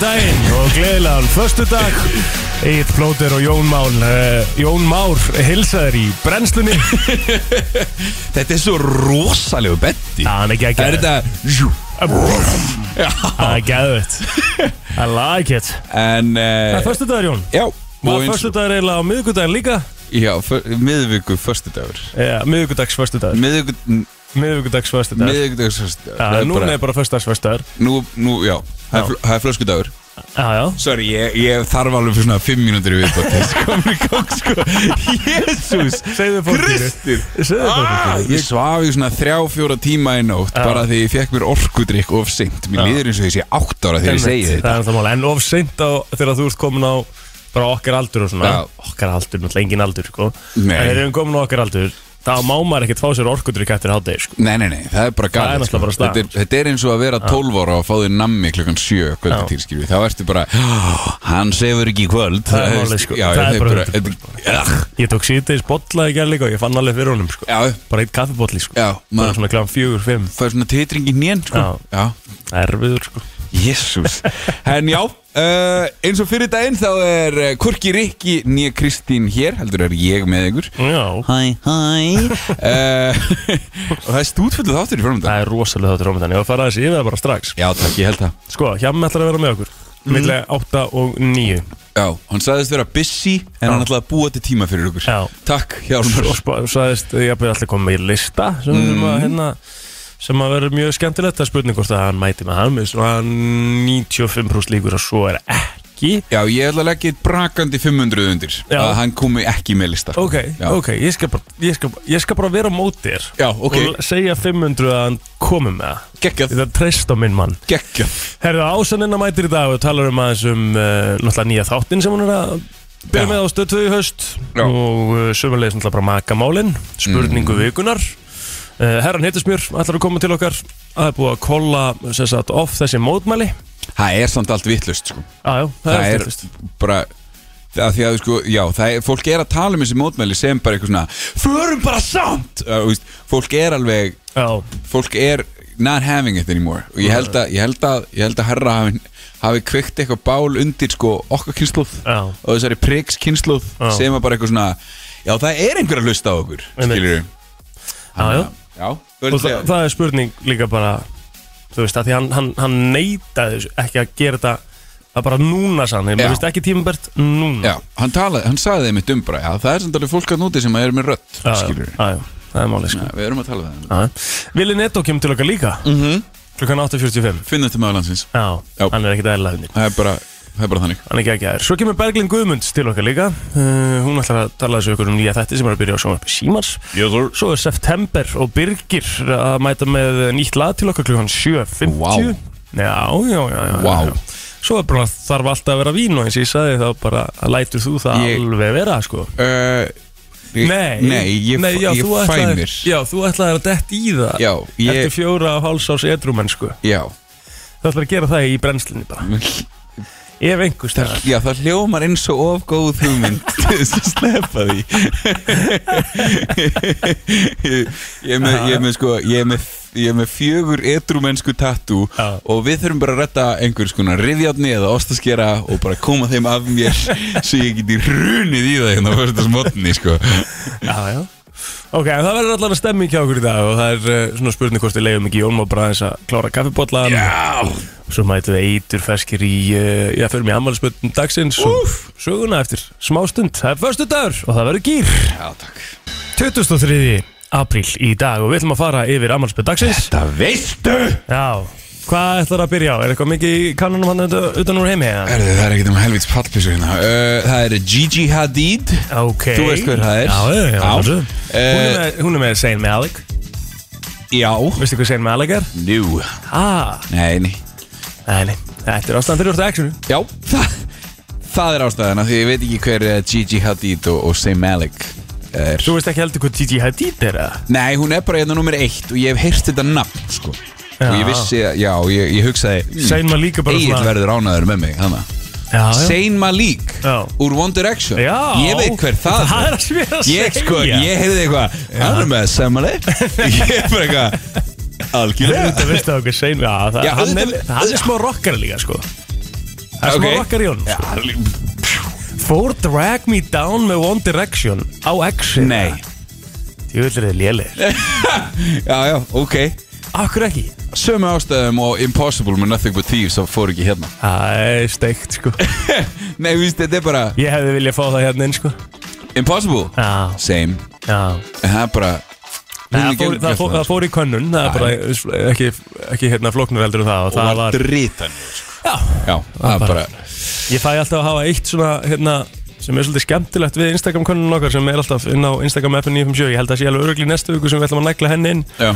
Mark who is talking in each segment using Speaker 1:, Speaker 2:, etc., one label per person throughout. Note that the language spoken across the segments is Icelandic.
Speaker 1: daginn og gleðilegan förstu dag Egil Plóter og Jón Mál uh, Jón Már hilsaðir í brennslunni
Speaker 2: Þetta er svo rosalegu betti
Speaker 1: Já, hann er
Speaker 2: Það er
Speaker 1: geggjaður.
Speaker 2: þetta Jú. Já.
Speaker 1: Það er gæðvett I like it
Speaker 2: En
Speaker 1: Það
Speaker 2: uh,
Speaker 1: er förstu dagur Jón
Speaker 2: Já
Speaker 1: Var
Speaker 2: eins-
Speaker 1: förstu dagur eiginlega á miðvikudaginn líka? Eh,
Speaker 2: Já, för- miðviku föstudagur
Speaker 1: Já, miðvikudags förstu dagur
Speaker 2: Miðviku
Speaker 1: Miðvikudags förstu dagur
Speaker 2: Miðvikudags föstudagur Það
Speaker 1: Já,
Speaker 2: er
Speaker 1: núna er bara förstu dags förstu dagur
Speaker 2: Nú, nú, já Það
Speaker 1: Já.
Speaker 2: er fl- það er flöskudagur
Speaker 1: Já, já
Speaker 2: Sorry, ég, ég þarf alveg fyrir svona 5 mínútur í viðbótt Þessi komin í gang, sko Jésús
Speaker 1: Segðu fólkinu.
Speaker 2: Kristur
Speaker 1: Segðu fólkinu.
Speaker 2: Ah, Ég svaf í svona 3-4 tíma í nótt Bara því ég fekk mér orkudrykk of seint Mér líður eins og ég sé 8 ára þegar ég segi
Speaker 1: Einmitt,
Speaker 2: þetta
Speaker 1: Það er það mál, en of seint á þegar þú ert komin á bara okkar aldur og svona
Speaker 2: Já.
Speaker 1: okkar aldur, náttúrulega engin aldur sko. en
Speaker 2: Nei.
Speaker 1: þegar við erum komin á okkar aldur þá má maður ekkert fá sér orkudrykk eftir hátegi sko.
Speaker 2: Nei, nei, nei, það er bara
Speaker 1: er
Speaker 2: galið sko.
Speaker 1: náttúrulega bara staðan,
Speaker 2: þetta, er- þetta er eins og að vera 12 ára og fá þér nammi klukkan 7
Speaker 1: Já.
Speaker 2: kvöldatýr, skilvi Þá ertu bara, "Ó, hann sefur ekki í kvöld
Speaker 1: Það er málið, sko.
Speaker 2: Já,
Speaker 1: Það
Speaker 2: það
Speaker 1: er
Speaker 2: er
Speaker 1: bara
Speaker 2: bara,
Speaker 1: 100%.
Speaker 2: þetta- Ah,
Speaker 1: ég tók síðdeis bolla í gerð líka og ég fann alveg fyrir honum sko.
Speaker 2: Já,
Speaker 1: bara eitt kaffibotli sko.
Speaker 2: já,
Speaker 1: bara
Speaker 2: maður
Speaker 1: svona kláðan fjögur, fimm
Speaker 2: Það er svona titring í nén, sko Já,
Speaker 1: erfiður sko.
Speaker 2: jésús En já, uh, eins og fyrir daginn þá er uh, Korki Rikki nýja Kristín hér Heldur er ég með ykkur
Speaker 1: Já,
Speaker 2: Hæ, hæ uh, Og það er stútfullu þáttur í framönda
Speaker 1: það er rosalega þáttur ámyndan ég var að fara þessi yfir það bara strax
Speaker 2: Já, takk, ég held það Mhm.
Speaker 1: sko, hjá ætlar að vera með okkur milli 8 og 9
Speaker 2: Já, hann sagðist vera busy en hann ætlaði að búa til tíma fyrir okkur
Speaker 1: Já.
Speaker 2: Takk, Hjálmar Mhm.
Speaker 1: og spa- sagðist ég að byrja allir koma með í lista sem, sem að hérna sem að vera mjög skemmtilegt að spurning hvort að hann mæti með hann með svona 95% líkur að svo er ekki
Speaker 2: Já, ég ætla að leggja eitt brakandi 500 undir
Speaker 1: Já.
Speaker 2: að hann komi ekki með lista sko.
Speaker 1: ok,
Speaker 2: Já.
Speaker 1: ok, ég skal bara, ég skal, ég skal bara vera á móti þér
Speaker 2: Já, ok.
Speaker 1: og segja 500 að hann komi með það
Speaker 2: Geggjað,
Speaker 1: þetta er treyst á minn mann
Speaker 2: geggjað
Speaker 1: Herðu, Ásanina mætir í dag og talar um aðeins um uh, náttúrulega nýja þáttinn sem hún er að byrja
Speaker 2: Já.
Speaker 1: með á stöðtöðu í haust
Speaker 2: Já. Mm.
Speaker 1: og uh, sömulegis náttúrulega bara makamálin, spurningu vikunar uh, Herran Hittismjör ætlar að koma til okkar að það er búið að kolla sem sagt, off þessi mótmæli
Speaker 2: Það er samt allt vittlust sko.
Speaker 1: Jájá, það, það er styrtist
Speaker 2: bara að því að sko, já, það er, fólk er að tala um þessi mótmæli sem bara eitthvað svona Förum bara samt uh, veist, Fólk er alveg,
Speaker 1: Já,
Speaker 2: fólk er not having it anymore og ég held að, ég held að, ég held að herra hafi, hafi kveikt eitthvað bál undir sko okkar kynsluð
Speaker 1: já,
Speaker 2: og þessari priks kynsluð
Speaker 1: Já.
Speaker 2: sem að bara eitthvað svona já það er einhver að hlusta á okkur
Speaker 1: Einmitt.
Speaker 2: skilur við
Speaker 1: já, já.
Speaker 2: já
Speaker 1: Og það,
Speaker 2: það,
Speaker 1: það er spurning líka bara þú veist, að því hann, hann, hann neytaði þessu, ekki að gera þetta að bara núna sann, ég
Speaker 2: Já.
Speaker 1: veist ekki tímabært núna
Speaker 2: já hann talaði hann sagði þeim mitt um bara já það er samtalið fólk að núti sem að er með rödd
Speaker 1: já,
Speaker 2: skilur
Speaker 1: já, já, það er málið sko
Speaker 2: við við erum að tala við það
Speaker 1: Vili Netto kemur til okkar líka
Speaker 2: Mhm.
Speaker 1: klukkan 8.45
Speaker 2: finnum þetta maður landsins
Speaker 1: Já,
Speaker 2: Já.
Speaker 1: hann er ekkert aðeins hundin
Speaker 2: það er bara það er bara þannig
Speaker 1: Hann er ekki ekki aðeins Svo kemur Berglind Guðmunds til okkar líka uh, Hún ætlar að tala þessu ykkur um nýja þætti sem er að byrja á sjónvarpi Símars
Speaker 2: yes sir
Speaker 1: Svo er September og Birgir að mæta með nýtt lag til okkar klukkan 7.50
Speaker 2: Vá.
Speaker 1: Já, já, já, já,
Speaker 2: Vá.
Speaker 1: já. Svo er bara þarf alltaf að vera vín og eins og ég sagði þá bara lætur þú það
Speaker 2: Ég-
Speaker 1: alveg vera sko
Speaker 2: uh, ég-
Speaker 1: Nei,
Speaker 2: nei ég,
Speaker 1: nei, já,
Speaker 2: ég
Speaker 1: þú
Speaker 2: fæ
Speaker 1: ætlaðir-
Speaker 2: mér
Speaker 1: Já, þú ætlaðir að dett í það
Speaker 2: já
Speaker 1: Eftir
Speaker 2: ég
Speaker 1: fjóra og hálsás edrumennsku
Speaker 2: já
Speaker 1: Það ætlar að gera það í brennslinni bara Ef einhvers þegar
Speaker 2: Já, það hljómar eins og of góð hugmynd til þess að slepa því ég, ég, er með, ég, er með, sko, ég, er með, ég er með fjögur edrumennsku tattoo
Speaker 1: Já.
Speaker 2: og við þurfum bara að retta einhvers konar rifjárni eða ostaskera og bara koma þeim af mér svo ég geti runið í það hérna á fyrsta smotni sko.
Speaker 1: Já, já Ok, en það verður allavega stemming hjá okkur í dag og það er uh, svona spurning hvort við leiðum ekki Jón má bara aðeins að klára kaffibotlan
Speaker 2: Já,
Speaker 1: Svo mætum við eitur feskir í uh, Já, förum í ammælisböndum dagsins og söguna eftir smástund Það er förstu dagur og það verður gýr
Speaker 2: Já takk
Speaker 1: 23. apríl í dag og við ætlum að fara yfir ammælisbönd dagsins
Speaker 2: Það veistu
Speaker 1: Já, hvað ætlar að byrja á? Er eitthvað mikið í kannanum hann utan- utan úr heimi? eða?
Speaker 2: Erðu, það er ekkert um helvits pallpísu hérna uh, Það er Gigi Hadid
Speaker 1: Ok
Speaker 2: Þú veist hver það er.
Speaker 1: Já, já, já,
Speaker 2: Já.
Speaker 1: já. Hún, er
Speaker 2: Eh,
Speaker 1: með, hún er með Sein með Alec
Speaker 2: Já
Speaker 1: Veistu hvað Sein með Alec er?
Speaker 2: Nú
Speaker 1: Ah,
Speaker 2: Nei, nei
Speaker 1: Nei, nei, þetta er ástæðan fyrir úrstu actionu
Speaker 2: Já, það, það er ástæðan af Því ég veit ekki hver eh, Gigi Hadid og, og Sam Malik eh, er
Speaker 1: Þú veist ekki heldur hvað Gigi Hadid er að
Speaker 2: Nei, hún er bara hérna nummer eitt Og ég hef heyrt þetta nafn, sko Og
Speaker 1: Já.
Speaker 2: ég vissi að, já, ég, ég hugsaði mm,
Speaker 1: Sein var líka bara
Speaker 2: Egill
Speaker 1: svona-
Speaker 2: verður ánæður með mig, hana
Speaker 1: Já, já
Speaker 2: Sein Malik
Speaker 1: Já.
Speaker 2: Úr One Direction
Speaker 1: Já
Speaker 2: Ég veit hver það,
Speaker 1: Það er að smér að
Speaker 2: Ég,
Speaker 1: segja
Speaker 2: sko, ég heyrði eitthvað Það er með Sam Malik Ég er bara eitthvað Algjörlega
Speaker 1: Þetta veistu það okkur sein Já, það,
Speaker 2: Já,
Speaker 1: hann, er,
Speaker 2: auðvitað-
Speaker 1: hann er smá rockar líka, sko Það er smá
Speaker 2: Ok.
Speaker 1: rockar í honum
Speaker 2: Já,
Speaker 1: sko. Fór Drag Me Down með One Direction á Exit
Speaker 2: Nei.
Speaker 1: Júlir þið lélir
Speaker 2: já, já, ok
Speaker 1: Akkur ekki
Speaker 2: Sömu ástæðum og Impossible með Nothing But Thieves og fór ekki hérna
Speaker 1: Það er steikt sko
Speaker 2: Nei, víst, þetta er bara
Speaker 1: Ég hefði viljað fá það hérna inn sko
Speaker 2: Impossible
Speaker 1: Já,
Speaker 2: Same
Speaker 1: já
Speaker 2: En það er bara
Speaker 1: Nei,
Speaker 2: Hún
Speaker 1: það
Speaker 2: er
Speaker 1: fór,
Speaker 2: gegn-
Speaker 1: það, fór, það fór í könnun, það er bara ekki, ekki hérna flóknur heldur en það og
Speaker 2: Og
Speaker 1: það
Speaker 2: var
Speaker 1: var,
Speaker 2: dritan
Speaker 1: já,
Speaker 2: Já, það er bara
Speaker 1: ég fæ alltaf að hafa eitt svona hérna sem er svolítið skemmtilegt við Instagram könnun okkar sem er alltaf inn á Instagram FN 957, ég held að sé alveg örugli næstu viku sem við ætlum að negla henni inn,
Speaker 2: Já,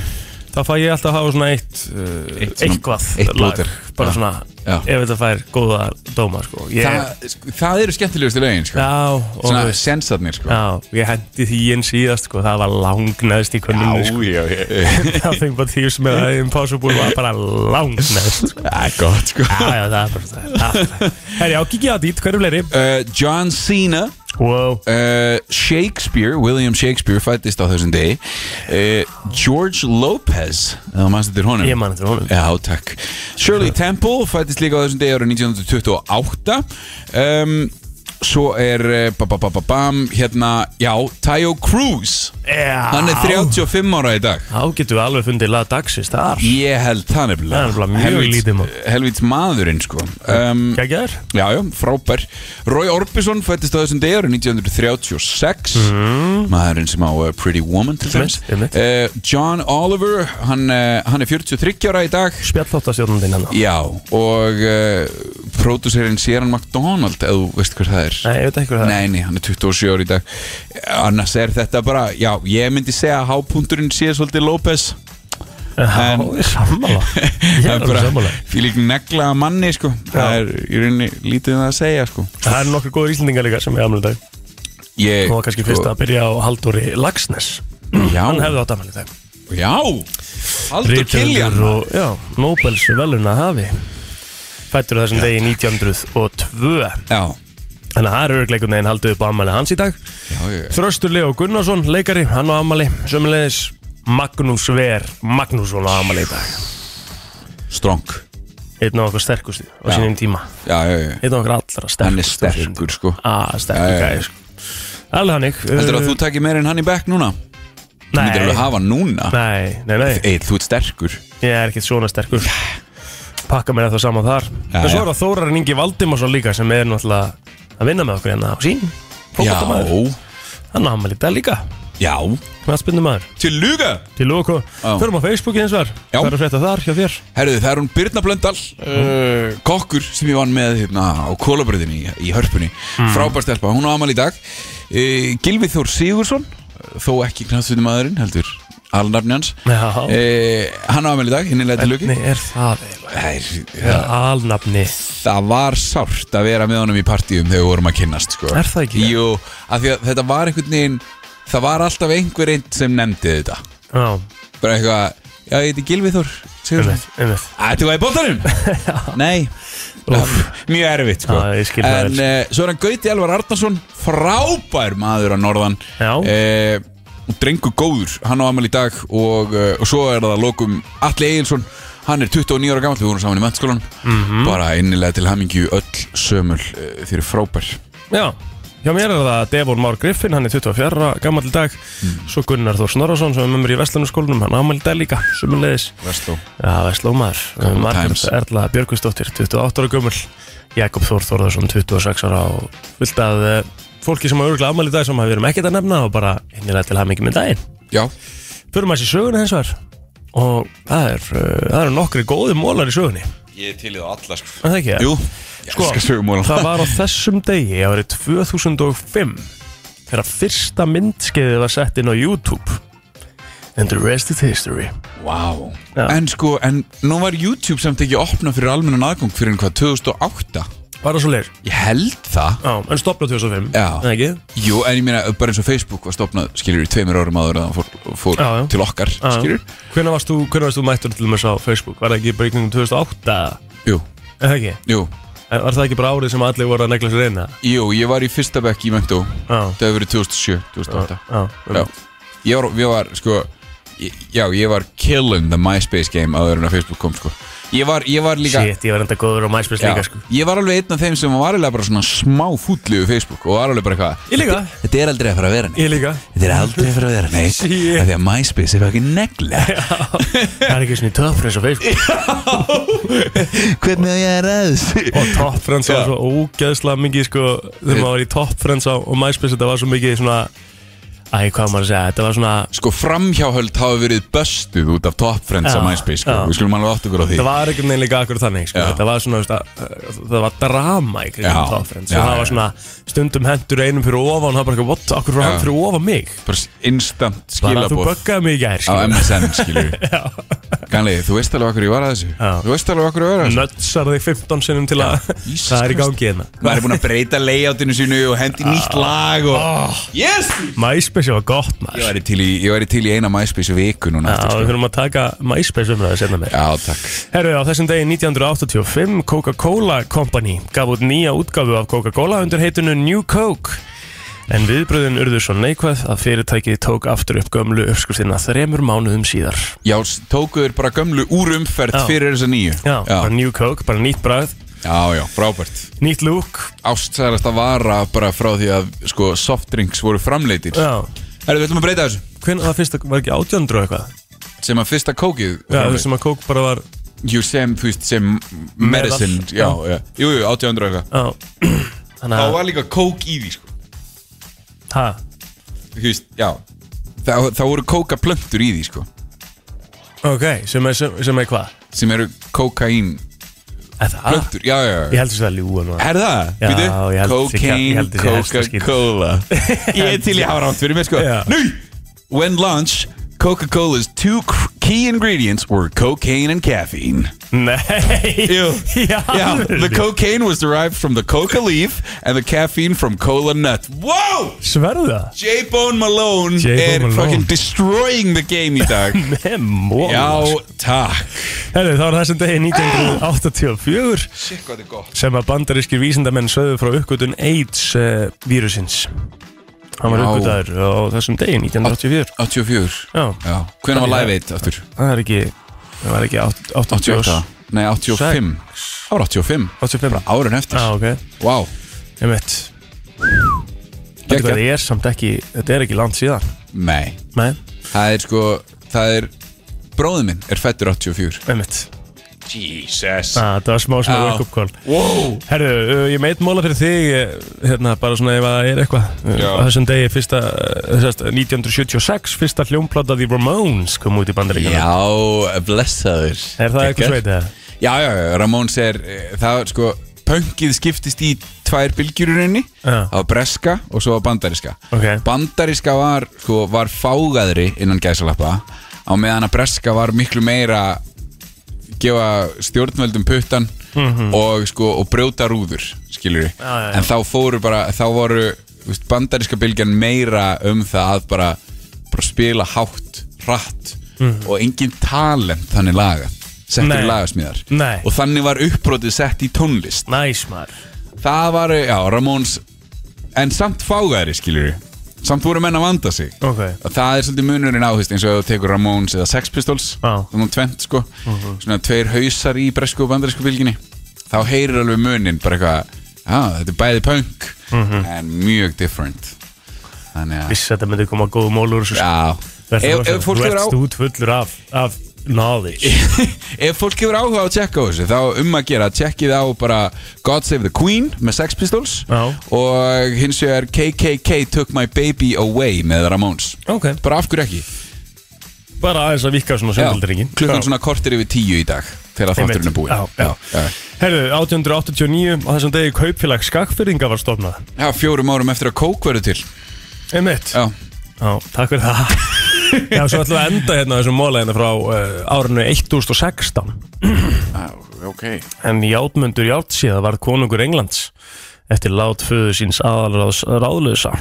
Speaker 1: þá fæ ég alltaf að hafa svona eitt, uh,
Speaker 2: Eitt svona-
Speaker 1: eitthvað
Speaker 2: eitt
Speaker 1: lag,
Speaker 2: blóter.
Speaker 1: bara
Speaker 2: Já.
Speaker 1: svona,
Speaker 2: Já.
Speaker 1: ef þetta fær góða dóma sko, ég,
Speaker 2: það, sko, það eru skemmtilegustu lögin sko.
Speaker 1: já, og þú
Speaker 2: Svona
Speaker 1: veist,
Speaker 2: sensarnir sko.
Speaker 1: já, ég hendi því inn síðast sko, það var langnæðst í könnunni sko.
Speaker 2: já, já
Speaker 1: Nothing but thieves með Impossible var bara langnæðst sko.
Speaker 2: Það er gott sko.
Speaker 1: Já, já, það er bara það. er- Herri, já, kikið á dít, hverju fleiri?
Speaker 2: uh, John Cena
Speaker 1: Wow.
Speaker 2: uh, Shakespeare, William Shakespeare fættist á þessum degi uh, George Lopez eða mannst þetta er honum
Speaker 1: Ég man þetta honum.
Speaker 2: Já, takk Shirley Temple fættist líka á þessum degi árið 1928 um, Svo er eh, ba, ba, ba, ba, bam, hérna, já, Tayo Cruz
Speaker 1: Já.
Speaker 2: Hann er 35 ára í dag
Speaker 1: Þá getum við alveg fundið lag dagsins þar.
Speaker 2: Ég held það nefnilega
Speaker 1: Það er nefnilega mjög
Speaker 2: Helvíts-
Speaker 1: lítið mál.
Speaker 2: Helvíts maðurinn sko um,
Speaker 1: Gægjar?
Speaker 2: Já, já, frábær Roy Orbison fættist á þessum degi árið 1936 Maðurinn sem á uh, Pretty Woman til
Speaker 1: Mhm. Einmitt, einmitt.
Speaker 2: þess uh, John Oliver, hann, uh, hann er 43 ára í dag
Speaker 1: Spjallþáttastjóðnandinn hann.
Speaker 2: Já, og uh, pródúserinn Sharon McDonald ef þú veist hver það er
Speaker 1: Nei, ég veit ekki hvað það er.
Speaker 2: Nei, nei, hann er 27 ára í dag Annars er þetta bara, já, ég myndi segja að hápunkturinn sé svolítið López
Speaker 1: Já,
Speaker 2: en-
Speaker 1: ég er sammála. Ég er alveg sammála.
Speaker 2: Fýlik negla að manni, sko Það
Speaker 1: Já.
Speaker 2: er í rauninni lítið um það að segja, sko
Speaker 1: Það er nokkur góður íslendingar líka sem er afmjölu dag.
Speaker 2: Ég,
Speaker 1: Nú
Speaker 2: sko-
Speaker 1: var kannski fyrst að byrja á Halldóri Lagsnes.
Speaker 2: Já,
Speaker 1: Hann hefði átt afmjölu dag.
Speaker 2: já Aldur sko. Kiljan
Speaker 1: og, já, Nobels veluna hafi. Fættur á þessum degi 1902.
Speaker 2: Já,
Speaker 1: Þannig að það er örgleikun veginn haldið upp á afmæli hans í dag.
Speaker 2: já, já
Speaker 1: Þröstur Leo Gunnarsson, leikari, hann á Amali Sömmulegis Magnús Ver Magnússon á Amali í dag
Speaker 2: Strong
Speaker 1: Einn af okkur sterkustu á sínum tíma
Speaker 2: Já, já, já
Speaker 1: Einn af okkur allra sterkustu
Speaker 2: Hann er
Speaker 1: á sínum tíma.
Speaker 2: sterkur, sko
Speaker 1: Ah, sterkur
Speaker 2: Já, já, já.
Speaker 1: gæði sko. Alveg Uh, hannig
Speaker 2: Heldur að þú takir meir en hann í bekk núna? Þú myndir alveg hafa hann núna
Speaker 1: Nei, nei, nei
Speaker 2: Egil, þú ert sterkur
Speaker 1: Ég er ekkert svona sterkur Pakka mér þetta saman þar
Speaker 2: Já,
Speaker 1: En svo
Speaker 2: já.
Speaker 1: er það Þórarinn Ingi Valdimarsson líka sem er náttúrulega að vinna með okkur hérna á sín
Speaker 2: Já,
Speaker 1: Fókváttamæður Hann á Amali í dag líka
Speaker 2: já
Speaker 1: Knattspindumæður
Speaker 2: Til luga
Speaker 1: Til lóku
Speaker 2: Já.
Speaker 1: Förum á Facebook eins og
Speaker 2: Já.
Speaker 1: Hvað er að frétta þar hjá þér?
Speaker 2: Herðu, það er hún Birna Blöndal
Speaker 1: Eh.
Speaker 2: uh, Kokkur sem ég vann með hérna á kólabröðinni í, í hörpunni
Speaker 1: Hmm.
Speaker 2: mm. Frábær stelpa, hún á amal í dag uh, Gilvi Þór Sigursson uh, Þó ekki knastvinni maðurinn, heldur Alnarni hans
Speaker 1: Já.
Speaker 2: uh, Hann á amal í dag, hinn er leitið luki
Speaker 1: Hvernig er það eiginlega?
Speaker 2: Það
Speaker 1: Ja. Alnafni
Speaker 2: það var sárt að vera með honum í partíum þegar við vorum að kynnast sko.
Speaker 1: Er það ekki?
Speaker 2: Jú, af því að þetta var einhvern veginn Það var alltaf einhver einn sem nefndi þetta
Speaker 1: Já,
Speaker 2: Bara eitthvað, já ég heiti Gilvi Þór Sigursson
Speaker 1: einmitt, einmitt
Speaker 2: Ættu að í bóttanum? Nei Mjög erfitt sko
Speaker 1: Já, ég skil það
Speaker 2: En
Speaker 1: vel.
Speaker 2: uh, svo er hann Gauti Elvar Arnason Frábær maður að norðan
Speaker 1: Já.
Speaker 2: Eh, og Drengu góður Hann á amal í dag og, uh, og svo er það að lokum Atli Egilson Hann er 29 ára gammal Við vorum saman í mennskólanum
Speaker 1: Mhm.
Speaker 2: Bara innilega til hamingju öll sömul uh, Þeir eru frábær
Speaker 1: Já, hjá mér er það Devon Már Griffin, hann er 24 ára, gammal í dag
Speaker 2: Mm.
Speaker 1: Svo Gunnar Þór Snorarsson sem er með mér í Vestlunarskólanum Hann ámæli dag líka, sumulegis
Speaker 2: Vestó
Speaker 1: Já, Vestlómaður
Speaker 2: Couple
Speaker 1: Margaret
Speaker 2: times.
Speaker 1: Erla Björgustóttir, 28 ára gömul Jakob Þór Þórðarsson, 26 ára og vilt að eh, fólki sem hafa örgulega afmæli í dag sem hafa verið með ekkert að nefna og bara innilega til hafa mikið með daginn
Speaker 2: Já,
Speaker 1: Förum að sé söguna hins vegar og það er, uh, það eru nokkri góði mólar í sögunni
Speaker 2: ég er til í það alla sko
Speaker 1: Er það ekki?
Speaker 2: Jú, ég
Speaker 1: Sko,
Speaker 2: elska sögumólan.
Speaker 1: það var á þessum degi árið 2005 þegar fyrsta myndskeiðið var sett inn á YouTube and the rest is history
Speaker 2: Vá
Speaker 1: Já.
Speaker 2: En sko, en nú var YouTube samt ekki opna fyrir almennan aðgang fyrir en hvað, 2008?
Speaker 1: Bara svo leir
Speaker 2: Ég held það
Speaker 1: Já, en stopna 2005
Speaker 2: Já.
Speaker 1: Eða ekki?
Speaker 2: Jú, en ég meina, bara eins og Facebook var stopnað, skilur, í tveimur árum áður að það fór, fór
Speaker 1: Já, já.
Speaker 2: til okkar,
Speaker 1: Já.
Speaker 2: skilur
Speaker 1: Hvenær varst þú, hvenær varst þú mættur til þess á Facebook? Var það ekki bara í kringum 2008?
Speaker 2: Jú,
Speaker 1: Eða ekki?
Speaker 2: jú,
Speaker 1: En Var það ekki bara árið sem allir voru að negla sér inn? eða?
Speaker 2: jú, ég var í fyrsta bekk í Mentó
Speaker 1: Já,
Speaker 2: Það hefur verið 2007, 2008
Speaker 1: já,
Speaker 2: Já, ég var, ég var, sko ég- Já, ég var killing the MySpace game áður en að Facebook kom, sko Ég var, ég var líka
Speaker 1: Shit, ég var enda góður á MySpace
Speaker 2: Já,
Speaker 1: líka sko
Speaker 2: Ég var alveg einn af þeim sem var alveg bara svona smá fúlliðu Facebook og var alveg bara eitthvað
Speaker 1: Ég líka.
Speaker 2: Þetta- Þetta er aldrei að fara að vera neitt
Speaker 1: Ég líka
Speaker 2: Þetta er aldrei að fara að vera neitt
Speaker 1: Sí.
Speaker 2: af Því að MySpace er ekki negla
Speaker 1: Það er ekki svona top friends á Facebook
Speaker 2: Hvernig á ég er að þessu
Speaker 1: Og top friends var
Speaker 2: Já.
Speaker 1: svo ógeðslega mikið sko Þegar maður var í top friends á og MySpace Þetta var svo mikið svona Æ, hvað á maður að segja Þetta var svona
Speaker 2: Sko framhjáhöld hafa verið böstuð út af Top Friends
Speaker 1: Já,
Speaker 2: á MySpace sko.
Speaker 1: já.
Speaker 2: Við skulum alveg átt okkur á því
Speaker 1: Það var ekki neina líka akkur þannig sko
Speaker 2: Já.
Speaker 1: Þetta var svona, veist, að- það var drama í
Speaker 2: Já.
Speaker 1: kringum top friends
Speaker 2: Já,
Speaker 1: Og það
Speaker 2: já.
Speaker 1: var svona stundum hendur einum fyrir ofan Og það bara ekki, what, akkur fyrir
Speaker 2: Já.
Speaker 1: hann fyrir ofan mig
Speaker 2: Bara instant
Speaker 1: Bara þú
Speaker 2: skilabóð
Speaker 1: böggaði mig í gær
Speaker 2: á
Speaker 1: sko
Speaker 2: MSN skilur við Ganlega, þú veist alveg okkur ég var að þessu
Speaker 1: Já.
Speaker 2: Þú veist alveg okkur ég var að þessu
Speaker 1: Nötsar þig 15 sinnum til að
Speaker 2: Jesus
Speaker 1: Það er í
Speaker 2: Christ.
Speaker 1: gangi hérna
Speaker 2: maður er búinn að breyta layoutinu sínu og hendi nýtt lag og yes
Speaker 1: Ah. MySpace var gott maður
Speaker 2: ég væri til í, ég væri til í eina MySpace viku
Speaker 1: Já,
Speaker 2: núna
Speaker 1: við
Speaker 2: eftir, sko.
Speaker 1: þurfum að taka MySpace umræðu senna meir.
Speaker 2: já takk
Speaker 1: Herru, á þessum degi 1985 Coca-Cola Company gaf út nýja útgáfu af Coca-Cola undir heitinu New Coke. En viðbröðin urðu svo neikvæð að fyrirtækið tók aftur upp gömlu uppskriftina þremur mánuðum síðar.
Speaker 2: já s- tóku þér bara gömlu úr umferð
Speaker 1: Já.
Speaker 2: fyrir þessa nýju
Speaker 1: Já, bara
Speaker 2: já,
Speaker 1: New Coke, bara nýtt bræð,
Speaker 2: já, já frábært
Speaker 1: nýtt lúk.
Speaker 2: ástsæðast að vara bara frá því að sko softdrinks voru framleitir
Speaker 1: Já,
Speaker 2: erum við ætlum að breyta þessu
Speaker 1: hvernig var fyrsta, var ekki átjöndur og eitthvað?
Speaker 2: sem að fyrsta kókið
Speaker 1: Já, þessum að Coke bara var,
Speaker 2: jú sem, þú veist, sem medicine,
Speaker 1: Meðal.
Speaker 2: já, já, jú, jú, 800 og eitthvað
Speaker 1: já, þannig
Speaker 2: þá
Speaker 1: að,
Speaker 2: var líka kók í því, sko
Speaker 1: hæ,
Speaker 2: þú veist, já þá, þá voru kókaplöntur í því, sko
Speaker 1: ok, sem er, sem, sem er hvað?
Speaker 2: sem eru kokain
Speaker 1: Er Það,
Speaker 2: plöntur, já, já,
Speaker 1: ég
Speaker 2: já.
Speaker 1: held þess að ljúa nú.
Speaker 2: Er það?
Speaker 1: Já,
Speaker 2: Býtu?
Speaker 1: ég held þessi- ég
Speaker 2: Cocaine,
Speaker 1: held þessi helsta skil.
Speaker 2: Coca-Cola Ég er til í hafa rátt fyrir mig sko
Speaker 1: Já.
Speaker 2: Nú! When launched, Coca-Cola's two c- key ingredients were cocaine and caffeine
Speaker 1: Nei,
Speaker 2: Jú.
Speaker 1: í
Speaker 2: Yeah, the
Speaker 1: alvörunni?
Speaker 2: cocaine was derived from the coca leaf and the caffeine from cola nut Wow!
Speaker 1: Sverðu það?
Speaker 2: J-Bone Malone
Speaker 1: J. Bone
Speaker 2: er
Speaker 1: Malone.
Speaker 2: fucking destroying the game í dag
Speaker 1: Með mól
Speaker 2: Já, takk
Speaker 1: Herru, þá var þessum degi 1984
Speaker 2: Shit, hvað er gott
Speaker 1: sem að bandarískir vísindamenn sögðu frá uppgötun AIDS uh, vírusins Hann var
Speaker 2: Já.
Speaker 1: uppgötaður á þessum degi 1984
Speaker 2: 84
Speaker 1: Já,
Speaker 2: Já, hvernig var live 1 aftur?
Speaker 1: það er ekki það var ekki átt- 88
Speaker 2: 88 Nei, 85 Það var 85
Speaker 1: 85
Speaker 2: Árun eftir
Speaker 1: Já, Ah, ok,
Speaker 2: Vá
Speaker 1: ég mitt Þetta er samt ekki, þetta er ekki langt síðan
Speaker 2: Nei
Speaker 1: Nei,
Speaker 2: Það er sko Það er Bróðið minn er fættur 84
Speaker 1: með mitt
Speaker 2: Jesus
Speaker 1: Það Ah, var smá smá
Speaker 2: Já.
Speaker 1: wake-up call
Speaker 2: Wow
Speaker 1: Herru, uh, ég meit móla fyrir þig eh, hérna, bara svona ef það er eitthvað eh,
Speaker 2: Já.
Speaker 1: á þessum degi fyrsta, eh, sérst, 1976 fyrsta hljómplata The Ramones kom út í bandaríkjana
Speaker 2: Já, blessaður
Speaker 1: Er það eitthvað
Speaker 2: Geggjað.
Speaker 1: sveit eða?
Speaker 2: Já, já, já, Ramóns er eh, Það er sko Pöngið skiptist í tvær bylgjur í rauninni
Speaker 1: Já.
Speaker 2: Það var breska og svo var bandaríska
Speaker 1: Ok.
Speaker 2: Bandaríska var, sko, var fágaðri innan gæsalappa á meðan að breska var miklu meira gefa stjórnvöldum puttan og, sko, og brjóta rúður skilur við
Speaker 1: Mhm. Já, já, já.
Speaker 2: en þá fóru bara, þá voru þú veist, bandaríska bylgjan meira um það að bara, bara spila hátt hratt og engin talent þannig laga
Speaker 1: Mhm.
Speaker 2: settur
Speaker 1: Nei.
Speaker 2: í lagasmíðar
Speaker 1: Nei.
Speaker 2: og þannig var uppbrotið sett í tónlist
Speaker 1: Næs maður
Speaker 2: það var, já, Ramóns en samt fágaðri skilur við samt voru menn að vanda sig
Speaker 1: Ok,
Speaker 2: Og það er svolítið munurinn á, þú veist, eins og ef þú tekur Ramones eða Sex Pistols,
Speaker 1: Já. Mhm.
Speaker 2: þannig tvent sko, svona tveir hausar í bresku og bandarísku bylginni, þá heyrir alveg muninn bara eitthvað, já, þetta er bæði punk, en mjög different. Þannig að,
Speaker 1: viss Mhm. að þetta myndi koma góð mólur og svo sko.
Speaker 2: já,
Speaker 1: Vertu
Speaker 2: ef,
Speaker 1: rosa-
Speaker 2: ef, fólk
Speaker 1: Þú
Speaker 2: hefur
Speaker 1: ert
Speaker 2: á,
Speaker 1: stút fullur af, af knowledge
Speaker 2: ef fólk hefur áhuga á að tjekka á þessu, þá um að gera, tjekkið á bara God Save the Queen með Sex Pistols
Speaker 1: Já.
Speaker 2: og hins vegar KKK Took My Baby Away með Ramones.
Speaker 1: Ok,
Speaker 2: Bara af hverju ekki?
Speaker 1: bara aðeins að vika svona
Speaker 2: Já,
Speaker 1: söndaldringin
Speaker 2: klukkan svona kortir yfir tíu í dag þegar
Speaker 1: Einmitt.
Speaker 2: þátturinn er búinn
Speaker 1: Já, já.
Speaker 2: já.
Speaker 1: Herru, 1889 á þessum degi kaupfélag skakfyrringa var stofnað
Speaker 2: já, fjórum árum eftir að kók verður til
Speaker 1: Einmitt
Speaker 2: Já,
Speaker 1: Já, takk fyrir það Já, svo ætlum við að enda hérna á þessum móla hérna frá uh, árinu 1016
Speaker 2: ok
Speaker 1: en Játmundur Játsíða varð konungur Englands eftir lát föðu síns aðalráðs ráðlösa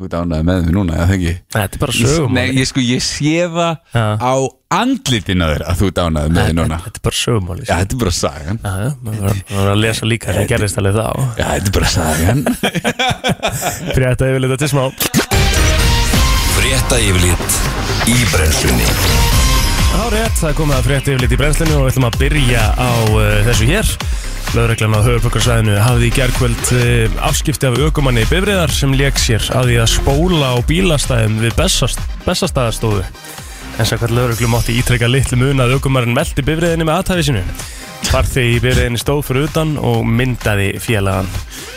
Speaker 2: Þú ert ánægði með því núna, eða ekki
Speaker 1: Þetta er bara
Speaker 2: Ég-
Speaker 1: sögum
Speaker 2: Nei, ég sko, ég sé það
Speaker 1: Já.
Speaker 2: á andlitina þér að þú ert ánægði með því núna
Speaker 1: Þetta er bara sögumáli
Speaker 2: Já, þetta er bara sagan
Speaker 1: Já, já, maður var- maður var að lesa líka sem gerðist alveg þá
Speaker 2: Já, þetta er bara sagan
Speaker 1: Frétta yfirleita til smá
Speaker 3: Frétta yfirlit í brennslunni
Speaker 1: Á rétt, það er komið að frétti yfirlit í brennslinu og við ætlum að byrja á uh, þessu hér. Lögreglan á höfuborgarsvæðinu hafði í gerkvöld uh, afskipti af aukumanni bifriðar sem lék sér að því að spóla á bílastæðum við Bessast, Bessastaðastofu. En sækvært lögreglu mátti ítrekka litlu mun að aukumarinn velti bifriðinni með aðtæfi sinu. Farþegi í bifriðinni stóð fyrir utan og myndaði félagann.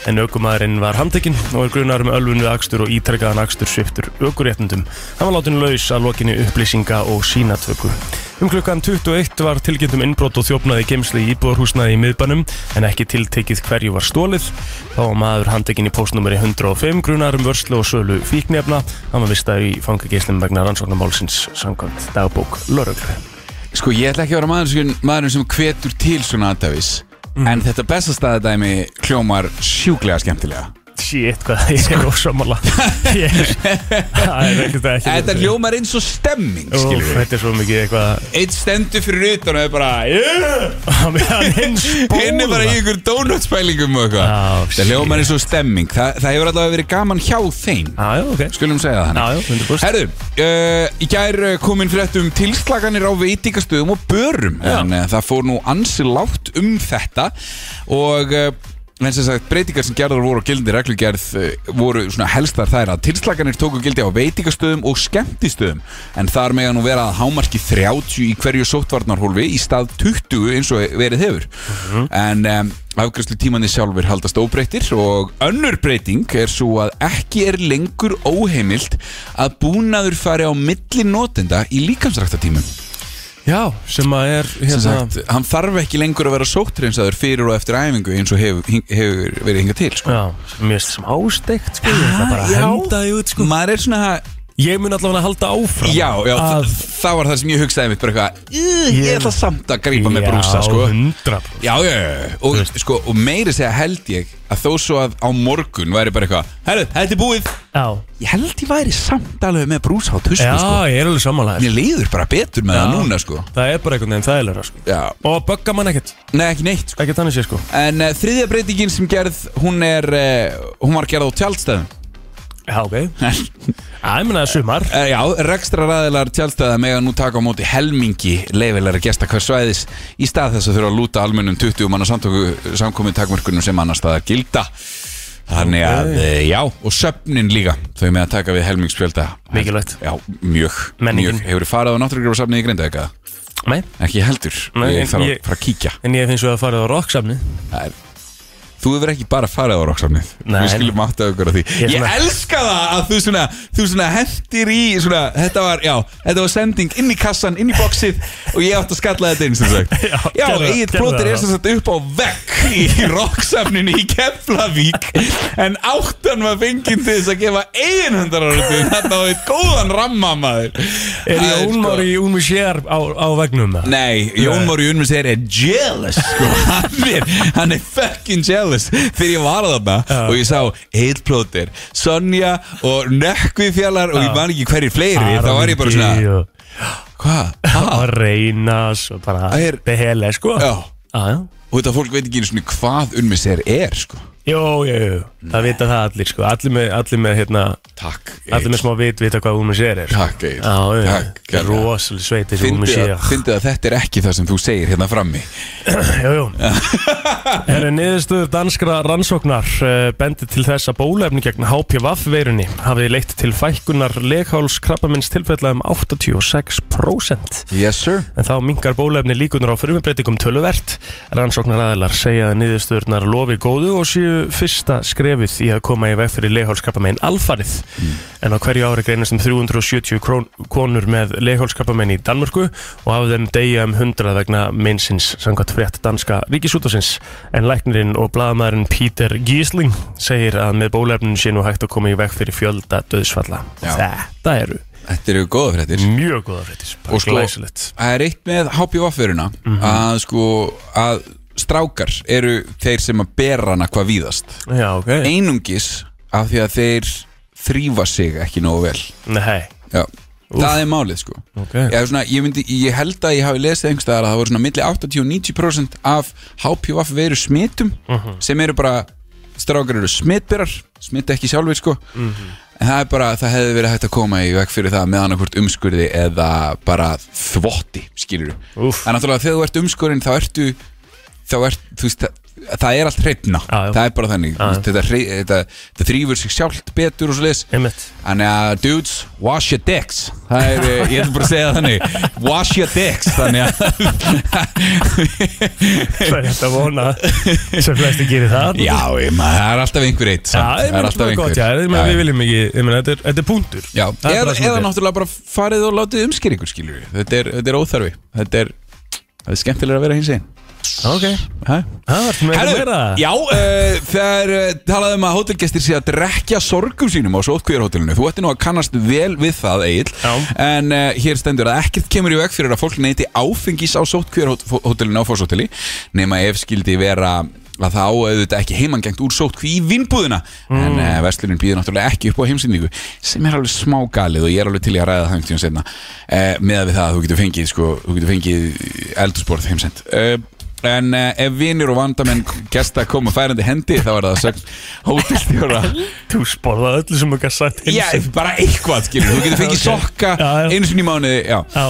Speaker 1: En aukumarinn var handtekinn og er grunar um ölfun við akstur og ítrekkaðan akstur sviptur aukuréttundum. Hann var látin laus að lokinni upplýsinga og sínatöku. Um klukkan 21 var tilkynnt um innbrot og þjófnaði geimsli í íbúðarhúsnaði í miðbænum en ekki tiltekið hverju var stólið. Þá var maður handtekinn í postnumeri 105 grunar um vörslu og sölu fíknefna. Hann var vistaður í fangageistum vegna rannsóknarmálsins samkvæmt dagbók Löruglu.
Speaker 2: Sko ég ætla ekki að vera maður sem, maður sem hvetur til svona aðdæfis
Speaker 1: Mhm.
Speaker 2: En þetta bestastæðadæmi hljómar sjúklega skemmtilega
Speaker 1: Shit, hvað ég er ósámála. Ég er... Það er ekkert ekki...
Speaker 2: Þetta hljómar eins og stemming, skilur
Speaker 1: Úff,
Speaker 2: við
Speaker 1: Þetta er svo mikið eitthvað
Speaker 2: Eitt stendur fyrir utan og er bara yeah!
Speaker 1: á meðan hinn spóla
Speaker 2: Hinn er bara í ykkur donutspælingum og
Speaker 1: Já,
Speaker 2: eitthvað Þetta
Speaker 1: shit.
Speaker 2: hljómar eins og stemming Þa, Það hefur allavega verið gaman hjá þeim
Speaker 1: Já, já, ok
Speaker 2: Skulum segja það
Speaker 1: Já,
Speaker 2: þannig.
Speaker 1: já, 100%
Speaker 2: Herðu, uh, í gær uh, komin fréttum tilslaganir á veitingastöðum og börum
Speaker 1: Já.
Speaker 2: En uh, það fór nú ansi lágt um þetta Og uh, en sem sagt, breytingar sem gerðar voru á gildandi reglugerð uh, voru svona helstar þær að tilslaganir tóku gildi á veitingastöðum og skemmtistöðum En þar mega nú vera að hámarki 30 í hverju sóttvarnarhólfi í stað 20 eins og verið hefur
Speaker 1: Mhm.
Speaker 2: En um, afgræslu tímanni sjálfur haldast óbreyttir og önnur breyting er svo að ekki er lengur óheimilt að búnaður fari á milli notenda í líkamsræktatímum.
Speaker 1: Já, sem að er
Speaker 2: Sem
Speaker 1: hérna
Speaker 2: sagt, hann þarf ekki lengur að vera sóttreynsaður fyrir og eftir æfingu eins og hefur, hing- hefur verið hingað til, sko.
Speaker 1: Já, sem mér finnst sem ásteikt, sko Ég ætla bara að
Speaker 2: já.
Speaker 1: henda því út, sko
Speaker 2: Maður er svona,
Speaker 1: Ég mun allavega að halda áfram
Speaker 2: já, já,
Speaker 1: að,
Speaker 2: það, það var það sem ég hugsaði mitt, bara eitthvað, "Ugh, ég
Speaker 1: Ég-
Speaker 2: ætla samt að grípa með brúsa, sko.
Speaker 1: Já, hundra sko.
Speaker 2: Já, já, já, já. og, sko, og meiri segja held ég að þó svo að á morgun væri bara eitthvað, herru, þetta er búið,
Speaker 1: Já,
Speaker 2: Ég held ég væri samt alveg með brúsa á tusku
Speaker 1: já,
Speaker 2: sko.
Speaker 1: ég er alveg sammálaður
Speaker 2: Mér líður bara betur með
Speaker 1: Já.
Speaker 2: það núna sko.
Speaker 1: Það er bara einhvern veginn þægilega, sko
Speaker 2: Já.
Speaker 1: Og bögga mann ekkert,
Speaker 2: Nei, ekki neitt sko.
Speaker 1: ekkert þannig sé, sko
Speaker 2: En uh, þriðja breytingin sem gerð Hún, er, uh, hún var gerð á tjálstæðum
Speaker 1: Já, ok Já, ég mun að sumar
Speaker 2: Eh, Já, rekstraræðilar tjálstæða mega nú taka á móti helmingi leifilegra gesta hvers svæðis í stað þess að þurfa að lúta almennum 20 manna samtöku samkomið takmörkunum sem annars staðar gilda Þannig að, eh, já, og söfnin líka þau með að taka við helmingsfjölda
Speaker 1: Mikilvægt.
Speaker 2: Já, mjög,
Speaker 1: Menningin.
Speaker 2: mjög Hefur farið á náttúrugrafasafnið í Grindavík eða?
Speaker 1: Nei,
Speaker 2: Ekki heldur,
Speaker 1: Nei, en
Speaker 2: ég þarf að
Speaker 1: ég-
Speaker 2: fara að kíkja
Speaker 1: en ég finnst svo að farið á rocksamni
Speaker 2: Það er- Þú hefur ekki bara farið á rocksamnið
Speaker 1: Nei.
Speaker 2: Við skulum átta okkur á því
Speaker 1: Ég
Speaker 2: Ég,
Speaker 1: svona-
Speaker 2: elska það að þú svona, þú svona hendir í svona, þetta, var, já, þetta var sending inn í kassan, inn í boxið Og ég átti að skalla þetta inn sem sagt
Speaker 1: Já,
Speaker 2: Já,
Speaker 1: gerðu það,
Speaker 2: Egil
Speaker 1: gerðu
Speaker 2: Plóter
Speaker 1: það.
Speaker 2: er sem sagt upp á vekk í rocksamninu í Keflavík En áttan var fengið til þess að gefa eiginhundararöndin Þetta var eitt góðan ramma maður
Speaker 1: Er
Speaker 2: Það
Speaker 1: ég
Speaker 2: sko-
Speaker 1: ónmári í Úmisjér á, á vegnum það?
Speaker 2: Nei, Jón Móri Unmis er er jealous sko. hann, er, hann er fucking jealous þegar ég var þarna og ég sá Eilplóter, Sonja og Nökkvi fjallar og ég man ekki hverjir fleiri þá var ég bara svona,
Speaker 1: og,
Speaker 2: hvað? Ha?
Speaker 1: og reynas og bara
Speaker 2: Það er-
Speaker 1: behele sko
Speaker 2: Já.
Speaker 1: Já, já.
Speaker 2: Og þetta fólk veit ekki einu svona hvað Unmis er er sko.
Speaker 1: Jó, jó, jó, það vita það allir sko Allir með, allir með, hérna,
Speaker 2: Takk,
Speaker 1: allir
Speaker 2: Egill.
Speaker 1: með smá vit vita hvað Úmi sér er
Speaker 2: Takk, Egill.
Speaker 1: Já, já,
Speaker 2: Takk,
Speaker 1: já,
Speaker 2: kærlega.
Speaker 1: rosalega sveit þessi Úmi
Speaker 2: Fyndið
Speaker 1: sér
Speaker 2: að, fyndið að þetta er ekki það sem þú segir hérna frammi
Speaker 1: Jó, jó Herra niðurstöður danskra rannsóknar uh, bendi til þess að bólefni gegn HPV-veirunni hafiði leitt til fækkunar legháls krabbamins tilfella um 86%
Speaker 2: Yes sir
Speaker 1: en þá mingar bólefni líkunar á frumbreytingum töluvert. Rannsóknaræðilar segja að niðurstöðurnar lofi góðu og séu fyrsta skrefið í að koma í veg fyrir leghálskrappamein alfarið.
Speaker 2: Hmm.
Speaker 1: En á hverju ári greinast um 370 krón, konur með leghálskrappamein í Danmörku og hafa þeim degja um 100 vegna minnsins samkvæmt frétt danska ríkisútasins. En læknirinn og blaðamæðurinn Peter Giesling segir að með bólefninu sé nú hægt að koma í veg fyrir fjölda döðsfalla.
Speaker 2: Já.
Speaker 1: Þetta eru
Speaker 2: Þetta eru góða fréttir
Speaker 1: mjög góða fréttis.
Speaker 2: Og sko-
Speaker 1: glæsilegt. Mhm.
Speaker 2: það er eitt með HPV-veruna að sko að strákar eru þeir sem að bera hana hvað víðast
Speaker 1: Já, ok.
Speaker 2: einungis af því að þeir þrýfa sig ekki nógu vel
Speaker 1: Nei,
Speaker 2: Já. það er málið sko
Speaker 1: ok
Speaker 2: ég, er svona, ég, myndi, ég held að ég hafi lesið einhverstaðar að það voru svona milli 80 og
Speaker 1: Mhm.
Speaker 2: 90% af HPV-veru smitum sem eru bara strákar eru smitberar smita ekki sjálfur sko
Speaker 1: Mhm.
Speaker 2: en það er bara, það hefði verið hægt að koma í veg fyrir það með annarkvort umskurði eða bara þvotti, skilur
Speaker 1: Úff.
Speaker 2: en náttúrulega þegar þú ert umskurinn þá ertu þá ert, þú veist, það, það er allt hreitna
Speaker 1: Já, já.
Speaker 2: það er bara þannig,
Speaker 1: Já, já.
Speaker 2: þetta, hrei- þetta, þetta þrýfur sig sjálft betur og svo leis
Speaker 1: Einmitt.
Speaker 2: Þannig að dudes, wash your dicks Það er, eh, ég ætlum bara að segja það þannig Wash your dicks Þannig að
Speaker 1: Það er hægt að vona sem flesti gerir það
Speaker 2: Já, ég, maður, það er alltaf einhver eitt
Speaker 1: Já,
Speaker 2: samt.
Speaker 1: ég
Speaker 2: Það
Speaker 1: meina, það er gott, já, ég meina, við viljum ekki, ég meina, þetta er, þetta er punktur
Speaker 2: Já,
Speaker 1: Það er
Speaker 2: eða,
Speaker 1: bara svona
Speaker 2: eða
Speaker 1: þetta er.
Speaker 2: náttúrulega bara farið og látið umskýringur skilur við Þetta er, þetta er óþarfi Þetta er, það er skemmtilega að vera hins einn
Speaker 1: Ok, það var með
Speaker 2: Herðu,
Speaker 1: meira
Speaker 2: já, uh, þegar uh, talaðum að hótelgestir sé að drekja sorgum sínum á sótkvíðarhótelinu Þú ætti nú að kannast vel við það,
Speaker 1: Já.
Speaker 2: Egil En uh, hér stendur að ekkert kemur í veg fyrir að fólk neyti áfengis á sótkvíðarhótelinu á fórsóteli Nema ef skildi vera að þá auðvitað ekki heimangengt úr sótkví í vinnbúðina
Speaker 1: Mm.
Speaker 2: En uh, verslunin býður náttúrulega ekki upp á heimsynningu Sem er alveg smá galið og ég er alveg til í að ræða það einhvern tíðan setna uh, Meða við það að þú getur fengið, sko, þú getur fengið eldursporð heimsend uh, En uh, ef vinir og vandamenn gesta koma færandi hendi þá er það sögn hótelstjóra
Speaker 1: Þú sporðað öllu sem okkar sagt
Speaker 2: Já,
Speaker 1: heimsins.
Speaker 2: bara eitthvað skilur Þú getur fengið
Speaker 1: Ok.
Speaker 2: sokka
Speaker 1: Já, já.
Speaker 2: einu sinni í mánuði já.
Speaker 1: já,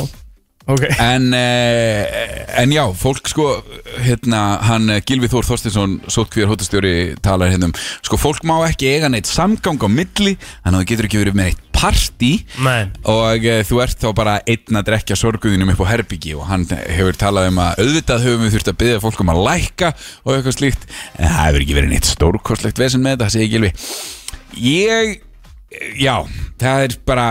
Speaker 1: ok
Speaker 2: En, uh, en já, fólk sko hérna, hann eh, Gylfi Þór Þorstinsson sótkvíðar hótelstjóri talar hérna um sko, fólk má ekki eiga neitt samgang á milli þannig að þú getur ekki verið með eitt partí
Speaker 1: Nei,
Speaker 2: og eh, þú ert þá bara einn að drekja sorguðinum upp á herbyggi og hann hefur talað um að auðvitað höfum við þurft að byggja fólk um að lækka og eitthvað slíkt en það hefur ekki verið neitt stórkostlegt vesen með þetta, segi Gilvi ég, já, það er bara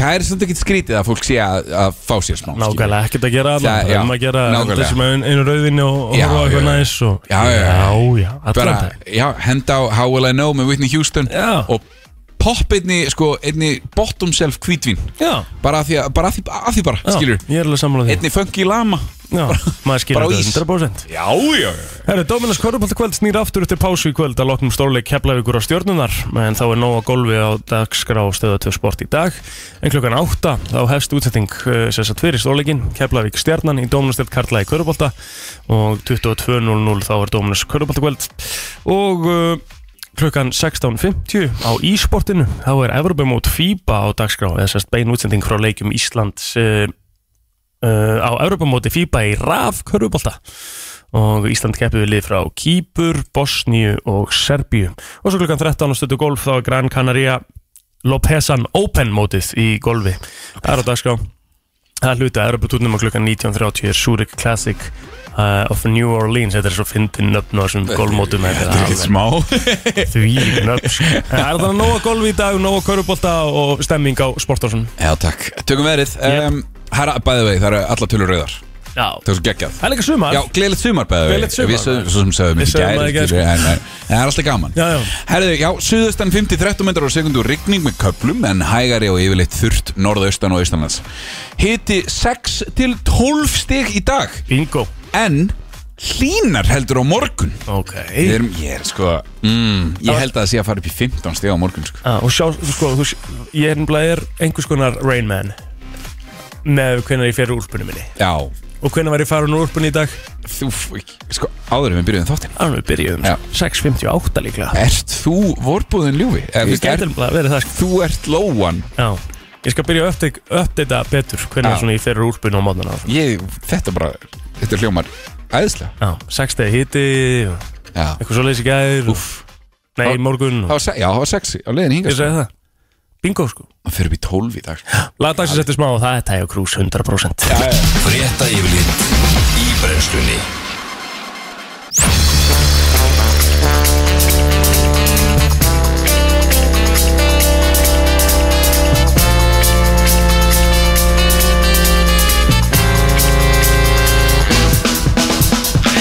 Speaker 2: það er samt ekki skrítið að fólk sé að, að fá sér smá skilur.
Speaker 1: nákvæmlega ekkert að gera
Speaker 2: Það-
Speaker 1: Það
Speaker 2: já,
Speaker 1: er um að gera
Speaker 2: nákvæmlega.
Speaker 1: þessum einu einu rauðinu og og
Speaker 2: Já,
Speaker 1: horfa á eitthvað
Speaker 2: já, já.
Speaker 1: næs og
Speaker 2: Já, já, já.
Speaker 1: já, já, allan
Speaker 2: bara,
Speaker 1: dag
Speaker 2: já, henda á How Will I Know með Whitney Houston
Speaker 1: Já.
Speaker 2: og popp einni, sko, einni bottom self hvítvín
Speaker 1: Já,
Speaker 2: bara að því, að- bara að því, að því bara,
Speaker 1: já,
Speaker 2: skilur
Speaker 1: ég er alveg sammála því
Speaker 2: einni fengi lama
Speaker 1: Já, maður
Speaker 2: bara
Speaker 1: skilur
Speaker 2: á ís.
Speaker 1: þetta 100%
Speaker 2: Já, já, já
Speaker 1: Herru, Dóminus Körbólta kvöld snýr aftur eftir pásu í kvöld að loknum stórleik Keflavíkur á stjórnunar en þá er nóg að golfi á dagskrá stöða 2 sport í dag en klukkan 8 þá hefst útsetting eh, sem sagt fyrir stórleikin Keflavík stjarnan í Dóminus til Karla í Körbólta og 22.00 þá er Dóminus Körbólta kvöld og uh, klukkan 16.50 á ísportinu þá er Evropamót FIBA á dagskrá eða sérst bein útsending frá leikjum Íslands uh, uh, á Evropamóti FIBA í RAF Körbólta og Ísland keppið við lið frá Kýpur, Bosníu og Serbíu og svo klukkan 13 á stötu golf þá er Gran Canaria Lopesan Open mótið í golfi það er á dagskrá það er hluti að Europatúrnum á klukkan 19.30 er Zurich Classic uh, of New Orleans þetta er svo fyndin nöfn á þessum golfmótum þetta er alveg
Speaker 2: smá
Speaker 1: því nöfn sko. það er þannig nóga golfi í dag, nóga körubólta og stemming á Sportarsson
Speaker 2: Já, takk Tökum verið
Speaker 1: Yep.
Speaker 2: um, Herra, bæði vegi, það eru allar tölur rauðar
Speaker 1: Já.
Speaker 2: Það er svo geggjað
Speaker 1: það er líka sumar
Speaker 2: Já, gleðilegt sumar bæði vegi
Speaker 1: Gleðilegt sumar.
Speaker 2: Við sögum, svo sem sögum
Speaker 1: Við
Speaker 2: ekki
Speaker 1: sögðum það í
Speaker 2: gæri
Speaker 1: gær, sko.
Speaker 2: skilur, en, en, en það er alltaf gaman
Speaker 1: Já, já.
Speaker 2: Herðu, já, suðustan 50-13 metrar á sekundu Rigning með köplum En hægari og yfirleitt þurrt norðaustan og austanlands Hiti 6-12 stig í dag
Speaker 1: bingo
Speaker 2: En hlínar heldur á morgun
Speaker 1: ok
Speaker 2: Við erum, ég er sko mm, Ég held að það sé að fara upp í 15 stig á morgun sko.
Speaker 1: Ah, og sjá, þú sko, þú, sj- ég er nefnilega er einhvers konar Rain Man með hvenær ég fer úr úlpunni minni
Speaker 2: Já,
Speaker 1: og hvenær var ég farin úr úlpunni í dag
Speaker 2: þú, sko, áður en við byrjuðum þáttinn
Speaker 1: alveg byrjuðum
Speaker 2: Já.
Speaker 1: 6.58 líklega
Speaker 2: Ert þú vorbúðin ljúfi? Eða, þú
Speaker 1: ég
Speaker 2: veist,
Speaker 1: gæti
Speaker 2: er,
Speaker 1: nefnilega verið það sko.
Speaker 2: þú ert lóan
Speaker 1: já, ég skal byrja að uppdeg- uppdata betur
Speaker 2: Já.
Speaker 1: hvenær svona ég fer úr úlpunni á mótnana
Speaker 2: ég, Þetta bara, þetta hljómar æðislega
Speaker 1: já, 6 degi hiti og
Speaker 2: Já,
Speaker 1: eitthvað svo leysi gær og, nei,
Speaker 2: Þá-
Speaker 1: morgun
Speaker 2: það
Speaker 1: og,
Speaker 2: var, se- já, það var sexy á leiðin
Speaker 1: ég
Speaker 2: hingast
Speaker 1: segi það bingo sko
Speaker 2: Það fyrir upp í 12 í dag sko.
Speaker 1: Lagdagsins eftir smá og það er Tæja Krús 100%
Speaker 3: Frétta yfirlit í brennslunni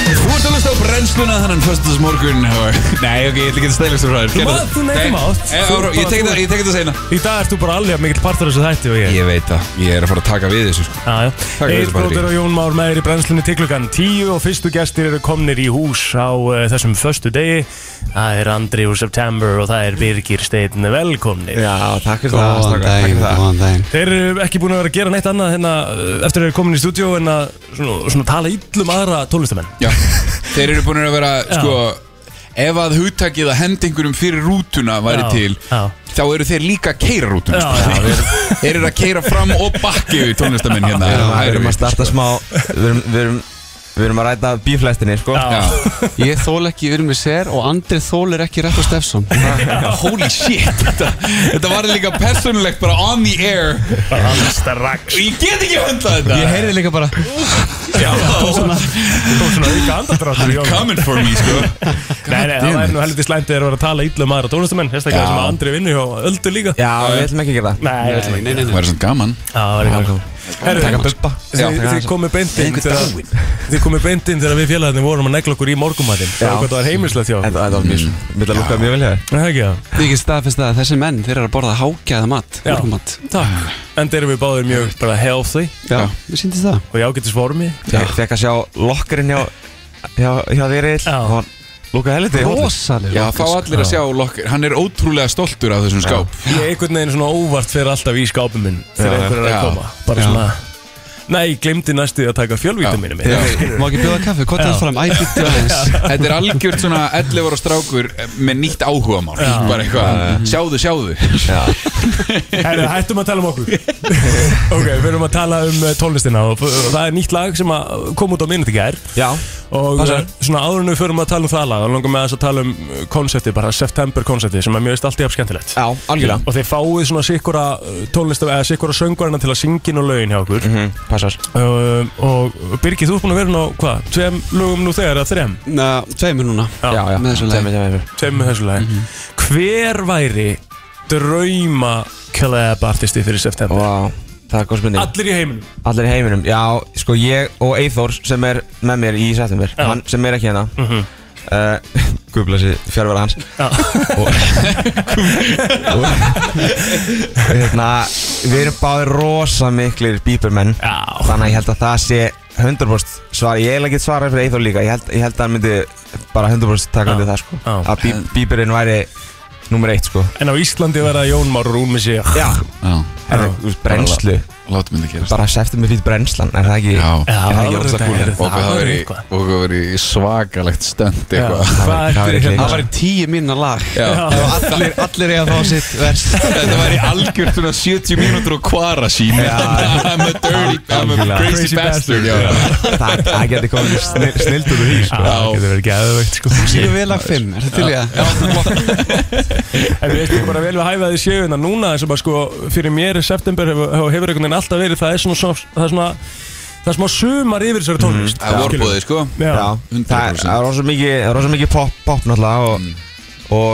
Speaker 2: Þú ert að lusta á brennsluna þannig Föstas morgun Nei, ok, ég ætla ekki að stæla þessu frá þér Gerðu
Speaker 1: mátt,
Speaker 2: það.
Speaker 1: þú nei, þú
Speaker 2: Nei,
Speaker 1: mátt.
Speaker 2: eh,
Speaker 1: Þú
Speaker 2: ára,
Speaker 1: bara-
Speaker 2: Ég tek þetta- ég tek þetta seinna
Speaker 1: Í dag ert þú bara alveg mikill partur af þessu þætti og ég
Speaker 2: Ég veit það, ég er að fara að taka við þessu sko.
Speaker 1: Já, já.
Speaker 2: fyrir
Speaker 1: Eir
Speaker 2: þessu, Patrik.
Speaker 1: Bróður og Jón Már með er í brennslunni til klukkan 10 og fyrstu gestir eru komnir í hús á uh, þessum föstu degi það er Andri úr September og það er Birgir Steinn velkomnir
Speaker 4: Já, takk fyrir
Speaker 2: Góðan
Speaker 4: það strákar,
Speaker 2: daginn,
Speaker 4: takk fyrir það. Góðan daginn
Speaker 1: Þeir eru ekki búin að vera að gera neitt annað hérna, uh, eftir að þeir eru komin í stúdíó en að svona, svona tala illum aðra tólestamenn
Speaker 2: Já, þeir eru búin að vera sko, ef að hugtakið að henda einhverjum fyrir rútuna væri
Speaker 1: Já,
Speaker 2: til
Speaker 1: já.
Speaker 2: þá eru þeir líka að keira rútuna
Speaker 1: Já,
Speaker 2: sko.
Speaker 1: já, við
Speaker 2: þeir eru að keira fram og bakki við tónlistamenn hérna
Speaker 4: Við erum að- við erum að
Speaker 2: Já,
Speaker 4: starta smá Við erum, við erum, við erum að ræta bíflæstinni sko.
Speaker 1: Já.
Speaker 5: Ég þól ekki Urmi Ser og Andri þólir ekki Rektor Stefson
Speaker 2: Holy shit þetta, þetta var líka persónulegt bara on the air
Speaker 1: bara hann strax
Speaker 2: Ég get ekki höndla þetta
Speaker 5: Ég heyrði líka bara
Speaker 1: Já, kom svona kom svona auka andardráttur í honum.
Speaker 2: Coming for me sko
Speaker 1: Nei, nei, það er nú helviti slæmt þegar það er að tala illa um aðra tónlistamenn Sérstaklega
Speaker 2: Já.
Speaker 1: sem að Andri vinnur hjá Öldu líka
Speaker 4: Já, við ætlum ekki að gera það
Speaker 1: Nei, ég veit ekki
Speaker 2: Það væri svona gaman
Speaker 1: Það er gaman
Speaker 4: Taka
Speaker 1: Herru,
Speaker 4: bubba
Speaker 1: þið-
Speaker 4: Já, taka
Speaker 1: þið
Speaker 4: aðeins.
Speaker 1: komið beint inn þegar- Þið komið beint inn þegar við félagarnir vorum að negla okkur í morgumatinn
Speaker 4: Já.
Speaker 1: Það var heimilslegt hjá Mm.
Speaker 4: Þetta
Speaker 1: okkur.
Speaker 4: þetta var mjög Mér það lukkaði mjög vel hér
Speaker 1: Er Það ekki það?
Speaker 5: Því ekki staðfest að þessi menn, þeir eru að borða hágæða mat
Speaker 1: Já.
Speaker 5: Morgumat
Speaker 1: Takk Enda erum við báðir mjög bara healthy
Speaker 5: Já, við síndist það
Speaker 1: og í ágætis formi
Speaker 4: Ég fekk að sjá lokkurinn hjá Hjá, hjá þér
Speaker 1: Já.
Speaker 4: eil Lukkaði helviti
Speaker 5: Rósalega
Speaker 2: Já, fá
Speaker 1: sko.
Speaker 2: allir að sjá lokkar Hann er ótrúlega stoltur af þessum skáp
Speaker 1: Ég einhvern veginn svona óvart fyrir alltaf í skápum minn
Speaker 4: Já,
Speaker 1: þegar einhver er
Speaker 2: já.
Speaker 1: að koma Bara
Speaker 5: Já.
Speaker 1: svona Nei, ég glemdi næstu að taka fjölvítum mínum
Speaker 2: Já.
Speaker 5: Má ekki bjóða kaffi, hvað
Speaker 1: Já.
Speaker 5: það fram? Æ, býttu aðeins
Speaker 2: Þetta er algjört svona 11 ára strákur með nýtt áhuga mál Bara eitthvað, sjáðu, sjáðu
Speaker 1: Herru, hættum að tala um okkur Ok, við erum að tala um eh, tónlistina og og það er nýtt lag sem að kom út á minnet í gær
Speaker 4: Já
Speaker 1: og
Speaker 4: Passar.
Speaker 1: eh, svona áður en við förum að tala um það lag og langar með þess að tala um eh, konseptið, bara september konseptið sem er mjög veist allt í af skemmtilegt
Speaker 4: Já, algjörlega
Speaker 1: og þeir fáið svona sikkura tónlistar eða sikkura söngvarina til að syngin og lögin hjá okkur
Speaker 4: Mhm, Passar
Speaker 1: um, og Birgir, þú ert búin að vera nú, hvað, tveim lögum nú þegar eða þrem,
Speaker 5: Ná, tveimur núna
Speaker 1: Já.
Speaker 4: Já, já
Speaker 5: Með þessu lagi. Mhm.
Speaker 4: Sem- sem- sem-
Speaker 1: tveim með þessu lagi Hver væri drauma collab artisti fyrir september?
Speaker 4: Vá Það er góð spurning
Speaker 1: Allir í heiminum
Speaker 4: Allir í heiminum Já, sko ég og Eithor sem er með mér í september
Speaker 1: Já. Mhm.
Speaker 4: Hann sem er ekki hérna mm -hmm. uh, Guðblessi fjárvara hans
Speaker 1: Já.
Speaker 4: og, og, og hérna Við erum báðir rosa miklir bípermenn
Speaker 1: Já,
Speaker 4: Þannig að ég held að það sé 100% svar Ég hef ekki svarað fyrir Eithor líka Ég held, ég held að hann myndi bara 100% taka
Speaker 1: Já.
Speaker 4: undir það sko
Speaker 1: Já.
Speaker 4: Að bí, bíperinn væri nummer eitt sko
Speaker 1: En á Íslandi verða Jón Már Rúmisi
Speaker 4: Já
Speaker 2: Já,
Speaker 4: Brennslu
Speaker 2: látum þetta gerast
Speaker 4: Bara sæftum við fýtt brennslan Er það ekki
Speaker 2: Já,
Speaker 1: Já,
Speaker 4: Er það
Speaker 1: það
Speaker 4: ekki
Speaker 1: verður
Speaker 4: ótrúlega kúl?
Speaker 1: þetta- heyrðu,
Speaker 2: og
Speaker 1: það
Speaker 2: það
Speaker 1: verður
Speaker 2: væri-
Speaker 1: eitthvað.
Speaker 2: og það verið svakalegt stönd
Speaker 1: Já,
Speaker 2: eitthvað
Speaker 1: Hvað
Speaker 4: það
Speaker 1: er
Speaker 4: væri
Speaker 1: þetta
Speaker 4: klikkað.
Speaker 5: Það
Speaker 1: hérna?
Speaker 5: var tíu mínna lag
Speaker 2: Já.
Speaker 5: Og allir, allir eiga að fá sitt vers
Speaker 2: Þetta væri algjört svona 70 mínútur og kvara sín I'm a dirty, I'm a
Speaker 4: Algjörlega.
Speaker 2: crazy
Speaker 1: Crazy
Speaker 2: bastard Já,
Speaker 4: Það það geti komið snill, snillt úr því sko.
Speaker 1: Já, Það getur verið geðveikt sko
Speaker 5: Sýru við lag 5, er það til ég að
Speaker 1: En við veistum bara vel við hæfa því séu hérna núna sem að sko fyrir mér í september hefur, hefur einhvern veginn alltaf verið það er svona, svona það er svona það er smá sumar yfir þessari tónlist
Speaker 2: Það voru bóðið, sko
Speaker 1: Já,
Speaker 4: Já, það er-
Speaker 2: 100%.
Speaker 4: það er rosa mikið, það er rosa mikið pop, pop náttúrulega og,
Speaker 2: Mm.
Speaker 4: og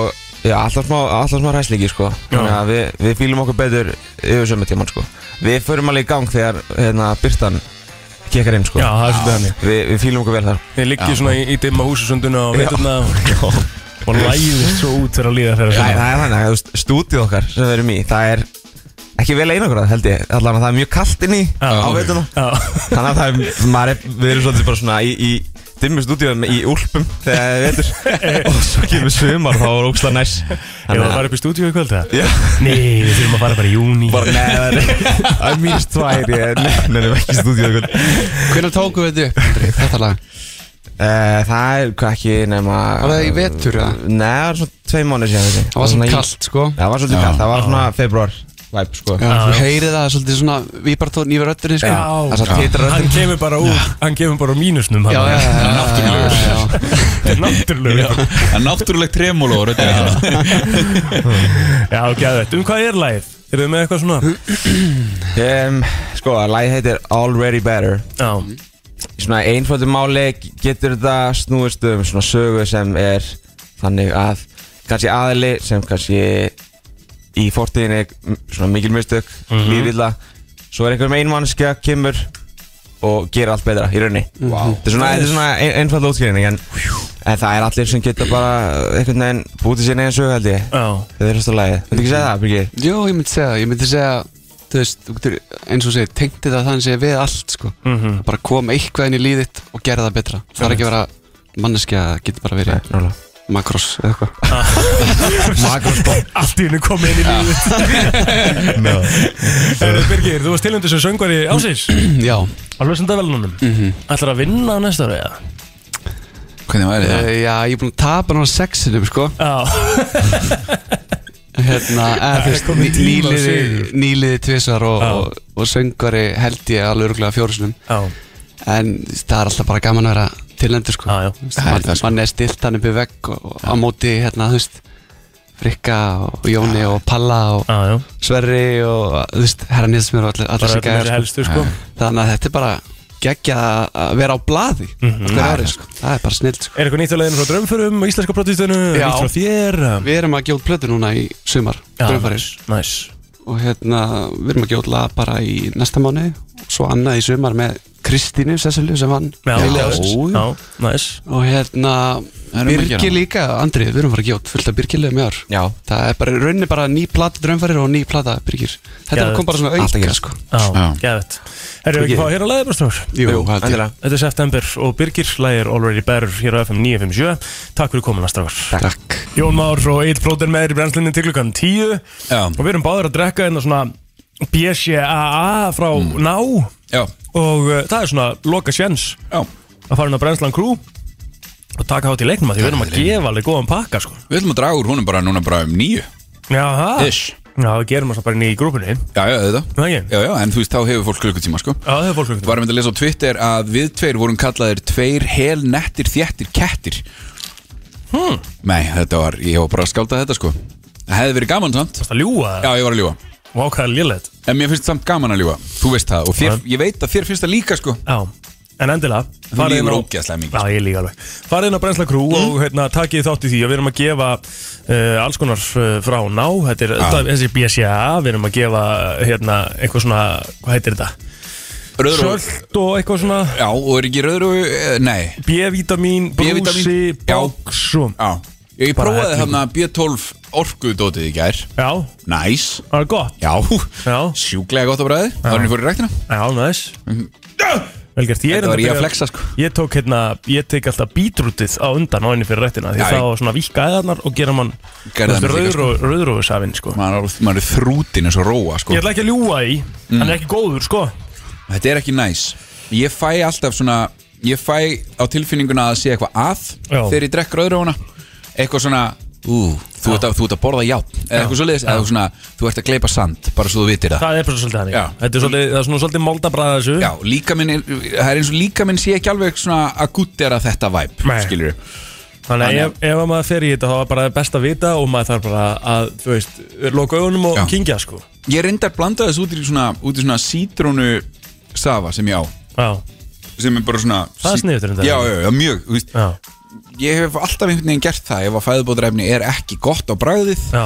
Speaker 4: já, alltaf smá, alltaf smá hræslingi sko. Þannig að við, við fýlum okkur betur yfir sömu tíman sko. Við förum alveg í gang þegar hérna, byrtan kekkar inn sko.
Speaker 1: Já, það er svolítið þannig
Speaker 4: Við, við fýlum okkur vel þar.
Speaker 1: Ég liggi svona í, í dimma húsusunduna og veiturna og, og læðist svo út þegar að líða þeirra
Speaker 4: Það,
Speaker 1: svona
Speaker 4: það er þannig að þú veist, stúdíu okkar sem við erum í, það er ekki vel einangrað held ég, allavega það er mjög kallt inn í á
Speaker 1: Já.
Speaker 4: veitunum.
Speaker 1: Já,
Speaker 4: Þannig að það er, maður er, við erum svolítið bara svona í, í dimmu stúdíum í úlpum þegar það er vetur og svo kemur sumar þá er ógslag næs
Speaker 1: ég var að
Speaker 4: Þannig
Speaker 1: fara upp í stúdíu í kvöld það
Speaker 4: Já.
Speaker 1: Nei, við þurfum að fara bara í júni
Speaker 4: bara neðar Það er mínst tvær, ég nefnum ekki sko. stúdíu eitthvað
Speaker 5: Hvernig tóku við þetta upp, Andri, þetta lag?
Speaker 4: Eh, Það er hvað ekki nema
Speaker 5: Var það í vetur, eða?
Speaker 4: Nei, það var svona tvei mánu síðan held ég.
Speaker 5: Það var
Speaker 4: Svona
Speaker 5: svona
Speaker 4: í-
Speaker 5: kallt, sko
Speaker 4: Já, Það var svolítið kallt, það var svona februar væp sko
Speaker 5: Já, þú heyrið það, svolítið svona vibartón yfir öttinni, sko
Speaker 1: Já.
Speaker 4: Það er svo titra
Speaker 1: Hann kemur bara úr, hann kemur bara úr mínusnum
Speaker 5: já, já, já
Speaker 2: Náttúrulegur.
Speaker 5: já, já.
Speaker 1: Náttúrulega
Speaker 2: Það er náttúrulegt tremólu og röddina
Speaker 1: Já, gæðvett, um hvað er lagið? Eru þið með eitthvað svona?
Speaker 4: um, Sko, lagi heitir Already Better
Speaker 1: Já,
Speaker 4: Í svona einföldu máli getur þetta snúist um svona sögu sem er þannig að kannski aðili sem kannski í fortíðinni m- svona mikil mistök, mm
Speaker 1: Mhm.
Speaker 4: -hmm. svo er einhver með einmannskja, kemur og gera allt betra í raunni
Speaker 1: Mhm.
Speaker 4: wow. þetta er svona, þetta er svona ein, einföld útskýrning en, en það er allir sem geta bara einhvern veginn bútið sér neginn sögu held ég
Speaker 1: já,
Speaker 4: þetta er hlusta lagið, þetta ekki segja það Birgir?
Speaker 5: Jú, ég myndi segja það, ég myndi segja Þú veist, þú getur, eins og segir, tengdi það þannig segja við allt, sko
Speaker 1: Mhm.
Speaker 5: Bara kom eitthvað inn í líðitt og gera það betra Það er ekki að vera manneskja, það getur bara verið
Speaker 4: Nála.
Speaker 5: makross eða eitthvað
Speaker 1: allt í hennu komið inn í lífið Herru, Birgir, þú varst tilhendur sem söngvari ásins
Speaker 5: Já, Mhm.
Speaker 1: á hlustenda velunum Ætlar að vinna á næsta ári, eða?
Speaker 2: Hvernig væri það?
Speaker 5: Eh, Já, ég er búin að tapa náttúrulega sexinum sko
Speaker 1: Já,
Speaker 5: hérna, eða, þú veist,
Speaker 1: komið
Speaker 5: ný-
Speaker 1: tími á
Speaker 5: nýliði,
Speaker 1: sigur.
Speaker 5: nýliði tvisar og,
Speaker 1: Já.
Speaker 5: og, og söngvari held ég alveg örgulega fjórusunum
Speaker 1: já,
Speaker 5: en það er alltaf bara gaman að vera tilnendur sko
Speaker 1: já, já.
Speaker 2: Það er
Speaker 5: Man,
Speaker 2: það, sko.
Speaker 5: mann er stilt hann upp í vegg og, og á móti hérna, þú veist Frikka og Jóni og Palla og
Speaker 1: Já, já,
Speaker 5: Sverri og þú veist, herra Nilsmjör og allir, allir
Speaker 1: bara
Speaker 5: sem
Speaker 1: öllum þessi
Speaker 5: gæjar sko.
Speaker 1: helstu sko
Speaker 5: þannig að þetta er bara geggja að vera á blaði
Speaker 1: Mhm.
Speaker 5: mm ári, sko. það er bara snill sko.
Speaker 1: Er eitthvað nýtt að leiðinu frá drömfurum og íslenska plötustöðinu?
Speaker 5: Já.
Speaker 1: Nýtt frá þér? ehm.
Speaker 5: við erum að gjóð plötu núna í sumar
Speaker 1: Já,
Speaker 5: draumfarir
Speaker 1: Næs
Speaker 5: og hérna við erum að gjóðla bara í næsta mánu og svo annað í sumar með Kristínu Sessilju sem vann
Speaker 1: Já,
Speaker 5: Lily
Speaker 1: já,
Speaker 5: Ásins.
Speaker 1: já, næs
Speaker 5: og hérna
Speaker 2: Það erum við að
Speaker 5: Birgir
Speaker 2: gera.
Speaker 5: líka, Andri, við erum að fara að gjóð fullt af Birgir liðum í ár
Speaker 4: Já,
Speaker 5: það er bara, í rauninni bara ný plata draumfærir og ný plata Birgir þetta
Speaker 1: Geðveikt.
Speaker 5: kom bara svona
Speaker 4: Allt að
Speaker 5: auka
Speaker 4: gera.
Speaker 5: sko
Speaker 1: Já,
Speaker 2: Já.
Speaker 1: geðvett Erum við ekki
Speaker 5: Ekki-
Speaker 1: að fá hér að leiða bara snur?
Speaker 5: Jú,
Speaker 4: endilega
Speaker 1: Þetta er september og Birgir lægir Already Better hér á FM 957 Takk fyrir komuna strafar
Speaker 5: Takk
Speaker 1: Jón Már og Egil Plóter með þér í brennslinni til klukkan 10
Speaker 2: Já,
Speaker 1: og við erum báðir að drekka einna svona BCAA frá mm. Ná
Speaker 2: já,
Speaker 1: og uh, það er svona loka sjens
Speaker 2: já
Speaker 1: að fara inn á brennslan krú og taka hát í leiknum að því við erum að gefa alveg góðan pakka sko.
Speaker 2: Við ætlum að draga úr honum bara núna bara um nýju
Speaker 1: Jaha,
Speaker 2: Ish.
Speaker 1: já, við gerum það bara inn í grúpunni
Speaker 2: Já, já, þetta
Speaker 1: Það ekki?
Speaker 2: Já, já, en þú veist, þá hefur fólk klukkutíma, sko
Speaker 1: Já, það er fólk
Speaker 2: Varum við að lesa á Twitter að við tveir vorum kallaðir tveir hel nettir þjættir kettir hmm. Nei, þetta var, ég hef bara að skálda þetta, sko Það hefði verið gaman samt
Speaker 1: Það ljúa,
Speaker 2: Já, ég var að ljúga
Speaker 1: vákaða lélegt
Speaker 2: En mér finnst samt gaman að ljúga, þú veist það Og þér, ég veit að þér finnst það líka, sko
Speaker 1: Já, en endilega farið inn
Speaker 2: lýgur
Speaker 1: á-
Speaker 2: ógeðslega mikið. sko. Mm.
Speaker 1: Já, ég líka alveg Farið inn á Brensla Crew og hérna, takið þátt í því og við erum að gefa uh, alls konar uh, frá ná Þetta er það, þessi BSA, við erum að gefa hérna, eitthvað svona, hvað heitir þetta?
Speaker 2: Rauður og-
Speaker 1: Sölt og eitthvað svona
Speaker 2: Já, og er ekki rauður og, eh, nei
Speaker 1: B-vitamin, brúsi,
Speaker 2: B-vítamín, já.
Speaker 1: bóks og...
Speaker 2: Já, ég
Speaker 1: Bara
Speaker 2: prófaði
Speaker 1: hellingur.
Speaker 2: þarna B12 orkuðdótið í gær
Speaker 1: Já,
Speaker 2: Næs,
Speaker 1: það er gott
Speaker 2: já,
Speaker 1: Já,
Speaker 2: sjúklega gott að bræði Það var henni fór í ræktina Mhm.
Speaker 1: já, næs Velgert, ég er enda
Speaker 2: Þetta var ég að
Speaker 1: byrjaður-
Speaker 2: flexa, sko.
Speaker 1: Ég tók hérna, ég tek alltaf bítrútið á undan á henni fyrir rættina Því
Speaker 2: Já,
Speaker 1: þá svona vikka æðarnar og gera mann
Speaker 2: Gerði hann líka, sko.
Speaker 1: Rauðrófusafinn, sko
Speaker 2: Maður er, maður er þrútin eins og róa sko.
Speaker 1: Ég ætla ekki að ljúa í, hann er ekki góður, sko
Speaker 2: Þetta er ekki næs Ég fæ alltaf svona Ég fæ á tilfinninguna að sé eitthvað að
Speaker 1: Já.
Speaker 2: Þegar ég drekk rauður á hana Eitthvað svona Ú, þú, ert að, þú ert að borða játn eða eitthvað svoleiðis, eða svona, þú ert að gleypa sand bara svo þú vitir það
Speaker 1: Það er bara svolítið hannig
Speaker 2: Já.
Speaker 1: Þetta er svolítið, það er svona svolítið moldabræða þessu
Speaker 2: Já, líka minn, er, það er eins og líka minn sé ekki alveg svona að guttera þetta væp
Speaker 1: Nei.
Speaker 2: skilur
Speaker 1: Þannig að
Speaker 2: Þannig
Speaker 1: ef, ef að maður fer í þetta þá er bara best að vita og maður þarf bara að, þú veist, loka augunum og
Speaker 2: Já.
Speaker 1: kingja, sko
Speaker 2: Ég reyndar blanda þessu út í svona, út í svona sítrónu safa sem ég á
Speaker 1: Já,
Speaker 2: sem er bara svona
Speaker 1: Það er sniðugt reyndar.
Speaker 2: Já, já, já, mjög þú veist,
Speaker 1: já,
Speaker 2: Ég hef alltaf einhvern veginn gert það ef að fæðubótrefni er ekki gott á bragðið
Speaker 1: já,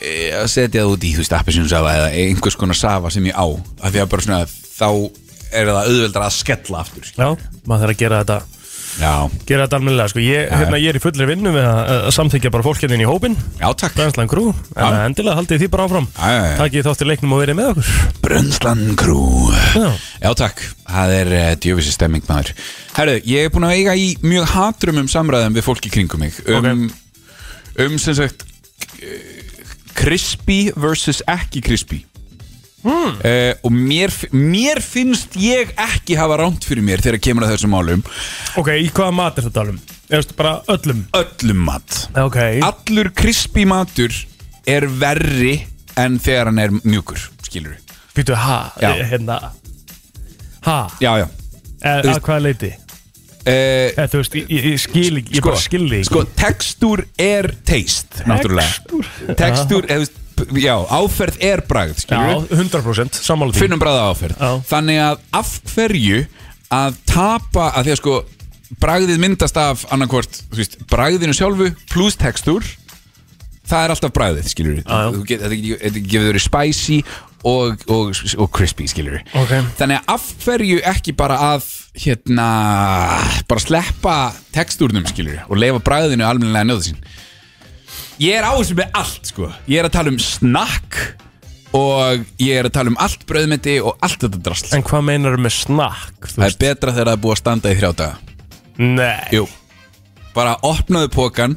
Speaker 2: e, að setja það út í, þú veist, appisjónsafa eða einhvers konar safa sem ég á af því að bara svona, þá er það auðveldra að skella aftur skilur.
Speaker 1: já, maður þarf að gera þetta
Speaker 2: Já,
Speaker 1: gera þetta almennilega sko. ég, hérna, ég er í fullri vinnu með að, að samþykja bara fólk hérna inn í hópin
Speaker 2: já, takk
Speaker 1: Brænslan Krú, en
Speaker 2: Já.
Speaker 1: endilega haldið því bara áfram
Speaker 2: Já, já, já.
Speaker 1: Takið þátt í leiknum og verið með okkur
Speaker 2: Brönnslan Krú
Speaker 1: Já.
Speaker 2: Já takk, það er uh, djöfisir stemming maður Herru, ég er búin að eiga í mjög hatrumum samræðum við fólki kringum mig um, um sem sagt eh, crispy versus ekki crispy mm.
Speaker 1: Hmm.
Speaker 2: og mér, fi- mér finnst ég ekki hafa rámt fyrir mér þegar kemur að þessum málum
Speaker 1: Ok, í hvaða mat er þetta alveg? Eftir bara öllum
Speaker 2: öllum mat
Speaker 1: Ok,
Speaker 2: allur crispy matur er verri en þegar hann er mjúkur skilur við
Speaker 1: býtu ha,
Speaker 2: Já.
Speaker 1: eh, hérna Ha,
Speaker 2: Já, já
Speaker 1: e, að
Speaker 2: veist-
Speaker 1: hvaða leiti?
Speaker 2: uh,
Speaker 1: E, þú veist, ég, ég, ég skil ekki, ég bara skil ekki
Speaker 2: sko, textúr er taste náttúrulega textúr, eða, þú veist, já, áferð er bragð
Speaker 1: Já,
Speaker 2: skilur við
Speaker 1: 100% sammála því
Speaker 2: finnum bræða áferð
Speaker 1: Já.
Speaker 2: þannig að af hverju að tapa að því að sko bragðið myndast af annarkvort þú veist, bragðinu sjálfu pluss textúr það er alltaf bragðið skilur við
Speaker 1: Já, já.
Speaker 2: Þú get- þetta getur- þetta getur verið spicy og, og, og crispy skilur við
Speaker 1: Ok.
Speaker 2: þannig að af hverju ekki bara að hérna bara sleppa textúrnum skilur við og leifa bragðinu almennilega að njóta sín ég er á þessu með allt sko ég er að tala um snakk og ég er að tala um allt bröðmeti og allt þetta drasl
Speaker 1: En hvað meinar með snakk? þú
Speaker 2: það er
Speaker 1: veist?
Speaker 2: betra þegar það er búið að standa í þrjá daga
Speaker 1: Nei,
Speaker 2: jú bara opnaðu pókan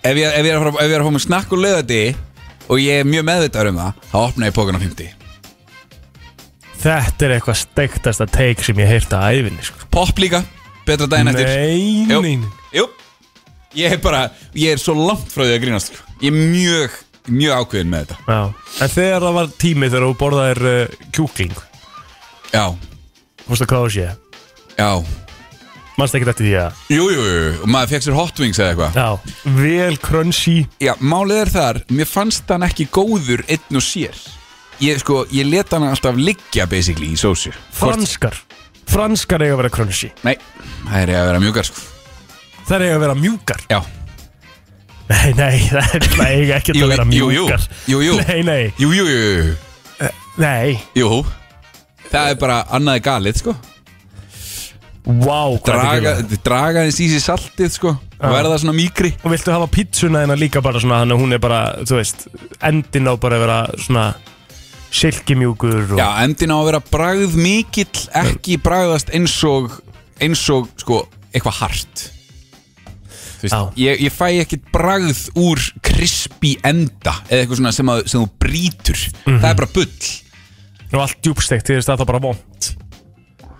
Speaker 2: ef ég, ef ég, er, að fara, ef ég er að fá mig snakk og lögati og ég er mjög meðvitaður um það þá opnaðu ég pókan á 50
Speaker 1: þetta er eitthvað steiktasta take sem ég heyrta að æfinni sko.
Speaker 2: pop líka betra daginn eftir
Speaker 1: Nei,
Speaker 2: Jú,
Speaker 1: nei,
Speaker 2: jú Ég er bara, ég er svo langt frá því að grínast sko. Ég er mjög, mjög ákveðin með þetta
Speaker 1: Já. En þegar það var tími þegar þú borðaðir uh, kjúkling
Speaker 2: Já,
Speaker 1: Fórstu að hvað þú sé
Speaker 2: já
Speaker 1: Manst ekki eftir því að
Speaker 2: Jú, jú, jú, og maður fekk sér hot wings eða eitthvað
Speaker 1: Já, vel crunchy
Speaker 2: Já, málið er þar, mér fannst hann ekki góður einn og sér Ég, sko, ég let hann alltaf liggja basically í sósu Hvort-
Speaker 1: Franskar Franskar eiga að vera crunchy
Speaker 2: Nei, það er að vera mjúkar sko
Speaker 1: Það eiga að vera mjúkar
Speaker 2: Já,
Speaker 1: Nei, nei, það er- það eiga ekki
Speaker 2: Jú,
Speaker 1: að vera
Speaker 2: jú, jú.
Speaker 1: mjúkar
Speaker 2: Jú, jú.
Speaker 1: Nei, nei, Eh,
Speaker 2: jú, jú, jú, jú,
Speaker 1: nei
Speaker 2: jú Það er bara annaði galið sko
Speaker 1: Vá, wow, hvað
Speaker 2: Draga,
Speaker 1: þetta er
Speaker 2: draga þess í sig saltið sko Og verða svona mýkri
Speaker 1: Ah. Og viltu hafa pítsuna hérna líka bara svona Þannig að hún er bara, þú veist Endin á bara að vera svona Silkimjúkur og
Speaker 2: Já, endin á að vera bragð mikill Ekki bragðast eins og Eins og sko, eitthvað hart Þú veist,
Speaker 1: Já.
Speaker 2: ég, ég fæ ekkit bragð úr krispi enda eða eitthvað svona sem, að, sem þú brýtur
Speaker 1: Mhm.
Speaker 2: það er bara bull
Speaker 1: og allt djúbstekt Því þess að það bara vond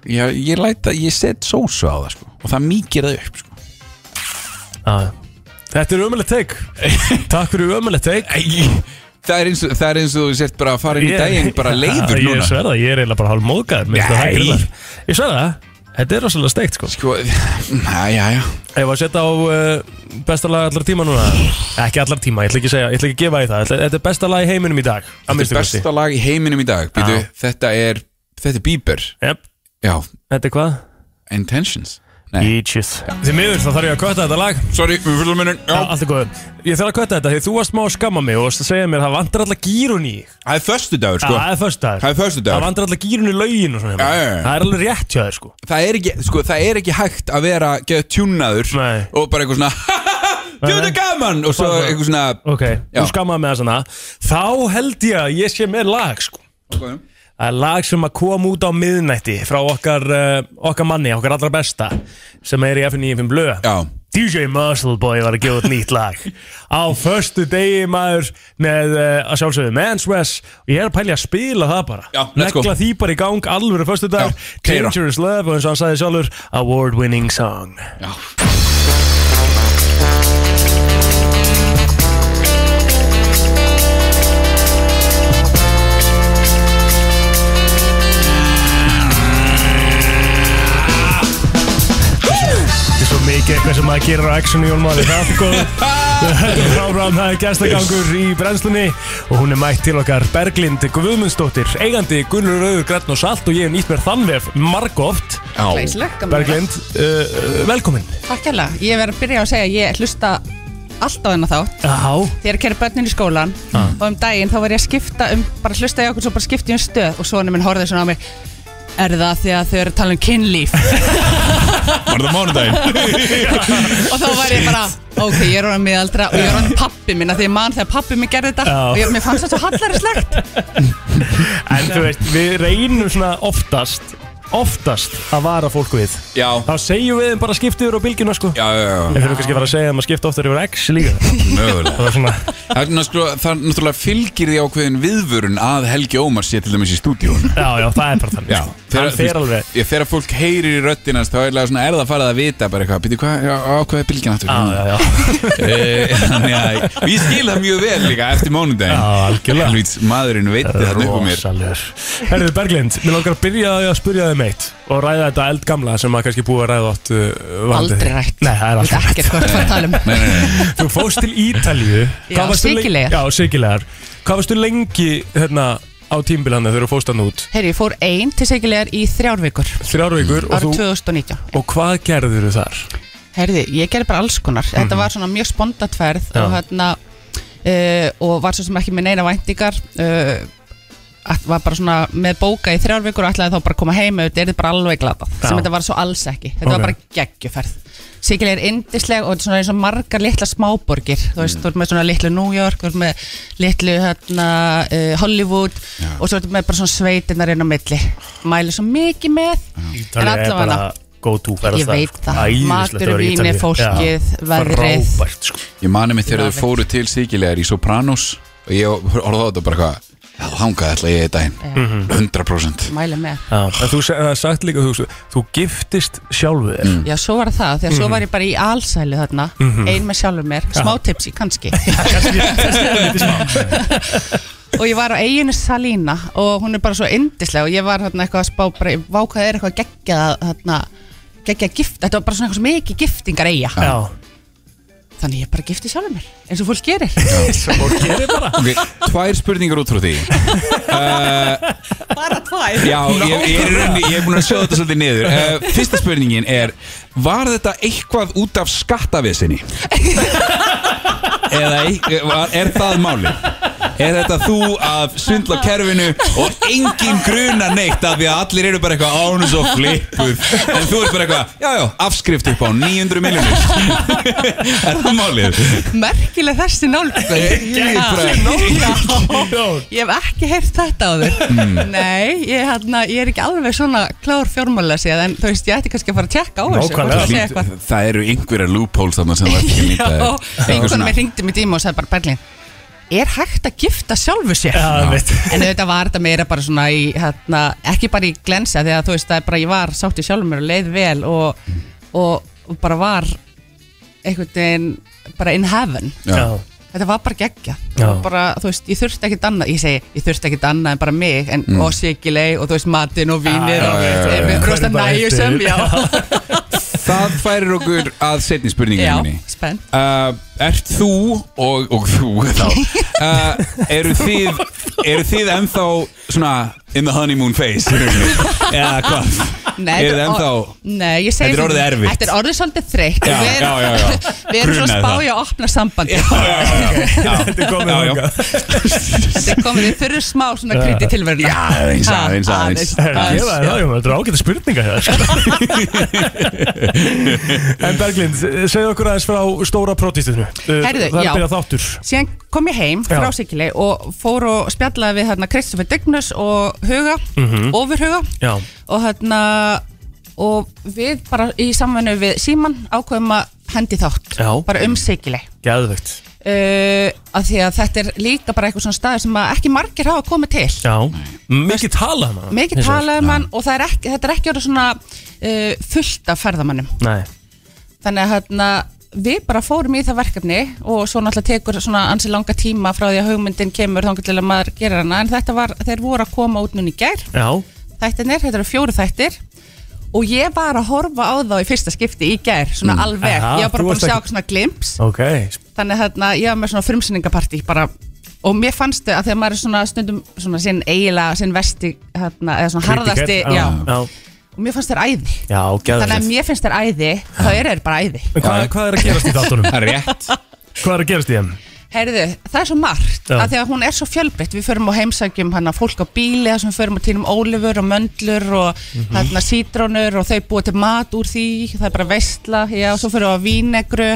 Speaker 2: ég, ég læt að ég set sósu á það sko, og það mýkir það upp sko.
Speaker 1: Já. Ah. Þetta er ömulegt teik Takk fyrir ömulegt teik
Speaker 2: Æ, það, er eins og, það er eins og þú sért bara að fara inn í daginn bara leiður
Speaker 1: Ég
Speaker 2: núna
Speaker 1: sverða, ég er eiginlega bara hálf móðgæður Ég
Speaker 2: Nei.
Speaker 1: sverða, þetta er rosalega steikt sko
Speaker 2: sko, já, já, já
Speaker 1: Ef að setja á uh, besta lag allar tíma núna Ekki allar tíma, ég ætla ekki að segja Ég ætla ekki að gefa því það Ætla- Þetta er besta lag í heiminum í dag að
Speaker 2: þetta
Speaker 1: minnsta
Speaker 2: er
Speaker 1: kosti.
Speaker 2: besta lag í heiminum í dag Býtu,
Speaker 1: Já.
Speaker 2: þetta er, þetta er Bieber
Speaker 1: Jep,
Speaker 2: já,
Speaker 1: Þetta er hvað?
Speaker 2: Intentions Nei.
Speaker 1: Beaches Þið miður þá þarf ég að kötta þetta lag
Speaker 2: sorry, við fylgum minnum
Speaker 1: Já,
Speaker 2: það
Speaker 1: Allt er góð Ég þarf að kötta þetta því þú varst má að skamma mig og varst að segja mér það vantar alltaf gírun í Já,
Speaker 2: er förstu dagur sko.
Speaker 1: Það er föstudagur
Speaker 2: Það er föstudagur.
Speaker 1: Það vantar alltaf gírun í laugin og svona hérna.
Speaker 2: Já, já, já.
Speaker 1: Það er alveg rétt hjá þér sko
Speaker 2: það, er ekki, sko, það er ekki hægt að vera geða tjúnaður
Speaker 1: Nei.
Speaker 2: og bara eitthvað svona djöðu gaman og svo
Speaker 1: Bara-
Speaker 2: eitthvað svona
Speaker 1: Ok,
Speaker 2: Já.
Speaker 1: þú skammaði mig það svona Þá held ég að ég sé með lag sko
Speaker 2: Ok.
Speaker 1: Það er lag sem að kom út á miðnætti frá okkar, uh, okkar manni, okkar allra besta sem er í FN95 Blöð
Speaker 2: Já.
Speaker 1: DJ Muscleboy var að gefa út nýtt lag á förstu degi maður með uh, að sjálfsögðu Man's West og ég er að pælja að spila það bara
Speaker 2: Já, let's go.
Speaker 1: Negla því bara í gang alvöru förstu dag
Speaker 2: Já, keyra.
Speaker 1: Dangerous Love og eins og hann sagði sjálfur Award Winning Song
Speaker 2: Já.
Speaker 1: Þetta er svo mikið eitthvað sem maður gerir á Action Jón Máli Það er allt góð Ráram, það er gæstagangur í brennslunni Og hún er mætt til okkar Berglind Guðmundsdóttir Eigandi Gunnur Rauður, Grætn og Salt Og ég hef nýtt mér þannvef margóft
Speaker 6: Glæsilegt, gamla.
Speaker 1: Berglind, uh, velkomin
Speaker 6: Takk hérlega, ég verð að byrja á að segja að ég hlusta alltaf hennar þátt
Speaker 1: Já,
Speaker 6: þegar ég kerði börnin í skólan
Speaker 1: Ah.
Speaker 6: og um daginn þá var ég að skipta um bara hlusta ég okkur svo bara skipta ég um stöð og sonur minn horfði svona á mig er það því að þau eru að tala um kynlíf
Speaker 2: var það mánudaginn
Speaker 6: og þá var ég bara, ok, ég er orðan miðaldra og ég er orðan pappi minn að því ég man þegar pappi minn gerði þetta
Speaker 1: Já.
Speaker 6: og ég, mér fannst þetta svo hallarislegt
Speaker 1: en þú veist, við reynum svona oftast Oftast að vara fólk við
Speaker 2: já,
Speaker 1: Þá segjum við þeim bara skiptiður á bylgjuna sko
Speaker 2: já, já, já,
Speaker 1: En þurfum kannski að fara að segja að maður skipta oftar yfir X líka
Speaker 2: mögulega
Speaker 1: Það er svona
Speaker 2: Það er náttúrulega, það er náttúrulega fylgir því ákveðin viðvörun að Helgi Ómar sé til dæmis í stúdíónu.
Speaker 1: Já, já, það er bara þannig sko. Hann fer alveg
Speaker 2: Ég, þegar fólk heyrir í röddinast þá er það svona, er það farið að vita bara eitthvað, býttu hvað, ákveði bylgin aftur.
Speaker 1: Ah, Já, já, já,
Speaker 2: Eh, Þannig að ég skil það mjög vel líka eftir mánudaginn.
Speaker 1: Já, algjörlega.
Speaker 2: Helvíts, maðurinn veit þetta upp á mér.
Speaker 1: Rosalegur Herðu Berglind, mér langar að byrja á því að spyrja þig meitt og ræða þetta eldgamla sem maður kannski búið að ræða átt uh, varðandi
Speaker 6: aldrei
Speaker 1: þig.
Speaker 6: rætt,
Speaker 1: Nei, það er
Speaker 6: Veit
Speaker 1: aldrei rætt
Speaker 6: ekkert hvað það að tala um
Speaker 2: Nei, nei, nei.
Speaker 1: Þú fóst til Ítalíu
Speaker 6: Já,
Speaker 1: Hvað varstu lengi-
Speaker 6: Sikileyjar.
Speaker 1: Já, sikilegar Hvað varstu lengi hérna á tímbilhannu þegar þú fóst hann út?
Speaker 6: Heyri, ég fór ein til segilegar í þrjár vikur
Speaker 1: Þrjár vikur og,
Speaker 6: árið
Speaker 1: þú,
Speaker 6: 2019
Speaker 1: og hvað gerður þú þar?
Speaker 6: Herði, ég gerði bara alls konar Þetta var svona mjög spondatferð
Speaker 1: Mhm. Já.
Speaker 6: og, hérna, uh, og var svo sem ekki með neina væntingar uh, að- var bara svona með bóka í þrjár vikur og ætlaði þá bara að koma heim auðvitað er þetta bara alveg glata
Speaker 1: Já.
Speaker 6: sem þetta var svo alls ekki Þetta
Speaker 1: Ok.
Speaker 6: var bara geggjuferð Sikilega er indisleg og þetta er svona eins og margar litla smáborgir Þú
Speaker 1: Mm.
Speaker 6: veist, þú ert með svona litlu New York Þú ert með litlu hérna, uh, Hollywood og svo ert með bara svona sveitinnar inn á milli Mæli svo mikið með En
Speaker 1: Ítalíu er
Speaker 6: allavega-
Speaker 1: bara go to ferðast
Speaker 6: Ég veit það. Matur, vínir,
Speaker 1: vínir,
Speaker 6: fólkið, veðrið.
Speaker 1: Frábært sko
Speaker 2: Ég mani mig þegar
Speaker 6: Love
Speaker 2: þau
Speaker 6: it.
Speaker 2: fóru til Sigilegar í Sopranos og ég horfði á þetta bara hvað þangað ætla ég í daginn
Speaker 6: Já.
Speaker 2: 100%
Speaker 6: mæli með
Speaker 1: Já, en þú se- það er sagt líka, þú, þú giftist sjálfu þér
Speaker 2: Mm.
Speaker 6: Já, svo var það, þegar svo var ég bara í allsælu þarna, ein með sjálfur mér, smá tipsi kannski Og ég var á eiginu Salína og hún er bara svo yndislega og ég var þarna eitthvað að spá bara, vákað er eitthvað geggjað þarna, geggjað gift, þetta var bara svona eitthvað sem ekki giftingar eiga
Speaker 1: Já,
Speaker 6: Þannig ég bara gifti sjálfur mér, eins og fólk gerir
Speaker 1: og gerir bara
Speaker 2: okay, Tvær spurningar út frá því Eh,
Speaker 6: Bara tvær
Speaker 2: Já, ég, ég, er, í rauninni- ég er búin að sjóða þetta svolítið niður uh, Fyrsta spurningin er Var þetta eitthvað út af skattavesinni? Eða ei- var- er það máli? Er þetta þú að svindla á kerfinu og engin gruna neitt af því að allir eru bara eitthvað ánus og flippuð en þú ert bara eitthvað, já, já, afskrift upp á 900 miljonir Er það málið?
Speaker 6: Merkileg þessi nálgun
Speaker 2: Geggjað.
Speaker 1: Já. Mm.
Speaker 6: Ég hef ekki heyrt þetta á þér Nei, ég, hana, ég er ekki alveg svona klár fjármálega séð En þú veist, ég ætti kannski að fara að tjekka á þessu
Speaker 1: Nákvæmlega.
Speaker 6: hvort það sé eitthvað.
Speaker 2: Það eru einhverja loopholes þarna sem það er ekki að nýta
Speaker 6: Já,
Speaker 2: Einhver
Speaker 6: einhvern
Speaker 2: svona-
Speaker 6: veginn ringdi mér tíma og sagði bara Berlín Er hægt að gifta sjálfu sér?
Speaker 1: Já, mitt
Speaker 6: En auðvitað var þetta meira bara svona í, hérna, ekki bara í glensa Þegar þú veist, það er bara, ég var sátt í sjálfur mér og leið vel Og, og, og bara var einhvern veginn, bara in heaven
Speaker 1: Já,
Speaker 6: þetta var bara geggja
Speaker 1: Já.
Speaker 6: bara, þú veist, ég þurfti ekkert annað ég segi, ég þurfti ekkert annað en bara mig en,
Speaker 2: Mm.
Speaker 6: og sikileg og þú veist matinn og vínir
Speaker 1: Ah, Já,
Speaker 6: og
Speaker 1: já, já,
Speaker 6: ég
Speaker 1: já.
Speaker 6: er rosta
Speaker 1: Hvernig bara
Speaker 6: nægjusum
Speaker 1: eftir.
Speaker 6: já,
Speaker 2: Það færir okkur að setni
Speaker 6: já,
Speaker 2: spurninginu minni
Speaker 6: spenn
Speaker 2: uh, Ert þú og, og þú þá uh, eru, þið, eru þið ennþá svona in the honeymoon phase í rauninni? Eða hvað?
Speaker 6: Nei, þetta
Speaker 2: Eru
Speaker 6: er
Speaker 2: þið ennþá
Speaker 6: or- Nei, ég segi
Speaker 2: Þetta er orðið
Speaker 6: svona-
Speaker 2: erfitt.
Speaker 6: Þetta er orðið svolítið þreytt
Speaker 2: Já,
Speaker 6: Við erum-
Speaker 2: já, já, já.
Speaker 6: Við erum svona
Speaker 2: Grunaði það.
Speaker 6: spája að opna sambandi
Speaker 1: Þetta er komið
Speaker 2: Já, já.
Speaker 1: þangað.
Speaker 6: Þetta er komið, við þurfum smá svona kriti tilveruna
Speaker 2: Já, aðeins, aðeins,
Speaker 1: Ég
Speaker 2: aðeins.
Speaker 1: var- já,
Speaker 6: aðeins
Speaker 1: já, Þetta er ágæta spurninga hér En Berglind, segðu okkur aðeins frá stóra protestinu
Speaker 6: Heyrðu,
Speaker 1: Það er
Speaker 6: já.
Speaker 1: byrjað þáttur
Speaker 6: Síðan kom ég heim
Speaker 1: Já.
Speaker 6: frá Sikilei og fór og spjallaði við hérna Kristoffer Degnus og Huga,
Speaker 2: Mhm.
Speaker 6: ofurhuga
Speaker 1: Já,
Speaker 6: og hérna og við bara í samvennu við Síman ákveðum að hendi þátt
Speaker 1: Já.
Speaker 6: bara um sikileg
Speaker 1: geðvegt
Speaker 6: uh, að því að þetta er líka bara eitthvað svona staður sem að ekki margir hafa komið til
Speaker 1: Já, mikið talað um hana
Speaker 6: mikið
Speaker 1: Hins vegar.
Speaker 6: talað um hann og það er ekki, þetta er ekki orðið svona uh, fullt af ferðamannum
Speaker 1: Nei,
Speaker 6: þannig að hérna við bara fórum í það verkefni og svo náttúrulega tekur svona ansi langa tíma frá því að hugmyndin kemur þá til að maður gerir hana en þetta var, þeir voru að koma út núna í gær
Speaker 1: já,
Speaker 6: þættirnir, þetta eru fjóru þættir og ég var að horfa á þá í fyrsta skipti í gær, svona alveg
Speaker 1: Aha,
Speaker 6: ég var bara
Speaker 1: þú
Speaker 6: búin
Speaker 1: varst
Speaker 6: að sjá
Speaker 1: ekki-
Speaker 6: svona glimps
Speaker 1: ok
Speaker 6: þannig að þarna, ég var með svona frumsýningapartí bara, og mér fannst þau að þegar maður er svona stundum svona sinn eiginlega, sinn vesti þarna, eða svona harðasti,
Speaker 1: Kritiker,
Speaker 6: já,
Speaker 1: Já,
Speaker 6: og mér fannst þér æði
Speaker 1: já
Speaker 6: þannig að
Speaker 1: geðvegt
Speaker 6: mér finnst þér æði, þá eru þeir bara æði
Speaker 1: En Hvað, hvað er að gerast í þáttunum?
Speaker 2: Það er rétt
Speaker 1: Hvað er að gerast í þeim?
Speaker 6: Heyrðu, það er svo margt
Speaker 1: Já.
Speaker 6: að því að hún er svo fjölbreytt, við förum og heimsækjum hana fólk á bíli, þessum við förum og týnum ólifur og möndlur og mm
Speaker 1: Mhm.
Speaker 6: hérna sítrónur og þau búa til mat úr því það er bara veistla, já, svo förum við á vínegru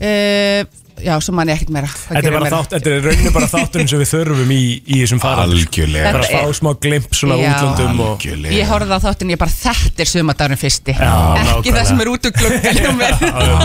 Speaker 6: uh, já, svo man ég ekkert meira Hvað
Speaker 1: Þetta
Speaker 6: geri
Speaker 1: er
Speaker 6: ég
Speaker 1: bara
Speaker 6: meira?
Speaker 1: þátt, þetta er rauninu bara þátturinn sem við þurfum í, í þessum farald
Speaker 2: Algjörlega
Speaker 1: Bara að
Speaker 6: Þetta er-
Speaker 1: fá smá glimp svona
Speaker 6: Já.
Speaker 1: útlöndum og
Speaker 6: Ég
Speaker 2: Algjörlega
Speaker 6: horfði á þáttin, ég bara þetta er sömadagurinn fyrsti
Speaker 1: Já,
Speaker 6: ekki
Speaker 1: nákvæmlega.
Speaker 6: það sem er út úr glugganum
Speaker 1: Já,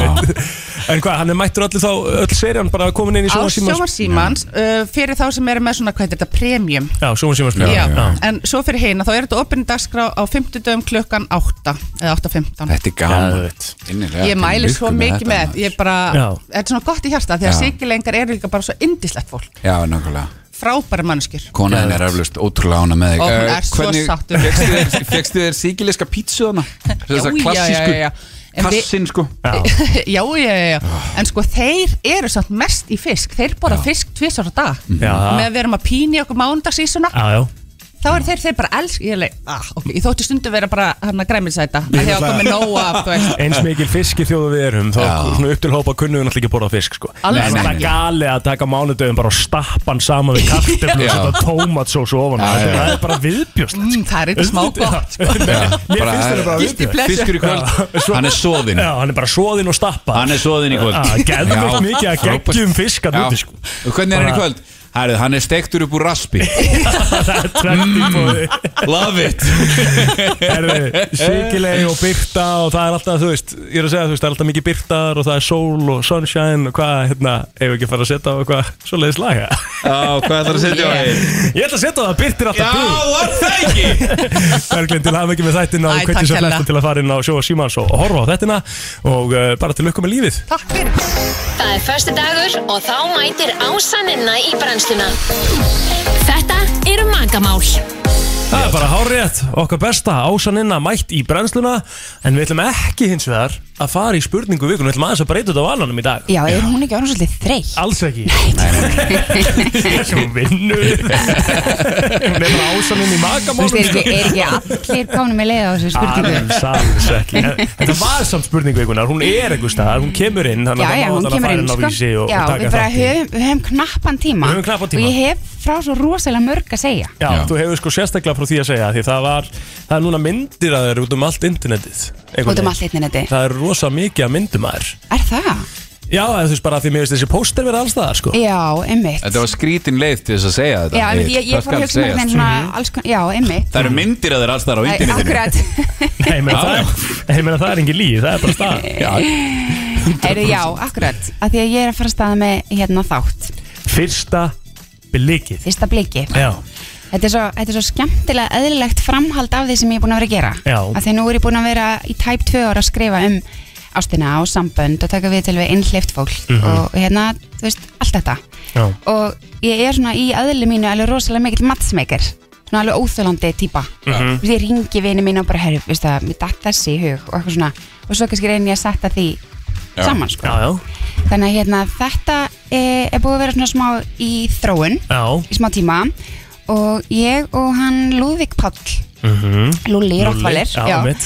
Speaker 1: einmitt. En hvað, hann er mættur allir þá öll serían bara komin inn í
Speaker 6: á
Speaker 1: Sjóma Símans
Speaker 6: sjómasímans uh, fyrir þá sem eru með svona, hvað er þetta, premium
Speaker 1: Já, Sjóma Símans
Speaker 6: Já,
Speaker 1: já.
Speaker 6: en svo fyrir heina þá er þetta opinni dagskrá á 50 dögum klukkan 8 eða 8.15
Speaker 1: Já,
Speaker 2: Þetta er gaman
Speaker 1: veit.
Speaker 2: Innilega
Speaker 6: Ég
Speaker 2: til
Speaker 6: mæli
Speaker 2: lukku
Speaker 6: svo mikið með
Speaker 2: maður.
Speaker 6: þetta Ég bara,
Speaker 1: Já.
Speaker 6: þetta er svona gott í hjarta því að
Speaker 2: Já.
Speaker 6: sikilengar eru líka bara svo indislegt fólk
Speaker 2: Já, nákvæmlega
Speaker 6: frábæri mannskjur
Speaker 2: Konaðin er aflust ótrúlega ána með þig
Speaker 6: Og hún
Speaker 2: Eh,
Speaker 6: er svo
Speaker 2: hvernig-
Speaker 6: sáttur.
Speaker 2: fékkstu þér- Fékkstu þér síkileska pítsu þarna? Þessa klassísku
Speaker 6: En við-
Speaker 2: Kassin sko
Speaker 6: já, já, já, já.
Speaker 2: Ah.
Speaker 6: En sko þeir eru samt mest í fisk Þeir borða fisk tvisar á dag
Speaker 2: Mhm.
Speaker 1: Já.
Speaker 6: Með að við erum að píni okkur mándagsísuna
Speaker 1: Já, já
Speaker 6: Þá eru þeir, þeir bara elsk Ég, er leik, ah, okay. ég þótti stundu vera bara hann að græminsæta Þegar ég var komið nóa af, þú veist
Speaker 1: Eins mikil fiski þjóðu við erum Þá svona upp til hópa kunnum við náttúrulega ekki að borða fisk sko.
Speaker 6: Alls
Speaker 1: Það er
Speaker 2: ekki.
Speaker 1: náttúrulega gali að taka mánudöðum bara og stappa hann saman við kartöflu og
Speaker 2: Já.
Speaker 1: setja tómatsós ofan á.
Speaker 2: Já,
Speaker 1: Þetta
Speaker 2: já.
Speaker 1: það er bara viðbjóst
Speaker 6: mm, Það er eitthvað smá gott
Speaker 1: Mér finnst
Speaker 2: Bara-
Speaker 1: þetta bara
Speaker 6: Guilty
Speaker 1: viðbjóst
Speaker 6: pleasure.
Speaker 2: Fiskur í kvöld Hann er soðinn
Speaker 1: Já, hann er bara svoðinn og stappa
Speaker 2: Hann er soðinn í kvöld
Speaker 1: Ah, geðveikt mikið að
Speaker 2: frábært.
Speaker 1: geggjum fisk að
Speaker 2: Já.
Speaker 1: núti sko
Speaker 2: Og Hvernig er hann í
Speaker 1: Bara-
Speaker 2: kvöld? Herðu, hann er stektur upp úr raspi
Speaker 1: Það er tvennt í bóði
Speaker 2: Mm. Love it
Speaker 1: Sikilegi og byrta og það er alltaf, þú veist Ég er að segja, þú veist, það er alltaf mikið byrtaðar og það er sól og sunshine og hvað, hérna Ef við ekki að fara að setja á eitthvað svoleiðis laga
Speaker 5: Já, hvað ætlar að setja á þig?
Speaker 1: Ég ætla að setja á það, byrtir alltaf blú
Speaker 2: var það ekki
Speaker 1: Berglind til hafa ekki með þættina
Speaker 6: Æ,
Speaker 1: og hvernig
Speaker 6: takk
Speaker 1: svo flesta
Speaker 6: kærlega.
Speaker 1: til að fara inn á sjóa símans og horfa á þættina og uh, bara til lukku með lífið
Speaker 6: Takk fyrir
Speaker 7: Það er förstu dagur og þá mætir ásaninna í brennsluna. Þetta eru magamál.
Speaker 1: Það er bara hárétt, okkar besta ásaninna mætt í brennsluna en við ætlum ekki hins vegar að fara í spurningu vikun við ætlum aðeins að breyta þetta á ananum í dag
Speaker 8: Já, er hún ekki orðin svolítið þreytt?
Speaker 1: Alls ekki Þessum vinnur Hún er bara ásaninn í
Speaker 8: Þú veist, er
Speaker 1: Ah, magamálum
Speaker 8: ekki, er ekki allir komnum með leið á þessu spurningu?
Speaker 1: Alls, alls ekki En Þetta var samt spurningu vikunar, hún er einhver staðar, hún kemur inn þannig
Speaker 8: Já,
Speaker 1: að
Speaker 8: já,
Speaker 1: það
Speaker 8: hún
Speaker 1: má alltaf að
Speaker 8: kemur
Speaker 1: fara
Speaker 8: inn,
Speaker 1: inn á
Speaker 8: sko.
Speaker 1: vísi og,
Speaker 8: Já,
Speaker 1: og
Speaker 8: við
Speaker 1: taka
Speaker 8: bara
Speaker 1: þátt í.
Speaker 8: höfum, við höfum knappan tíma.
Speaker 1: Við höfum knappan tíma.
Speaker 8: Og ég hef frá svo rosalega mörg að segja.
Speaker 1: Já, þú hefur sko sérstaklega frá því að segja því það var, það er núna myndir að þeir út um allt internetið
Speaker 8: Út
Speaker 1: einhvern
Speaker 8: um
Speaker 1: veginn.
Speaker 8: allt interneti.
Speaker 1: Það er rosa mikið að myndum að þér
Speaker 8: Er það?
Speaker 1: Já, eða þú veist bara að því mér veist þessi póster verið alls staðar sko
Speaker 8: Já, einmitt.
Speaker 2: Þetta var skrítin leið til þess að segja þetta
Speaker 8: Já, einmitt, ég, ég
Speaker 2: Það
Speaker 8: fór að
Speaker 2: skal
Speaker 8: hugsa um hérna- mér
Speaker 2: segjast.
Speaker 8: með svona alls konar, já, einmitt.
Speaker 2: Það eru myndir að þeir alls þar á
Speaker 8: Æ,
Speaker 2: internetinu
Speaker 8: Akkurat.
Speaker 1: Nei, menn það, er- ég meina, það er engin líð, það er bara stað
Speaker 2: Já,
Speaker 8: Eru, já, akkurat. Af því að ég er að fara að staða með hérna þátt.
Speaker 1: Fyrsta blikið
Speaker 8: Fyrsta bliki.
Speaker 1: Já,
Speaker 8: Þetta er, svo, þetta er svo skemmtilega eðlilegt framhald af því sem ég er búin að vera að gera.
Speaker 1: Já.
Speaker 8: Af því nú er ég búin að vera í tæp tvö ára að skrifa um ástina og sambönd og taka við til við innhleift fólk og hérna, þú veist, allt þetta.
Speaker 1: já,
Speaker 8: Og ég er svona í aðli mínu alveg rosalega mikill matchmaker, svona alveg óþjólandi típa. Mm -hmm. Ég ringi vini mín og bara, herru, veist það, mér datt þessi í hug og eitthvað svona. Og svo kannski reyni ég að setja því saman, sko.
Speaker 1: já, já,
Speaker 8: Þannig að hérna, þetta er, er búið að vera svona smá í þróun
Speaker 1: já.
Speaker 8: í smá tíma og ég og hann Lúðvík Páll
Speaker 1: Mm
Speaker 2: Mhm.
Speaker 1: -hmm.
Speaker 8: Lúli Rottvalir
Speaker 1: já, mitt.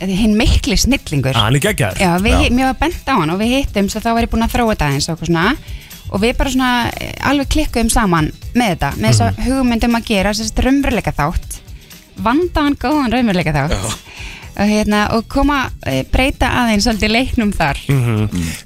Speaker 8: hinn mikli snillingur
Speaker 1: Hann er geggjar
Speaker 8: já, við, mér var bent á hann og við hittum svo þá var ég búin að þróa þetta eins og eitthvað svona og við bara svona eh, alveg klikkuðum saman með þetta, með þess
Speaker 1: Mhm.
Speaker 8: að hugmyndum að gera þess að raumveruleika þátt vandaðan góðan raumveruleika þátt og, hérna, og koma eh, breyta aðeins svolítið leiknum þar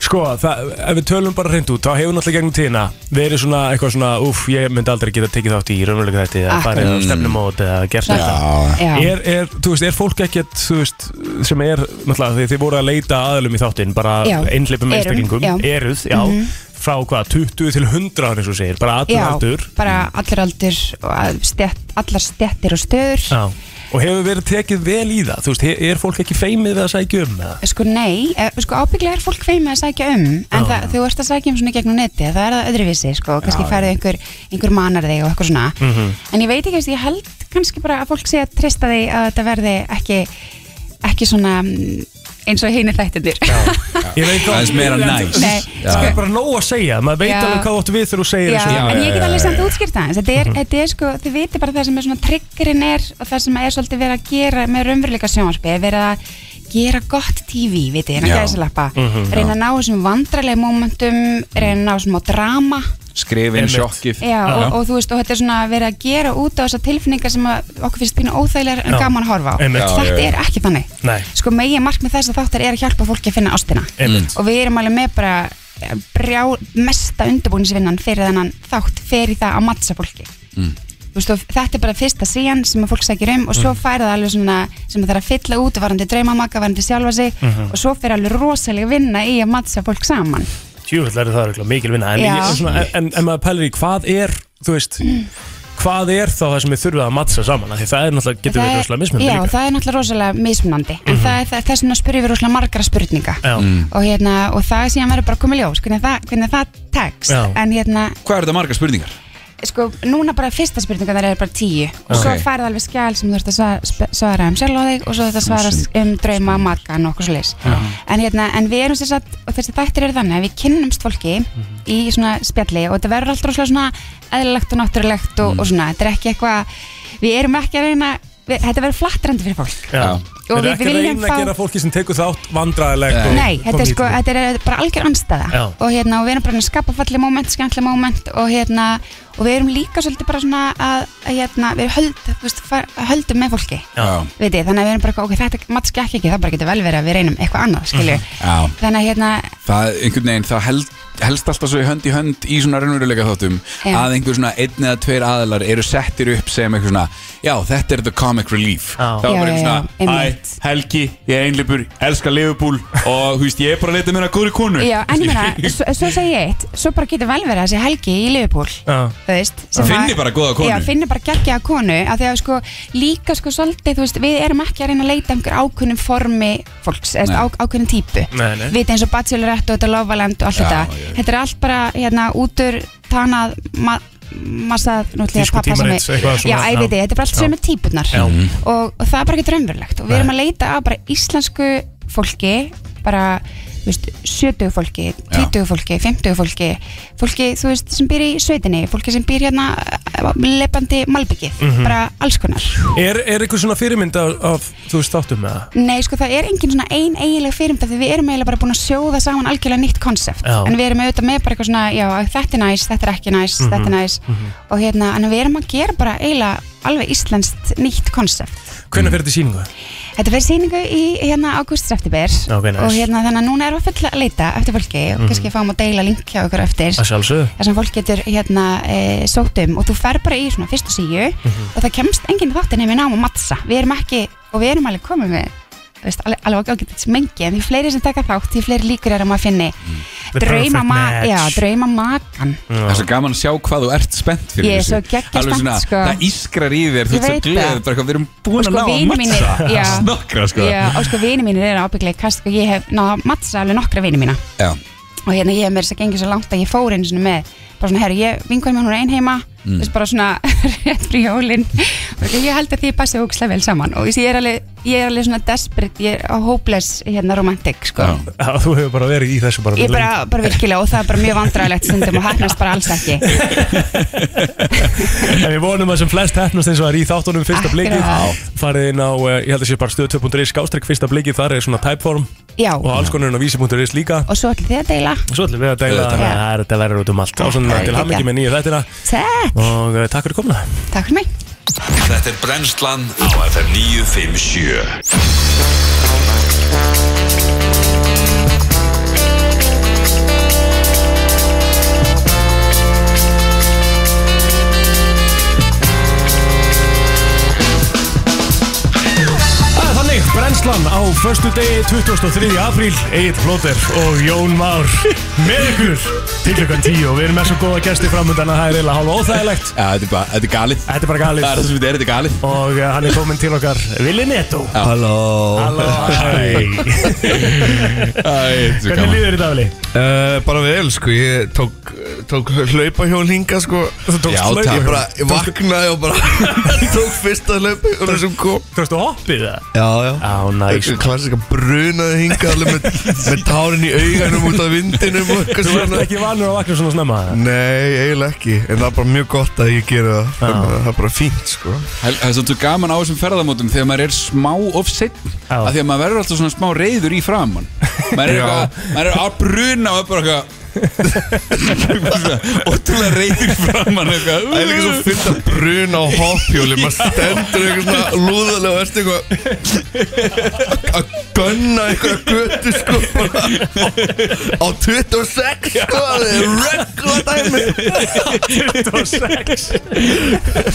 Speaker 1: Sko, það, ef við tölum bara hreint út þá hefur náttúrulega gegnum tíðina verið svona eitthvað svona, uff, ég myndi aldrei geta tekið þátt í raunverulega þetta eða
Speaker 8: Akkurat. Mm.
Speaker 1: farið á stefnumót eða gert þetta
Speaker 8: já,
Speaker 1: er, er, þú veist, er fólk ekkert þú veist, sem er, náttúrulega því þið voru að leita aðlum í þáttinn, bara
Speaker 8: Já. Erum,
Speaker 1: einhleipum einstaklingum,
Speaker 8: já. Mhm.
Speaker 1: eruð, já frá hvað, 20 til 100 ára eins og þú segir, bara allur
Speaker 8: já
Speaker 1: aldur
Speaker 8: bara allir aldur og að stjætt, allar stjættir og stöður
Speaker 1: já. og hefur verið tekið vel í það þú veist, he- er fólk ekki feimið við að sækja um það?
Speaker 8: Sko nei, eh, sko ábygglega er fólk feimið að sækja um en það, þú ert að sækja um svona í gegnum neti það er það öðruvísi, sko, kannski færðu einhver, einhver manar þig og eitthvað svona
Speaker 1: Mhm.
Speaker 8: en ég veit ekki, veist, ég held kannski bara að fólk sé að treysta því að þetta verði ekki ekki svona mm, eins og hinir þættindir
Speaker 1: Ég veit
Speaker 2: Það er meira næs.
Speaker 8: Nei,
Speaker 1: Það er
Speaker 8: sko-
Speaker 1: bara nóg að segja, maður veit
Speaker 8: Já.
Speaker 1: alveg hvað þú átt við þegar þú segir
Speaker 8: Já,
Speaker 1: þessu
Speaker 8: en ég get alveg samt útskýrt aðeins þetta er, þetta er sko, þið viti bara það sem er svona triggerinn er og það sem er svolítið verið að gera með raunveruleika sjónvarpi er verið að gera gott TV, viti, hérna
Speaker 2: Já.
Speaker 8: gæðisalappa
Speaker 1: Mhm.
Speaker 8: reyna að ná þessum vandralegi momentum reyna að ná þessum á drama
Speaker 2: skrifin
Speaker 1: Einmitt.
Speaker 2: sjokkið
Speaker 8: Já, og, og þú veist, og þetta er svona verið að gera út á þessar tilfinningar sem að okkur finnst pínu óþægilegar en
Speaker 1: Já.
Speaker 8: gaman að horfa á
Speaker 1: Einmitt. Já,
Speaker 8: þetta
Speaker 2: já, já.
Speaker 8: er ekki þannig
Speaker 1: Nei.
Speaker 8: sko megin markmið þess að þáttar er að hjálpa fólki að finna ástina
Speaker 1: Einmitt.
Speaker 8: og við erum alveg með bara eh, brjá, mesta undirbúinisvinnan fyrir þennan þátt fyrir það að mattsa fólki
Speaker 2: Mm.
Speaker 8: Þú veist, og þetta er bara fyrsta síðan sem að fólk sækir um og svo
Speaker 1: Mhm.
Speaker 8: færa það alveg svona sem það þarf að fylla út varandi draumamaka, varandi sjálfa sig
Speaker 1: Mhm.
Speaker 8: og svo fyrir alveg rosalega vinna í að mattsa fólk saman
Speaker 1: Tjúvill er það örugglega mikil vinna En,
Speaker 8: Já.
Speaker 1: ég, svona, en, en maður pælir í hvað er Þú veist Hvað er þá það sem við þurfum að mattsa saman Af Því það er náttúrulega, getur
Speaker 8: Það
Speaker 1: við
Speaker 8: er-
Speaker 1: rosalega mismunum
Speaker 8: Já,
Speaker 1: líka Mhm.
Speaker 8: það er náttúrulega rosalega mismunandi En það er, það, það er svona að spyrja við rosalega margra spurninga
Speaker 1: Já, mm.
Speaker 8: og, hérna, og það er síðan verður bara að koma í ljós hvernig það, hvernig það tekst
Speaker 1: Já.
Speaker 8: En hérna,
Speaker 2: Hvað er þetta margar spurningar?
Speaker 8: sko, núna bara fyrsta spurninga það er bara tíu Og svo
Speaker 2: Ok.
Speaker 8: færið alveg skjál sem þú ert að svara, sp- svara um sjálf á þig Og svo þetta svara um drauma, makan og okkur svo
Speaker 2: Mm.
Speaker 8: leis en, hérna, en við erum sér satt, og þessi þættir eru þannig að við kynnumst fólki í svona spjalli Og þetta verður alltaf rosalega svona eðlilegt og náttúrulegt og, og svona Þetta er ekki eitthvað, við erum ekki að reyna, við, þetta verður flattrandi fyrir fólk
Speaker 1: já.
Speaker 8: Og við
Speaker 1: Við erum ekki að
Speaker 8: viljum
Speaker 1: reyna að
Speaker 8: fá-
Speaker 1: gera fólki sem tekur þátt vandræðilegt og
Speaker 8: Nei, þetta er,
Speaker 1: komið
Speaker 8: sko,
Speaker 1: illa.
Speaker 8: þetta er bara algjör anstæða
Speaker 1: Já.
Speaker 8: og, hérna, og við erum bara að skapa falli moment, skemmtli moment og, hérna, og við erum líka svolítið bara svona að, að hérna, við höld, þú veist, far- höldum með fólki
Speaker 2: Já,
Speaker 8: Viti, þannig að við erum bara, ok, þetta
Speaker 2: Mhm.
Speaker 8: matskja ekki það bara getur vel verið að við reynum eitthvað annað skilju,
Speaker 2: já.
Speaker 8: þannig að hérna
Speaker 2: Það, einhvern veginn, það held helst alltaf svo í hönd í hönd í svona raunveruleika þáttum
Speaker 8: Já.
Speaker 2: að einhver svona einn eða tveir aðilar eru settir upp sem eitthvað svona já þetta er the comic relief
Speaker 1: Já.
Speaker 2: það var
Speaker 8: Já,
Speaker 2: bara
Speaker 8: já,
Speaker 2: eitthvað
Speaker 8: já,
Speaker 2: svona æ,
Speaker 8: einmitt.
Speaker 2: Helgi, ég er einleipur, elska Liverpool og þú veist ég er bara að leita mér að góðri konu
Speaker 8: Já, en ég meina, svo, svo segi ég eitt Svo bara getur vel verið að sé helgi í Liverpool
Speaker 1: Já.
Speaker 8: Þú veist sem
Speaker 2: Finni bara góða konu.
Speaker 8: Já, finni bara geggja konu af Því að sko, líka sko svolítið Þú veist, við erum ekki að reyna að leita einhver ákunnum formi fólks eða þú veist,
Speaker 2: Nei.
Speaker 8: á, ákunnum típu
Speaker 1: Nei, nei.
Speaker 8: Við eins og Bachelorette og þetta Lovaland og allt
Speaker 2: Já,
Speaker 8: þetta
Speaker 2: já, já.
Speaker 8: Þetta er allt bara, hérna, útur Tanað, ma massa náttúrulega
Speaker 1: Tísku
Speaker 8: pappa sem
Speaker 1: tímarits,
Speaker 8: er-
Speaker 1: eitthvað svona,
Speaker 8: Já, ég
Speaker 1: já.
Speaker 8: veit ég, þetta er bara allt
Speaker 1: Já.
Speaker 8: sömu típunar
Speaker 1: Já.
Speaker 8: og, og það er bara ekki raunverulegt og við
Speaker 1: Nei.
Speaker 8: erum að leita að bara íslensku fólki bara, þú veist, 70 fólki 20 fólki, 50 fólki fólki, þú veist, sem býr í sveitinni fólki sem býr hérna lepandi malbyggið,
Speaker 1: Mhm.
Speaker 8: bara alls konar
Speaker 1: Er, er eitthvað svona fyrirmynd af, af þú veist, þáttum með það?
Speaker 8: Nei, sko, það er engin svona ein eiginleg fyrirmynda því við erum eiginlega bara búin að sjóða saman algjörlega nýtt konsept,
Speaker 1: Já.
Speaker 8: en við erum auðvitað með bara eitthvað svona, já, þetta er næs, þetta er ekki næs
Speaker 1: Mhm,
Speaker 8: þetta er næs, og hérna, en við erum að gera bara eiginlega alveg íslenskt nýtt konsept
Speaker 1: Hvernig fyrir þetta í sýningu?
Speaker 8: Þetta verður sýningu í hérna ágúst-september
Speaker 1: Ok, nice.
Speaker 8: og hérna þannig að núna erum við full að leita eftir fólki og kannski fáum að deila link hjá ykkur eftir
Speaker 1: Það sjálfsögðu.
Speaker 8: þar sem fólk getur hérna e, sótt um og þú fer bara í svona fyrstu síu og það kemst enginn þáttin nefnir nám og mattsa við erum ekki, og við erum alveg komið með þú veist, alveg, alveg ágætt mengi en því fleiri sem taka þátt, því fleiri líkur erum að finni
Speaker 1: The
Speaker 8: drauma,
Speaker 1: perfect
Speaker 8: ma
Speaker 1: match.
Speaker 8: já, drauma makan
Speaker 2: Það er svo gaman að sjá hvað þú ert spennt fyrir
Speaker 8: Ég er
Speaker 2: þessu.
Speaker 8: svo geggjuð
Speaker 2: Alveg svona,
Speaker 8: spennt, sko.
Speaker 2: Það ískrar í þér, þú
Speaker 8: Ég
Speaker 2: ert svo
Speaker 8: veit
Speaker 2: gleð
Speaker 8: það.
Speaker 2: bara eitthvað, Við erum
Speaker 8: Og
Speaker 2: búin að
Speaker 8: sko,
Speaker 2: ná að
Speaker 8: vinir
Speaker 2: mattsa
Speaker 8: mínir, já.
Speaker 2: Snokkra sko
Speaker 8: já, og sko vini mínir eru ábygglega kast og ég hef náða að mattsa alveg nokkra vini mína
Speaker 2: Já.
Speaker 8: og hérna ég hef mér þess að gengið svo langt að ég fór einu svona með bara svona, herru, ég vingur mér hún er ein heima mm. þess bara svona rétt fyrir jólin og ég held að því ég passi ógislega vel saman og þessi ég er alveg, ég er alveg svona desperate, ég er hopeless hérna romantik, sko
Speaker 2: Já.
Speaker 1: Já, þú hefur bara verið í þessu bara
Speaker 8: Ég er bara, bara virkilega og það er bara mjög vandræðilegt stundum og hægnast bara alls ekki
Speaker 1: En við vonum að sem flest hefnast eins og það er í þáttunum fyrsta
Speaker 8: Akkurat.
Speaker 1: blikið
Speaker 8: Já.
Speaker 1: farið inn á, eh, ég held að sé bara stöð 2.3 skástrík fyrsta blikið, þar er svona typeform
Speaker 8: Já,
Speaker 1: og alls konurinn á vísi.is líka
Speaker 8: og svo ætlum þið að deila
Speaker 1: og svo ætlum við að deila
Speaker 2: Auðvitað.
Speaker 1: þannig að það er- þetta verður út um allt og svona
Speaker 8: Þetta er
Speaker 1: til hamingi
Speaker 8: geggjað.
Speaker 1: með nýju þættina
Speaker 8: Takk,
Speaker 1: og eh, takk fyrir komna
Speaker 8: takk fyrir mig
Speaker 3: Þetta er brennslan á FM 957
Speaker 1: Það er Þannig, brennslan á förstu degi 23. apríl, Egil Flóter og Jón Már með ykkur til klukkan 10 og við erum með svo góða gæsti framöndan að það er eiginlega hálfa óþægilegt
Speaker 2: Já, þetta er bara, þetta er galið
Speaker 1: Þetta er bara galið
Speaker 2: Það er það sem þetta er, þetta er galið
Speaker 1: og uh, hann er komin til okkar Vili Netto
Speaker 4: Halló
Speaker 1: Halló, hæ.
Speaker 2: Æ, þetta er
Speaker 1: Hvernig
Speaker 2: svo gaman.
Speaker 1: líður í dagli?
Speaker 9: Uh, bara vel sko, ég tók, tók hlaupahjól hinga sko
Speaker 1: Þú tókst
Speaker 2: Já,
Speaker 1: hlaup-
Speaker 2: takk.
Speaker 9: Ég bara ég vaknaði og bara tók fyrsta hlaupahjól sem kom
Speaker 1: Tókstu hoppið það?
Speaker 9: Já, já
Speaker 1: Á, næs
Speaker 9: Einhver klassika brunaði hinga alveg með, með tárin í augunum út af vindinum og eitthvað
Speaker 1: Þú ert
Speaker 9: svona
Speaker 1: ekki vanur að vakna svona snemma
Speaker 9: Nei, eiginlega ekki En það er bara mjög gott að ég gera það Þannig
Speaker 1: Já.
Speaker 9: að Það er bara fínt sko
Speaker 2: Það það er svolítið gaman á þessum ferðamótum þegar maður er smá of setn
Speaker 1: Já.
Speaker 2: af því að maður verður alltaf svona smá reyður í framann maður er, eitthvað, maður er að bruna og er bara eitthvað ótrúlega reyður í framann eitthvað
Speaker 9: Það er líka svo fyllt að bruna á hoppjóli maður stendur eitthvað svona lúðalega og ertu eitthvað að gunna eitthvað götu sko bara á, á 26 sko það er regla dæmi
Speaker 1: 26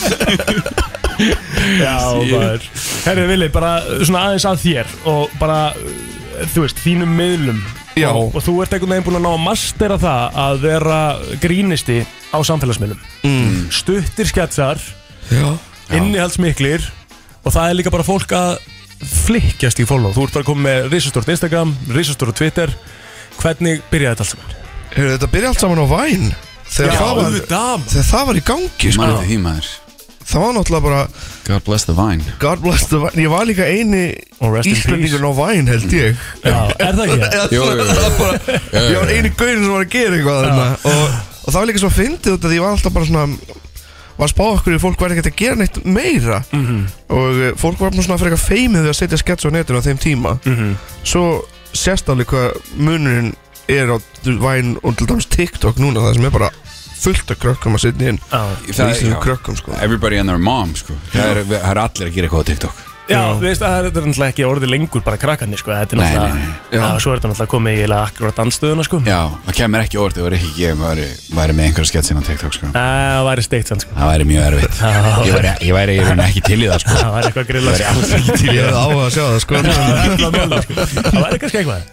Speaker 1: Já, maður Herri Vili, bara svona aðeins að þér og bara, uh, þú veist, þínum miðlum
Speaker 9: Já.
Speaker 1: og, og þú ert einhvern veginn búin að ná að mastera það að vera grínisti á samfélagsmiðlum mm. Stuttir sketsar
Speaker 9: Já
Speaker 1: innihaldsmiklir og það er líka bara fólk að flikkjast í follow þú ert bara komið með risastort Instagram, risastort Twitter hvernig byrjaði þetta allt saman?
Speaker 9: Hefur þetta byrja allt saman á væn þegar, það var,
Speaker 1: auðvitað
Speaker 9: þegar það var í gangi sko
Speaker 2: Maður er því maður
Speaker 9: Það var náttúrulega bara
Speaker 2: God bless the vine
Speaker 9: God bless the væn Ég var líka eini
Speaker 1: Og rest in
Speaker 9: Íslendingun á væn held ég
Speaker 1: Já, er það ekki?
Speaker 9: Eða
Speaker 2: Jú, jú, jú.
Speaker 9: svona, það var bara, Ég var eini gaurin sem var að gera eitthvað þarna og, og það var líka svo fyndið út af því ég var alltaf bara svona var að spá okkur í að fólk væri ekkert að gera neitt meira
Speaker 1: Mm-hmm.
Speaker 9: og eh, fólk var nú svona fyrir eitthvað feimið við að setja sketch á netinu á þeim tíma
Speaker 2: Mhm.
Speaker 9: svo sérst alveg hvað munurinn er á væn og til dæmis TikTok núna það sem er bara fullt af krökkum að setja inn
Speaker 1: Já,
Speaker 2: Það-
Speaker 9: Íslensk
Speaker 2: já.
Speaker 9: krökkum sko
Speaker 2: Everybody and their mom sko. það, er, það er allir að gera eitthvað á TikTok
Speaker 1: Já, þú veist, það er þetta er náttúrulega ekki orðið lengur bara krakkarnir, sko, þetta er
Speaker 2: Nei,
Speaker 1: náttúrulega
Speaker 2: nei, nei. Já.
Speaker 1: Já, svo er þetta náttúrulega komið í akkurat anstöðuna, sko
Speaker 2: Já, það kemur ekki orðið, það var ekki ég væri, væri með einhverja sketsin á TikTok sko.
Speaker 1: Æ, Það væri steikt sann, sko
Speaker 2: Það væri mjög erfitt Ég væri, ég væri í raun ekki til í það sko.
Speaker 1: Það væri eitthvað grilla,
Speaker 2: Það væri alls ekki til í
Speaker 9: Ég
Speaker 2: það
Speaker 9: hefði á að sjá það sko
Speaker 1: Það væri allan mjöla, sko Það væri kannski eitthvað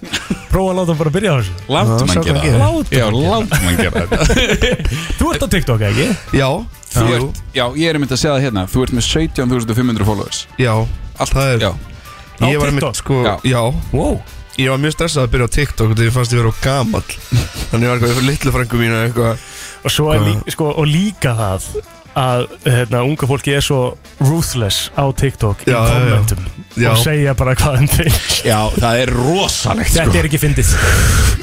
Speaker 1: Prófa að láta hann bara að byrja á þessu
Speaker 2: Látum
Speaker 9: sjá hvað
Speaker 2: að gera
Speaker 9: gerist.
Speaker 2: það Já, látum að gera það
Speaker 1: Þú ert á TikTok, ekki?
Speaker 9: Já,
Speaker 2: Þú
Speaker 9: jú,
Speaker 2: ert, já, ég er mynd að segja það hérna Þú ert með 17.500 followers
Speaker 9: já
Speaker 2: Allt,
Speaker 9: Það er-
Speaker 2: já,
Speaker 9: Ég var
Speaker 1: TikTok?
Speaker 9: einmitt sko
Speaker 2: Já.
Speaker 9: Já,
Speaker 1: Wow
Speaker 9: ég var mjög stressað að byrja á TikTok Þegar ég fannst ég vera á gamall Þannig ég var eitthvað fyrir litlu frængu mínu eitthvað
Speaker 1: Og svo er líka, sko, og líka það að hérna, unga fólki er svo ruthless á TikTok
Speaker 9: Já,
Speaker 1: í
Speaker 9: já, já.
Speaker 1: kommentum
Speaker 9: Já.
Speaker 1: og segja bara hvað hann finnst
Speaker 2: já, það er rosalegt
Speaker 1: Þetta
Speaker 2: sko.
Speaker 1: er ekki fyndið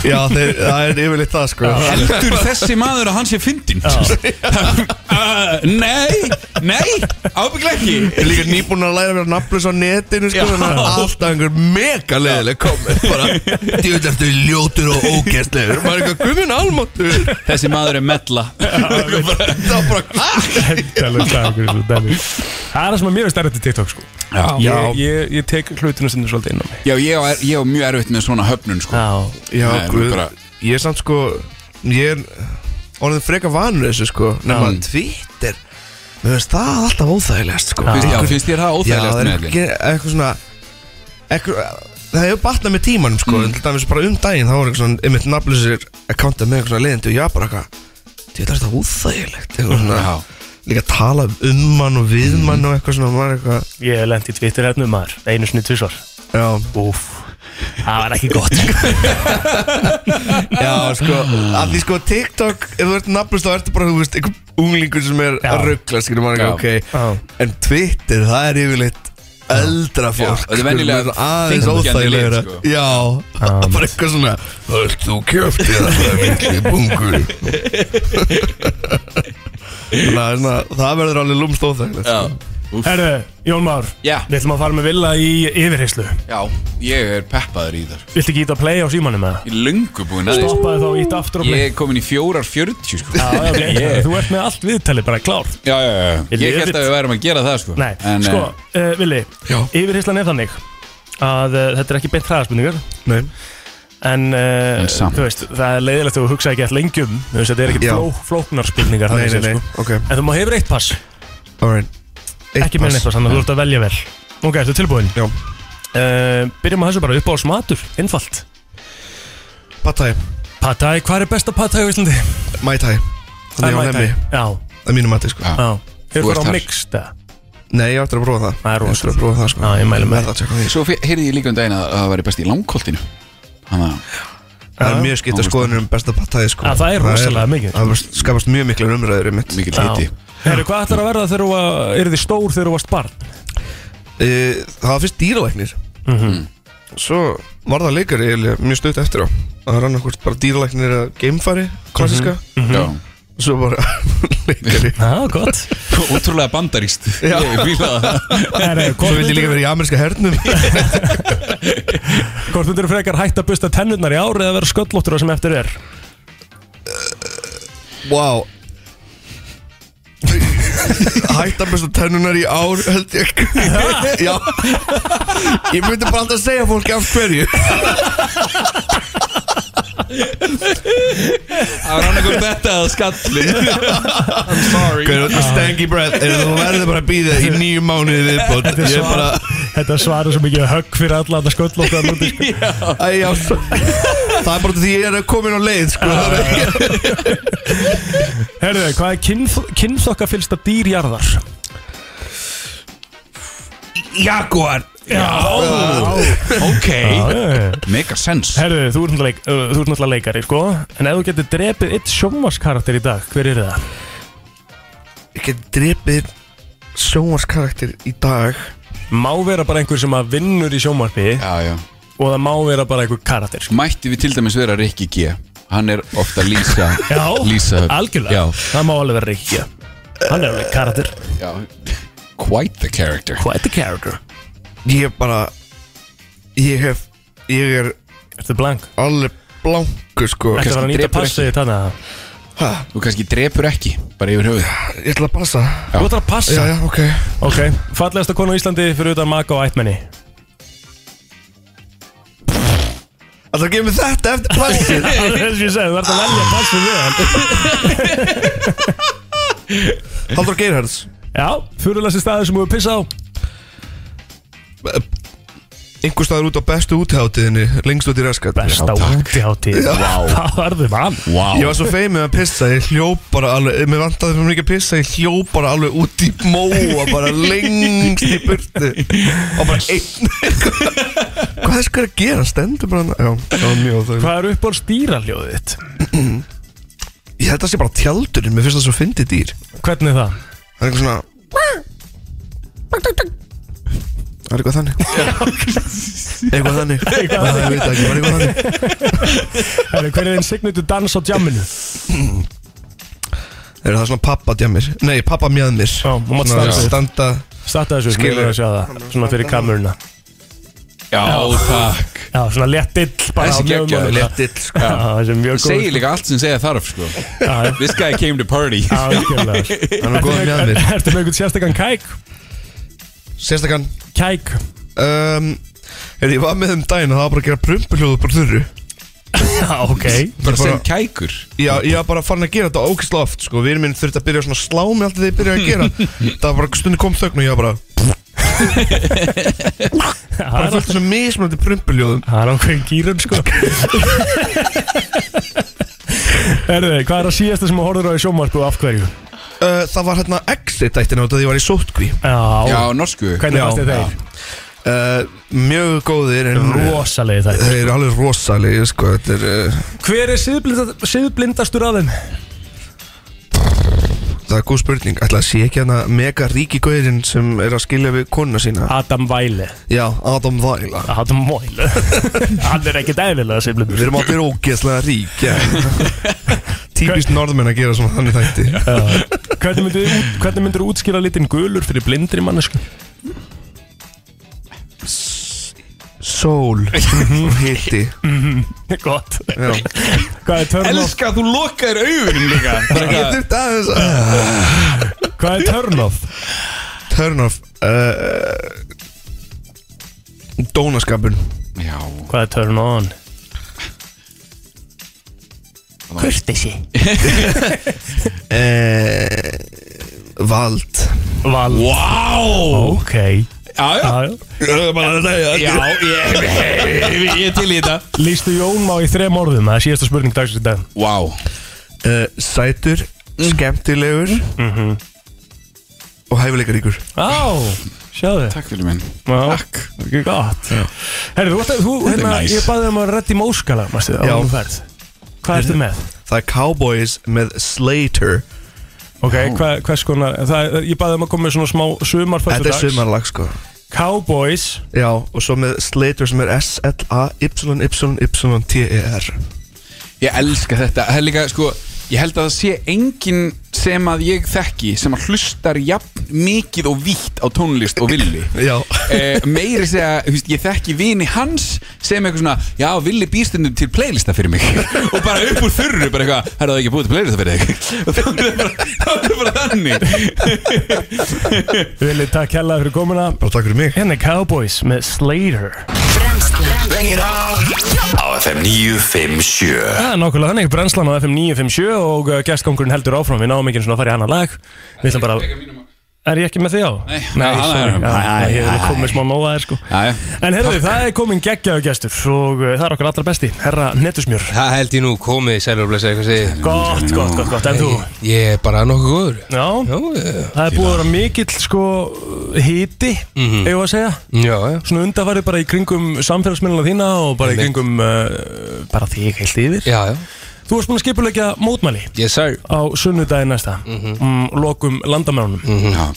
Speaker 9: Já, þeir, það er yfirleitt það sko
Speaker 2: Heldur þessi maður að hann sé fyndin? Uh, nei, nei, ábygglega
Speaker 9: Ég er
Speaker 2: ekki
Speaker 9: líka nýbúin að læra mér að nafnlaus á netinu sko,
Speaker 2: Já.
Speaker 9: þannig að alltaf einhver mega leðileg komið bara, djúið eftir ljótur og ógæstlegur maður er eitthvað, gumin almáttur
Speaker 2: Þessi maður er mella
Speaker 9: það var bara, hæ?
Speaker 1: Þetta er alveg dagur, þetta er dagur. Það er það sem að mér er stærðið til TikTok sko.
Speaker 2: Já,
Speaker 1: ég, ég, ég tek hlutinu sinni svolítið inn á mig
Speaker 2: já ég, á, ég á mjög erfitt með svona höfnun sko.
Speaker 1: Já,
Speaker 9: Já,
Speaker 2: Nei, nú
Speaker 9: guð,
Speaker 2: bara-
Speaker 9: ég er samt sko ég er orðin freka vanur þessu sko nema að Twitter mér finnst það alltaf óþægilegast sko
Speaker 2: Finnst- Já,
Speaker 9: Einhver-
Speaker 2: finnst þér
Speaker 9: Já,
Speaker 2: það
Speaker 9: það
Speaker 2: óþægilegast
Speaker 9: er
Speaker 2: með
Speaker 9: ekki- eitthvað svona eitthvað, það hefur batnað með tímanum sko, en til dæmis bara um daginn þá var eitthvað svona, einmitt nafnlýsir akkánta með eitthvað svona leiðindi og ég var bara eitthvað þetta er þetta óþægilegt eitthvað svona,
Speaker 2: Já.
Speaker 9: líka tala um mann og við mann og eitthvað svona, maður eitthvað
Speaker 1: ég hef lent í Twitter hérna maður, einu sinni tvisvar
Speaker 9: já,
Speaker 1: Úf, það var ekki gott sko.
Speaker 9: já, sko að því sko TikTok, ef þú ert nafnlýst þá ertu bara, þú veist, einhver unglingur sem er
Speaker 1: Já.
Speaker 9: að ruggla, skilur maður eitthvað, ok
Speaker 1: Já.
Speaker 9: en Twitter, það er yfirleitt eldra fólk
Speaker 2: þetta er
Speaker 9: sko,
Speaker 2: venjulega
Speaker 9: með aðeins
Speaker 2: þingjandi
Speaker 9: óþægilegra
Speaker 2: lið, sko.
Speaker 9: já, bara eitthvað svona Öll þú kjöfti það mikli bungur Þannig að svona, það verður alveg lúmst óþægilegt
Speaker 2: Já, Úff.
Speaker 1: Herru, Jón Már,
Speaker 2: Já.
Speaker 1: við ætlum að fara með Villa í yfirheyslu
Speaker 2: já, ég er peppaður í þar
Speaker 1: Viltu ekki íta að playa á símanum eða?
Speaker 2: Ég er löngu búinn að því sko.
Speaker 1: Stoppaði þá ítt aftur á play
Speaker 2: Ég er komin í 4.40 sko.
Speaker 1: Já, já, ok,
Speaker 2: Ég-
Speaker 1: Þú ert með allt viðtalið bara klárt
Speaker 2: Já, já, já,
Speaker 1: Ég
Speaker 2: ég held
Speaker 1: lifið.
Speaker 2: að við værum að gera það sko.
Speaker 1: Nei,
Speaker 2: En,
Speaker 1: sko,
Speaker 2: eh,
Speaker 1: uh, Vili, yfirheyslan er þannig að uh, þetta er ekki beint hraðaspurningar
Speaker 9: Nei.
Speaker 1: en, uh,
Speaker 2: En samt.
Speaker 1: þú veist, það er leiðilegt að þú hugsa ekki alltaf lengi um, þú veist, þetta er ekki
Speaker 9: Já.
Speaker 1: fló, flóknar spurningar
Speaker 9: Nei, nei,
Speaker 1: þannig séð,
Speaker 9: nei, ok,
Speaker 1: Sko. En þú má hefur eitt pass,
Speaker 9: alright
Speaker 1: ekki meira en eitt pass, þannig að þú ert að velja vel Ok, ertu tilbúin?
Speaker 9: Já.
Speaker 1: uh, Byrjum á þessu bara, upp á smatur, innfalt
Speaker 9: Pattæ,
Speaker 1: Patæ, hvað er besta patæ á Íslandi?
Speaker 9: mætæ
Speaker 1: Það
Speaker 9: Þannig
Speaker 1: er
Speaker 9: að
Speaker 1: Mai
Speaker 9: hann
Speaker 1: Tai.
Speaker 9: hemmi,
Speaker 1: Já,
Speaker 9: að mínu mati sko
Speaker 2: Já.
Speaker 1: já
Speaker 2: Þú
Speaker 1: Hefur
Speaker 2: ert
Speaker 1: það á
Speaker 2: þar.
Speaker 1: mixed, eða?
Speaker 9: Nei, ég ætti að prófa það
Speaker 1: Það er
Speaker 9: Ég ætti
Speaker 1: rosa
Speaker 9: að prófa það sko
Speaker 1: Já, ég mæli með
Speaker 9: Verð að tjekka því.
Speaker 2: Svo heyrði ég líka um daginn að að það væri best í langkoltinu Hanna,
Speaker 9: Það er mjög skipt að skoðunum um besta pattæði sko
Speaker 1: Já, það er rosalega mikið.
Speaker 9: Það skapast mjög miklu umræður um mitt
Speaker 2: mikil
Speaker 1: Já.
Speaker 2: hiti
Speaker 1: Herru, hvað ætlar að verða þegar þú var- yrðir stór þegar þú varst barn?
Speaker 9: Eh, Það var fyrst dýralæknir Svo var það leikari eiginlega mjög stutt eftir á Það var annarkvort bara dýralæknir eða geimfari Klassiska
Speaker 2: Mhm, Já.
Speaker 9: Og svo bara leikari
Speaker 1: Já, gott
Speaker 2: Ótrúlega bandaríst
Speaker 9: Já.
Speaker 2: Ég fíla það
Speaker 1: Herru,
Speaker 9: Svo
Speaker 1: hvort
Speaker 9: vildi ég líka
Speaker 1: myndir-
Speaker 9: verið í ameríska hernum
Speaker 1: hvort myndir þú frekar hægt að busta tennurnar í ár eða vera sköllóttur það sem eftir er?
Speaker 9: Wow Hætta bestu tennunar í ár held ég Já Ég myndi bara alltaf segja fólki af hverju
Speaker 2: Það var annað kom þetta að skalli I'm sorry
Speaker 9: Hverju með stengi breath Er þú verður bara að býða í nýju mánuði viðbót Ég er bara
Speaker 1: Þetta svarar svo mikið högg fyrir alla þetta sköllóttur núti sko.
Speaker 9: Æ, já, svo- Það er bara því ég er að koma inn á leið sko. Það er ekki
Speaker 1: Herru, hvað er kynf kynþokka fylsta dýrjarðar?
Speaker 9: Jaguar
Speaker 2: Ok
Speaker 1: Ah,
Speaker 2: Mega sens
Speaker 1: Herru, þú ert náttúrulega leik- uh, þú ert náttúrulega leikari, sko En ef þú getur drepið eitt sjónvarskarakter í dag, hver er það?
Speaker 9: Ég get drepið sjónvarskarakter í dag
Speaker 1: Má vera bara einhver sem að vinnur í sjónvarpi
Speaker 2: Já, já
Speaker 1: Og það má vera bara einhver karakter, sko
Speaker 2: Mætti við til dæmis vera Rikki G Hann er ofta lýsa
Speaker 1: Já,
Speaker 2: Lýsa
Speaker 1: algjörlega
Speaker 2: Já,
Speaker 1: Það má alveg vera reykja Hann er alveg karakter
Speaker 2: já Quite the character
Speaker 1: Quite the character
Speaker 9: Ég er bara Ég hef Ég er
Speaker 1: Ertu blank?
Speaker 9: alveg sko. blanku sko
Speaker 1: Þetta var að nýta
Speaker 2: drepur
Speaker 1: passið þitt hann að
Speaker 9: Hæ?
Speaker 2: Þú kannski drepur ekki, bara yfir höfuð
Speaker 9: Ég ætla að passa
Speaker 1: Þú ætlar að
Speaker 9: Já,
Speaker 1: passa
Speaker 9: já, ok
Speaker 1: Ok, fallegasta konu á Íslandi fyrir utan maka og ættmenni
Speaker 9: Ætla að gefa mér þetta eftir plassið
Speaker 1: Þess að ég segi, þú ert að velja pass við hann
Speaker 9: Haldur Geirhards
Speaker 1: Já, fyrirlasi staður sem þú hefur pissað á
Speaker 9: Einhver staður út á bestu útháttiðinni Lengst út í raskat
Speaker 1: Besta úti hátíð Það varðum hann
Speaker 9: Ég var svo feimið að pissa, ég hljóp bara alveg, eh, mér vantaði fyrir mikið að pissa, ég hljóp bara alveg út í móa, bara lengst í burtu og bara einn. Hvað er sko að gera, stendur bara hann, já, það var mjög þau.
Speaker 1: Hvað er upp á stýraljóðið þitt?
Speaker 9: Ég held að það sé bara tjaldurinn, mér finnst það svo fyndið dýr.
Speaker 1: Hvernig er það?
Speaker 9: Það er eitthvað svona, það er eitthvað þannig. Eitthvað þannig, það er veit það ekki, bara eitthvað þannig.
Speaker 1: Herru, Hver er þinn signutu dans á djamminu?
Speaker 9: Er það svona pappa djamir, nei, pappa mjöðmir.
Speaker 1: Já, þú mátt
Speaker 9: Svona
Speaker 1: standa.
Speaker 9: standa.
Speaker 1: Statta þessu,
Speaker 9: Skilur.
Speaker 1: skilur að sjá það Svona fyrir kameruna
Speaker 2: Já, takk
Speaker 1: Já, svona létt dill bara
Speaker 2: Þessi
Speaker 1: á mjögum
Speaker 2: geggjaður,
Speaker 1: og-
Speaker 2: létt
Speaker 9: Dill, sko.
Speaker 1: Já, þessi er mjög góð
Speaker 2: Segir líka allt sem segja þarf, sko
Speaker 1: Já,
Speaker 2: This guy came to party
Speaker 1: já, algjörlega.
Speaker 9: Hann er góð
Speaker 1: Ertu
Speaker 9: mjöðmir.
Speaker 1: með- Ertu með einhvern sérstakann kæk?
Speaker 9: Sérstakann,
Speaker 1: Kæk
Speaker 9: um, er, ég var með þeim daginn og það var bara að gera prumpuhljóðu bara þurru
Speaker 1: Já, ok
Speaker 2: Bara sem
Speaker 9: bara-
Speaker 2: kækur
Speaker 9: Já, ég var bara farin að gera þetta ógislega oft sko. Vinur minn þurfti að byrja svona að slá mig alltaf þegar ég byrjaði að gera Það var bara stundu kom þögn og ég var bara
Speaker 1: Það
Speaker 9: Bara
Speaker 1: er-
Speaker 9: fullt af svona mismunandi prumpuhljóðum
Speaker 1: það er ákveðin gýrun, sko Erðu, hvað er að síðasta sem þú horfður á í sjómarku og af hverju?
Speaker 9: uh, Það var hérna exit-ættin á þetta því ég var í sótkví
Speaker 2: Já,
Speaker 1: Já,
Speaker 2: norsku
Speaker 1: hvernig
Speaker 9: Já,
Speaker 1: fannst þér þeir?
Speaker 9: uh, Mjög góðir en
Speaker 1: Rosalegi þær
Speaker 9: Þeir eru alveg rosalegi sko. Þetta er, uh,
Speaker 1: Hver er siðblinda- siðblindastur af þeim?
Speaker 9: Það er góð spurning Ætla að sé ekki hérna mega ríki gauðin sem er að skilja við konuna sína
Speaker 1: Adam Væli
Speaker 9: Já, Adam Væla
Speaker 1: Adam Væli Hann er ekkert eðlilega siðblindur
Speaker 9: Við erum allir ógeðslega rík ja. Típist norðmenn að gera svona þannig þætti
Speaker 1: Já. Hvernig myndir, hvernig myndir útskýra litin gulur fyrir blindri mannesku?
Speaker 9: Sól Hitti
Speaker 1: Mm-hmm. Gott
Speaker 9: Já.
Speaker 1: Hvað er turn off?
Speaker 2: Elska, þú lokaðir augunum líka Bara
Speaker 9: Ég
Speaker 2: eitthvað-
Speaker 9: þurfti aðeins að
Speaker 1: Hvað er turn off?
Speaker 9: Turn off uh, Dónaskapun
Speaker 2: Já,
Speaker 1: Hvað er turn on?
Speaker 9: uh, Vald
Speaker 1: Vald
Speaker 2: wow
Speaker 1: Ok
Speaker 2: Já, já,
Speaker 1: Já, já.
Speaker 2: já ég, ég, ég til í þetta
Speaker 1: Lýstu Jón Má í þrem orðum Það er síðasta spurning dagsins í dag
Speaker 2: Wow
Speaker 9: uh, Sætur Skemmtilegur Og hæfileikaríkur
Speaker 1: Á, sjáðu
Speaker 2: Takk fyrir minn
Speaker 1: Takk Gott Herri, þú, þú,
Speaker 2: Þetta er
Speaker 1: hérna,
Speaker 2: nice.
Speaker 1: ég baði um að reddi móskala Mastu,
Speaker 9: Já.
Speaker 1: á
Speaker 9: Hérna,
Speaker 1: hún ferð Hvað ertu með?
Speaker 9: Það er Cowboys með Slater
Speaker 1: Ok, hvað, Eh, hvers konar það, er- Ég baði um að koma með svona smá sumarfæstu
Speaker 9: Þetta er sumarlag sko
Speaker 1: Cowboys
Speaker 9: Já, og svo með Slater sem er S-L-A-Y-Y-Y-T-E-R
Speaker 2: Ég elska þetta Það er líka, sko Ég held að það sé enginn sem að ég þekki sem að hlustar jafn mikið og vítt á tónlist og villi
Speaker 9: Já
Speaker 2: eh, meiri segja, þú veist, ég þekki vini hans sem eitthvað svona, já, villi býstundum til playlista fyrir mig og bara upp úr þurru, bara eitthvað, það er það ekki búið til playlista fyrir þig og þá er það bara, þá er það bara þannig
Speaker 1: Vili, takk hella fyrir komuna
Speaker 9: Bara takk fyrir mig
Speaker 1: Hérna er Cowboys með Slater
Speaker 3: Á FM 957
Speaker 1: Það er nokkulega Eh, þannig, brennslan á FM 957 og uh, gestgangurinn heldur áfram, við náum ekki einu sinni að fara í annan lag Við ætlum bara, er ég ekki með því á?
Speaker 2: Nei,
Speaker 1: Nei,
Speaker 2: já,
Speaker 1: sorry,
Speaker 2: það er-
Speaker 1: já,
Speaker 2: Æ, æ,
Speaker 1: ég
Speaker 2: æ,
Speaker 1: hef
Speaker 2: æ.
Speaker 1: komið smá nóða þér sko
Speaker 2: Já, já.
Speaker 1: En herðu, það er komin geggjaðu gestur og uh, það er okkar allra besti, herra Netusmjör
Speaker 10: Það held ég nú komið í sælurblessa eitthvað segið.
Speaker 1: Gott, gott, gott, gott, en þú?
Speaker 10: Ég er bara nokkuð góður.
Speaker 1: Já,
Speaker 10: Já, eh,
Speaker 1: það er búið að vera mikill sko híti,
Speaker 10: Mhm.
Speaker 1: eigum við að segja
Speaker 10: já, já.
Speaker 1: Svona undarfærið bara í kringum samfélagsmiðluna þína og bara í
Speaker 10: Einmitt.
Speaker 1: kringum uh, bara þig heilt yfir
Speaker 10: Já, já.
Speaker 1: Þú varst búin að skipulegja mótmæli
Speaker 10: Yes, sir. Mhm.
Speaker 1: á sunnudagi næsta mm, lokum landamærunum
Speaker 2: Já,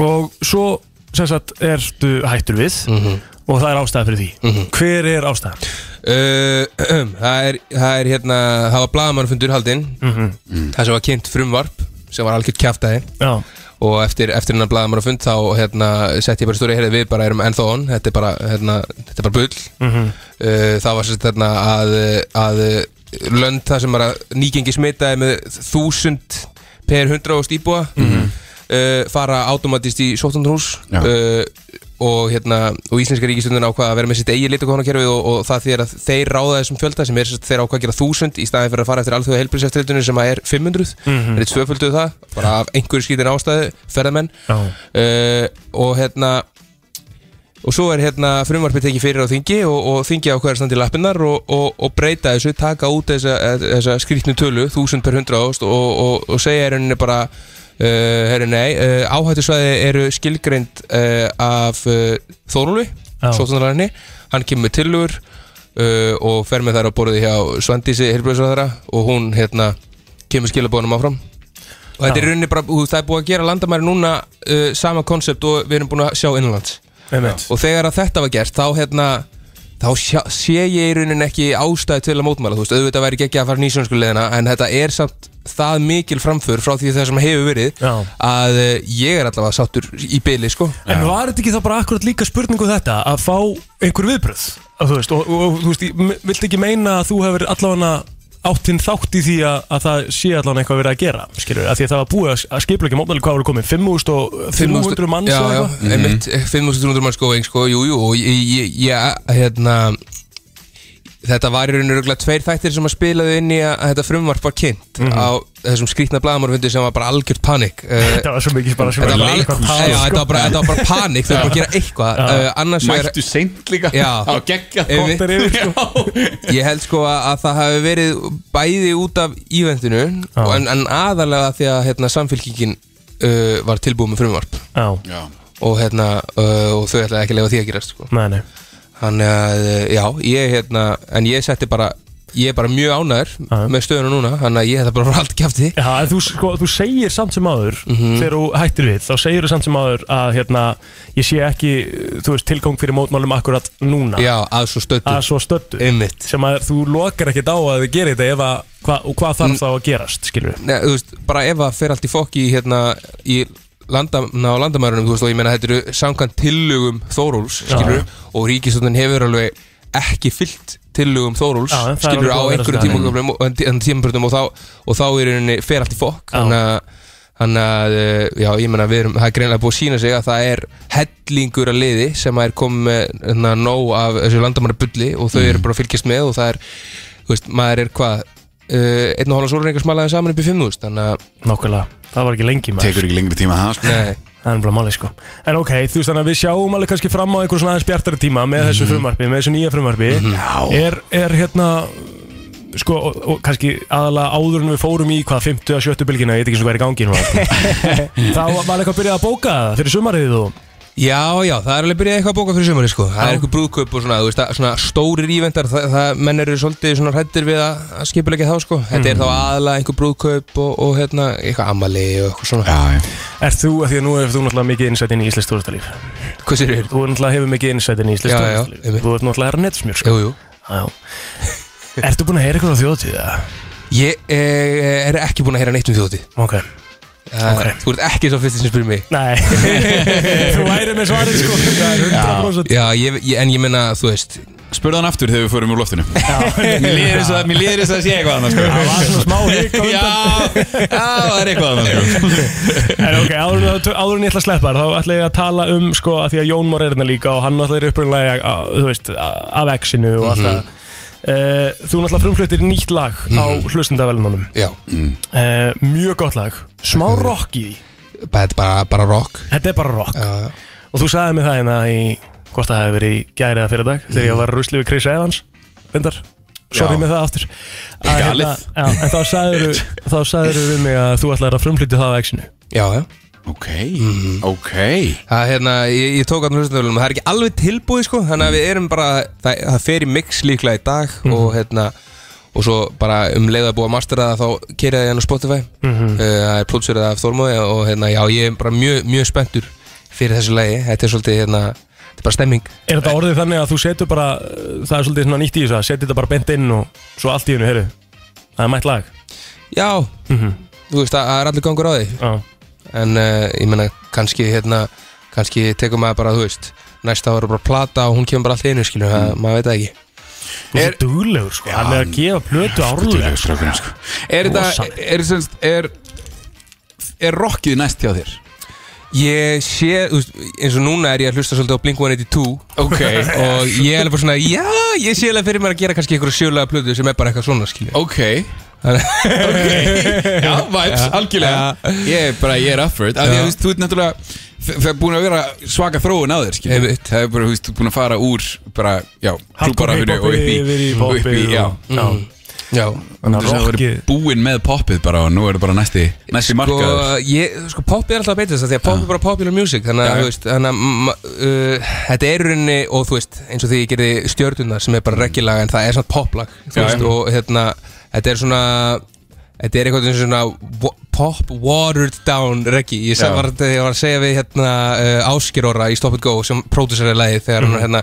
Speaker 1: og svo sem sagt ertu hættur við
Speaker 10: Mhm.
Speaker 1: og það er ástæða fyrir því hver er ástæðan?
Speaker 10: Uh, það, er, það er hérna, það var blagamannfundur haldinn,
Speaker 1: Mhm.
Speaker 10: Mm. það sem var kynnt frumvarp sem var algjört kjæftæði
Speaker 1: Já,
Speaker 10: og eftir, eftir hennar blagamannfund þá hérna, sett ég bara stóri, heyrðu við bara erum ennþá on, þetta er bara, hérna, þetta er bara bull.
Speaker 1: mhm,
Speaker 10: Uh, það var sérst þarna að, að lönd það sem er að nýgengi smita er með 1000 per 100.000 íbúa
Speaker 1: Mhm. Mm.
Speaker 10: uh, fara automatist í 17 hús
Speaker 2: Já.
Speaker 10: uh, og hérna og íslenska ríkistöndin ákvað að vera með sitt eigi litakónakerfi og, og það því er að þeir ráða þessum fjölda sem er sem sagt, þeir ákvað að gera 1000 í staðin fyrir að fara eftir alþjóða helbriðseftirleitunum sem að er 500
Speaker 1: Mhm.
Speaker 10: þeir tvöfölduðu það bara af einhverju skýtin ástæðu ferðamenn
Speaker 1: Já.
Speaker 10: uh, og hérna og svo er hérna frumvarpið tekið fyrir á þingi og, og þingi á hverja standi lappinnar og, og, og breyta þessu, taka út þessa, þessa skrýtnu tölu, 1000 per 100 og, og, og segja í rauninni bara uh, herri nei, uh, áhættusvæði eru skilgreind uh, af uh, Þórúlu,
Speaker 1: Já.
Speaker 10: sótunarlæðinni hann kemur með tillögur uh, og fer með þær á borðið hjá Svandísi Hilbjörnsvæðara og hún hérna kemur skilabónum áfram og þetta er í rauninni bara, þú veist, það er búið að gera landamæri núna uh, sama konsept og við erum búin að sjá innanlands
Speaker 1: Einmitt.
Speaker 10: og þegar að þetta var gert þá hérna þá sjá, sé ég í rauninni ekki ástæði til að mótmæla þú veist, auðvitað væri ekki að fara nýsjónsku leðina en þetta er samt það mikil framför frá því það sem hefur verið
Speaker 1: Já.
Speaker 10: að uh, ég er allavega sáttur í byli sko
Speaker 1: En var þetta ekki þá bara akkurat líka spurningu þetta að fá einhver viðbröð að, þú veist, og, og, og þú veist, ég m- viltu ekki meina að þú hefur allavega áttinn þátt í því að, að það sé allavega eitthvað verið að gera skilur, að því að það var búið að- að skipla ekki mótmæli hvað voru komið, 5.300 manns
Speaker 10: já,
Speaker 1: eða
Speaker 10: já,
Speaker 1: eitthvað? Mhm.
Speaker 10: einmitt, 5.300 manns góðing sko, jú, jú, og ég, ég, ég hérna þetta var í rauninu röglega tveir þættir sem að spilaði inn í að, að þetta frumvarp var kynnt
Speaker 1: Mhm.
Speaker 10: á þessum skrýtna blagamorfundi sem var bara algjört panik uh,
Speaker 1: Þetta var svo mikið bara sem
Speaker 10: Þetta var,
Speaker 1: að
Speaker 10: alveg,
Speaker 1: leika
Speaker 10: já, þetta var bara, þetta var bara panik Þau voru bara að gera eitthvað uh, Annars vegar,
Speaker 2: Mættu seint líka
Speaker 10: Já.
Speaker 2: Það var geggjað
Speaker 10: Ef
Speaker 1: Mhm.
Speaker 2: gott
Speaker 10: við-
Speaker 2: er yfir sko.
Speaker 10: ég held sko að, að það hafi verið Bæði út af íventinu
Speaker 1: Já.
Speaker 10: en, en aðalega því að hérna, samfélkingin uh, Var tilbúið með frumvarp
Speaker 1: Já,
Speaker 2: Já.
Speaker 10: Og, hérna, uh, og þau ætlaði ekki að lefa því að gerast sko.
Speaker 1: nei, nei
Speaker 10: Þannig að, uh, já, ég hérna En ég setti bara Ég er bara mjög ánæður
Speaker 1: Já.
Speaker 10: með stöðuna núna Þannig að ég hefði bara allt kæfti
Speaker 1: Já, en þú, sko, þú segir samt sem áður
Speaker 10: Mhm.
Speaker 1: þegar þú hættir við, þá segir þú samt sem áður að hérna, ég sé ekki þú veist, tilgang fyrir mótmálum akkurat núna
Speaker 10: Já, að svo stöttu
Speaker 1: að svo stöttu
Speaker 10: Einmitt
Speaker 1: sem að þú lokar ekkert á að þið gerir þetta ef að, hva, og hvað þarf þá að gerast, sko. skilur við
Speaker 10: Nei, þú veist, bara ef að fer allt í fokk í hérna í landamna og landamærunum, þú veist, og ég meina þetta eru samkvæmt tillögum Þóróls, skilur og ríkistjónin hefur alveg ekki fyllt tillögum Þóróls,
Speaker 1: Já, en það er
Speaker 10: skilur á
Speaker 1: alveg búið að vera
Speaker 10: einhverjum
Speaker 1: staðan.
Speaker 10: tímabröndum og, en- en tímabröndum og, þá, og þá er henni fer allt í fokk,
Speaker 1: Já.
Speaker 10: þannig að Þannig að, eh, já, ég meina, við erum, það er greinlega búið að sína sig að það er hellingur að liði sem að er komið með hérna, nóg af þessu landamærabulli og þau
Speaker 1: Mhm.
Speaker 10: eru bara að fylgjast með og það er, þú veist, maður er hvað, uh, einn og hálfa sólrengar smalaði saman upp í 5.000, þannig að,
Speaker 1: Nákvæmlega, það var ekki lengi maður
Speaker 2: Tekur ekki lengri tíma að það sko.
Speaker 10: nei,
Speaker 1: Það er bara máli sko En ok, þú veist þannig að við sjáum alveg kannski fram á einhver svona aðeins bjartari tíma með þessu frumvarpi, með þessu nýja frumvarpi er, er hérna sko, og, og kannski aðalega áður en við fórum í hvað, 50 að 70 bylgina ég veit ekki svona hvað er í gangi núna Þá var eitthvað að byrja að bóka það fyrir sumarið og
Speaker 10: Já, já, það er alveg byrjað eitthvað að bóka fyrir sumari sko Það er eitthvað brúðkaup og svona, þú veist, það- svona stórir ívendar það, það, menn eru svolítið svona hrættir við að, að skipulegja þá sko Þetta er þá
Speaker 1: Mhm.
Speaker 10: aðalega einhver brúðkaup og, og hérna, eitthvað amali og eitthvað svona
Speaker 2: Já, já.
Speaker 1: Er þú, af því að nú hefur þú náttúrulega mikið innsætt inn í Íslands tóristalíf
Speaker 10: Hvað sér þér?
Speaker 1: Þú náttúrulega hefur mikið innsætt inn í Íslands
Speaker 10: Já, já,
Speaker 1: tóristalíf
Speaker 10: einmitt.
Speaker 1: Þú ert náttúrulega herra netsmjör sko
Speaker 10: Jú, jú
Speaker 1: Já. Ertu búin að heyra eitthvað á þjóðtíða?
Speaker 10: Ég eh, er ekki búin að heyra neitt um þjóti
Speaker 1: Ok
Speaker 10: okay.
Speaker 1: Ok.
Speaker 10: Þú ert ekki svo fyrst sem spyrir mig
Speaker 1: Nei Þú væri með svarið sko Það er 100%
Speaker 10: Já, ég, ég, en ég menna, þú veist
Speaker 2: Spurðu hann aftur þegar við förum úr loftinu Eh, Mér líður þess að- mér líður þess að sé eitthvað annars sko.
Speaker 1: Það var svona smá hik á
Speaker 2: Já,
Speaker 1: undan
Speaker 2: já, það er eitthvað annars sko.
Speaker 1: En ok, áður en, áður en ég ætla að sleppa þér Þá ætla ég að tala um sko að Því að Jón Mór er hérna líka Og hann náttúrulega er upprunlega að, Þú veist, að- af exinu og
Speaker 10: Mhm.
Speaker 1: allt það mm Þú náttúrulega frumflutir nýtt lag Á hlustendavelunum
Speaker 10: Mhm. Já,
Speaker 1: uh, Mjög gott lag Smá rock í því
Speaker 10: bara, bara, bara rock
Speaker 1: Þetta er bara rock
Speaker 10: Já, já.
Speaker 1: Og þú sagði mér það hérna í Hvort það hefði verið í gæri eða fyrir dag
Speaker 10: Mm.
Speaker 1: Þegar ég var rusli við Chris Evans Vindar Sorry
Speaker 2: Já.
Speaker 1: með það aftur Að hérna-
Speaker 2: Galið.
Speaker 1: já, En þá sagðirðu Þá sagðirðu við mig að þú ætlaðir að frumflytja það á exinu
Speaker 10: Já, já Mhm.
Speaker 2: Ok, ok
Speaker 10: Það, hérna, ég, ég tók að hlustunarvélum það er ekki alveg tilbúið sko þannig að við erum bara, það, það fer í mix líklega í dag
Speaker 1: Mhm.
Speaker 10: og hérna og svo bara um leið að búa að mastera það þá keira ég hann á Spotify
Speaker 1: Mhm.
Speaker 10: uh, það er plótsurðið af Þormóði og hérna já, ég er bara mjög, mjög spenntur fyrir þessu lagi, þetta er svolítið hérna þetta er bara stemming
Speaker 1: Er þetta orðið þannig að þú setur bara Það er svolítið svona nýtt í þess að Setur þetta bara bent inn og svo allt í hennu, heyrðu Það er mætt lag Mhm.
Speaker 10: Já, þú veist, það það er allir gangur á því
Speaker 1: Já,
Speaker 10: en uh, ég meina kannski hérna,
Speaker 2: Mm.
Speaker 10: kannski tekum maður bara, þú veist næsta ára bara plata og hún kemur bara allt í einu skilur, það, maður veit það ekki
Speaker 1: Þú er duglegur sko Hann er að gefa plötu árlega
Speaker 2: duglegur, strákurinn, sko. Er þetta,
Speaker 1: Rosaleg.
Speaker 2: er, er, er, er rockið næst hjá þér?
Speaker 10: Ég sé, þú veist, eins og núna er ég að hlusta svolítið á Blink-182
Speaker 2: Ok.
Speaker 10: Og ég er alveg bara svona, já, ég sé alveg fyrir mér að gera kannski einhverju sjölega plötu sem er bara eitthvað svona, skilja
Speaker 2: Ok Já, vibes, algjörlega Ég er bara, ég er up for it Af því að
Speaker 10: Já.
Speaker 2: þú veist, þú ert náttúrulega Það er búin að vera svaka þróun á þér skilur.
Speaker 10: Einmitt.
Speaker 2: Það er bara, þú veist, þú er búin að fara úr bara, já, klúbarafinu og upp í
Speaker 1: Yfir í
Speaker 2: og upp í,
Speaker 1: poppið
Speaker 2: já
Speaker 1: og- Já
Speaker 10: Mm.
Speaker 11: Mm.
Speaker 10: Já
Speaker 2: Þannig að það
Speaker 1: rockið-
Speaker 2: verið búinn með poppið bara og nú er það bara næsti, næsti
Speaker 10: Sko,
Speaker 2: markaður
Speaker 10: ég, sko pop er alltaf að beita þess að því að pop er bara popular music Þannig
Speaker 2: Já,
Speaker 10: að,
Speaker 2: já.
Speaker 10: þú veist, þannig að mm, uh, Þetta er í rauninni, og þú veist, eins og því ég gerði stjörnuna sem er bara reggilag En það er samt poplag, þú
Speaker 2: Já,
Speaker 10: veist,
Speaker 2: já.
Speaker 10: og hérna Þetta er svona Þetta er eitthvað eins og svona wa- pop watered down reggi Ég
Speaker 2: Já.
Speaker 10: sagði var, ég var að segja við hérna uh, Áskir Orra í Stop and Go sem pródusserið lagið þegar hann var hérna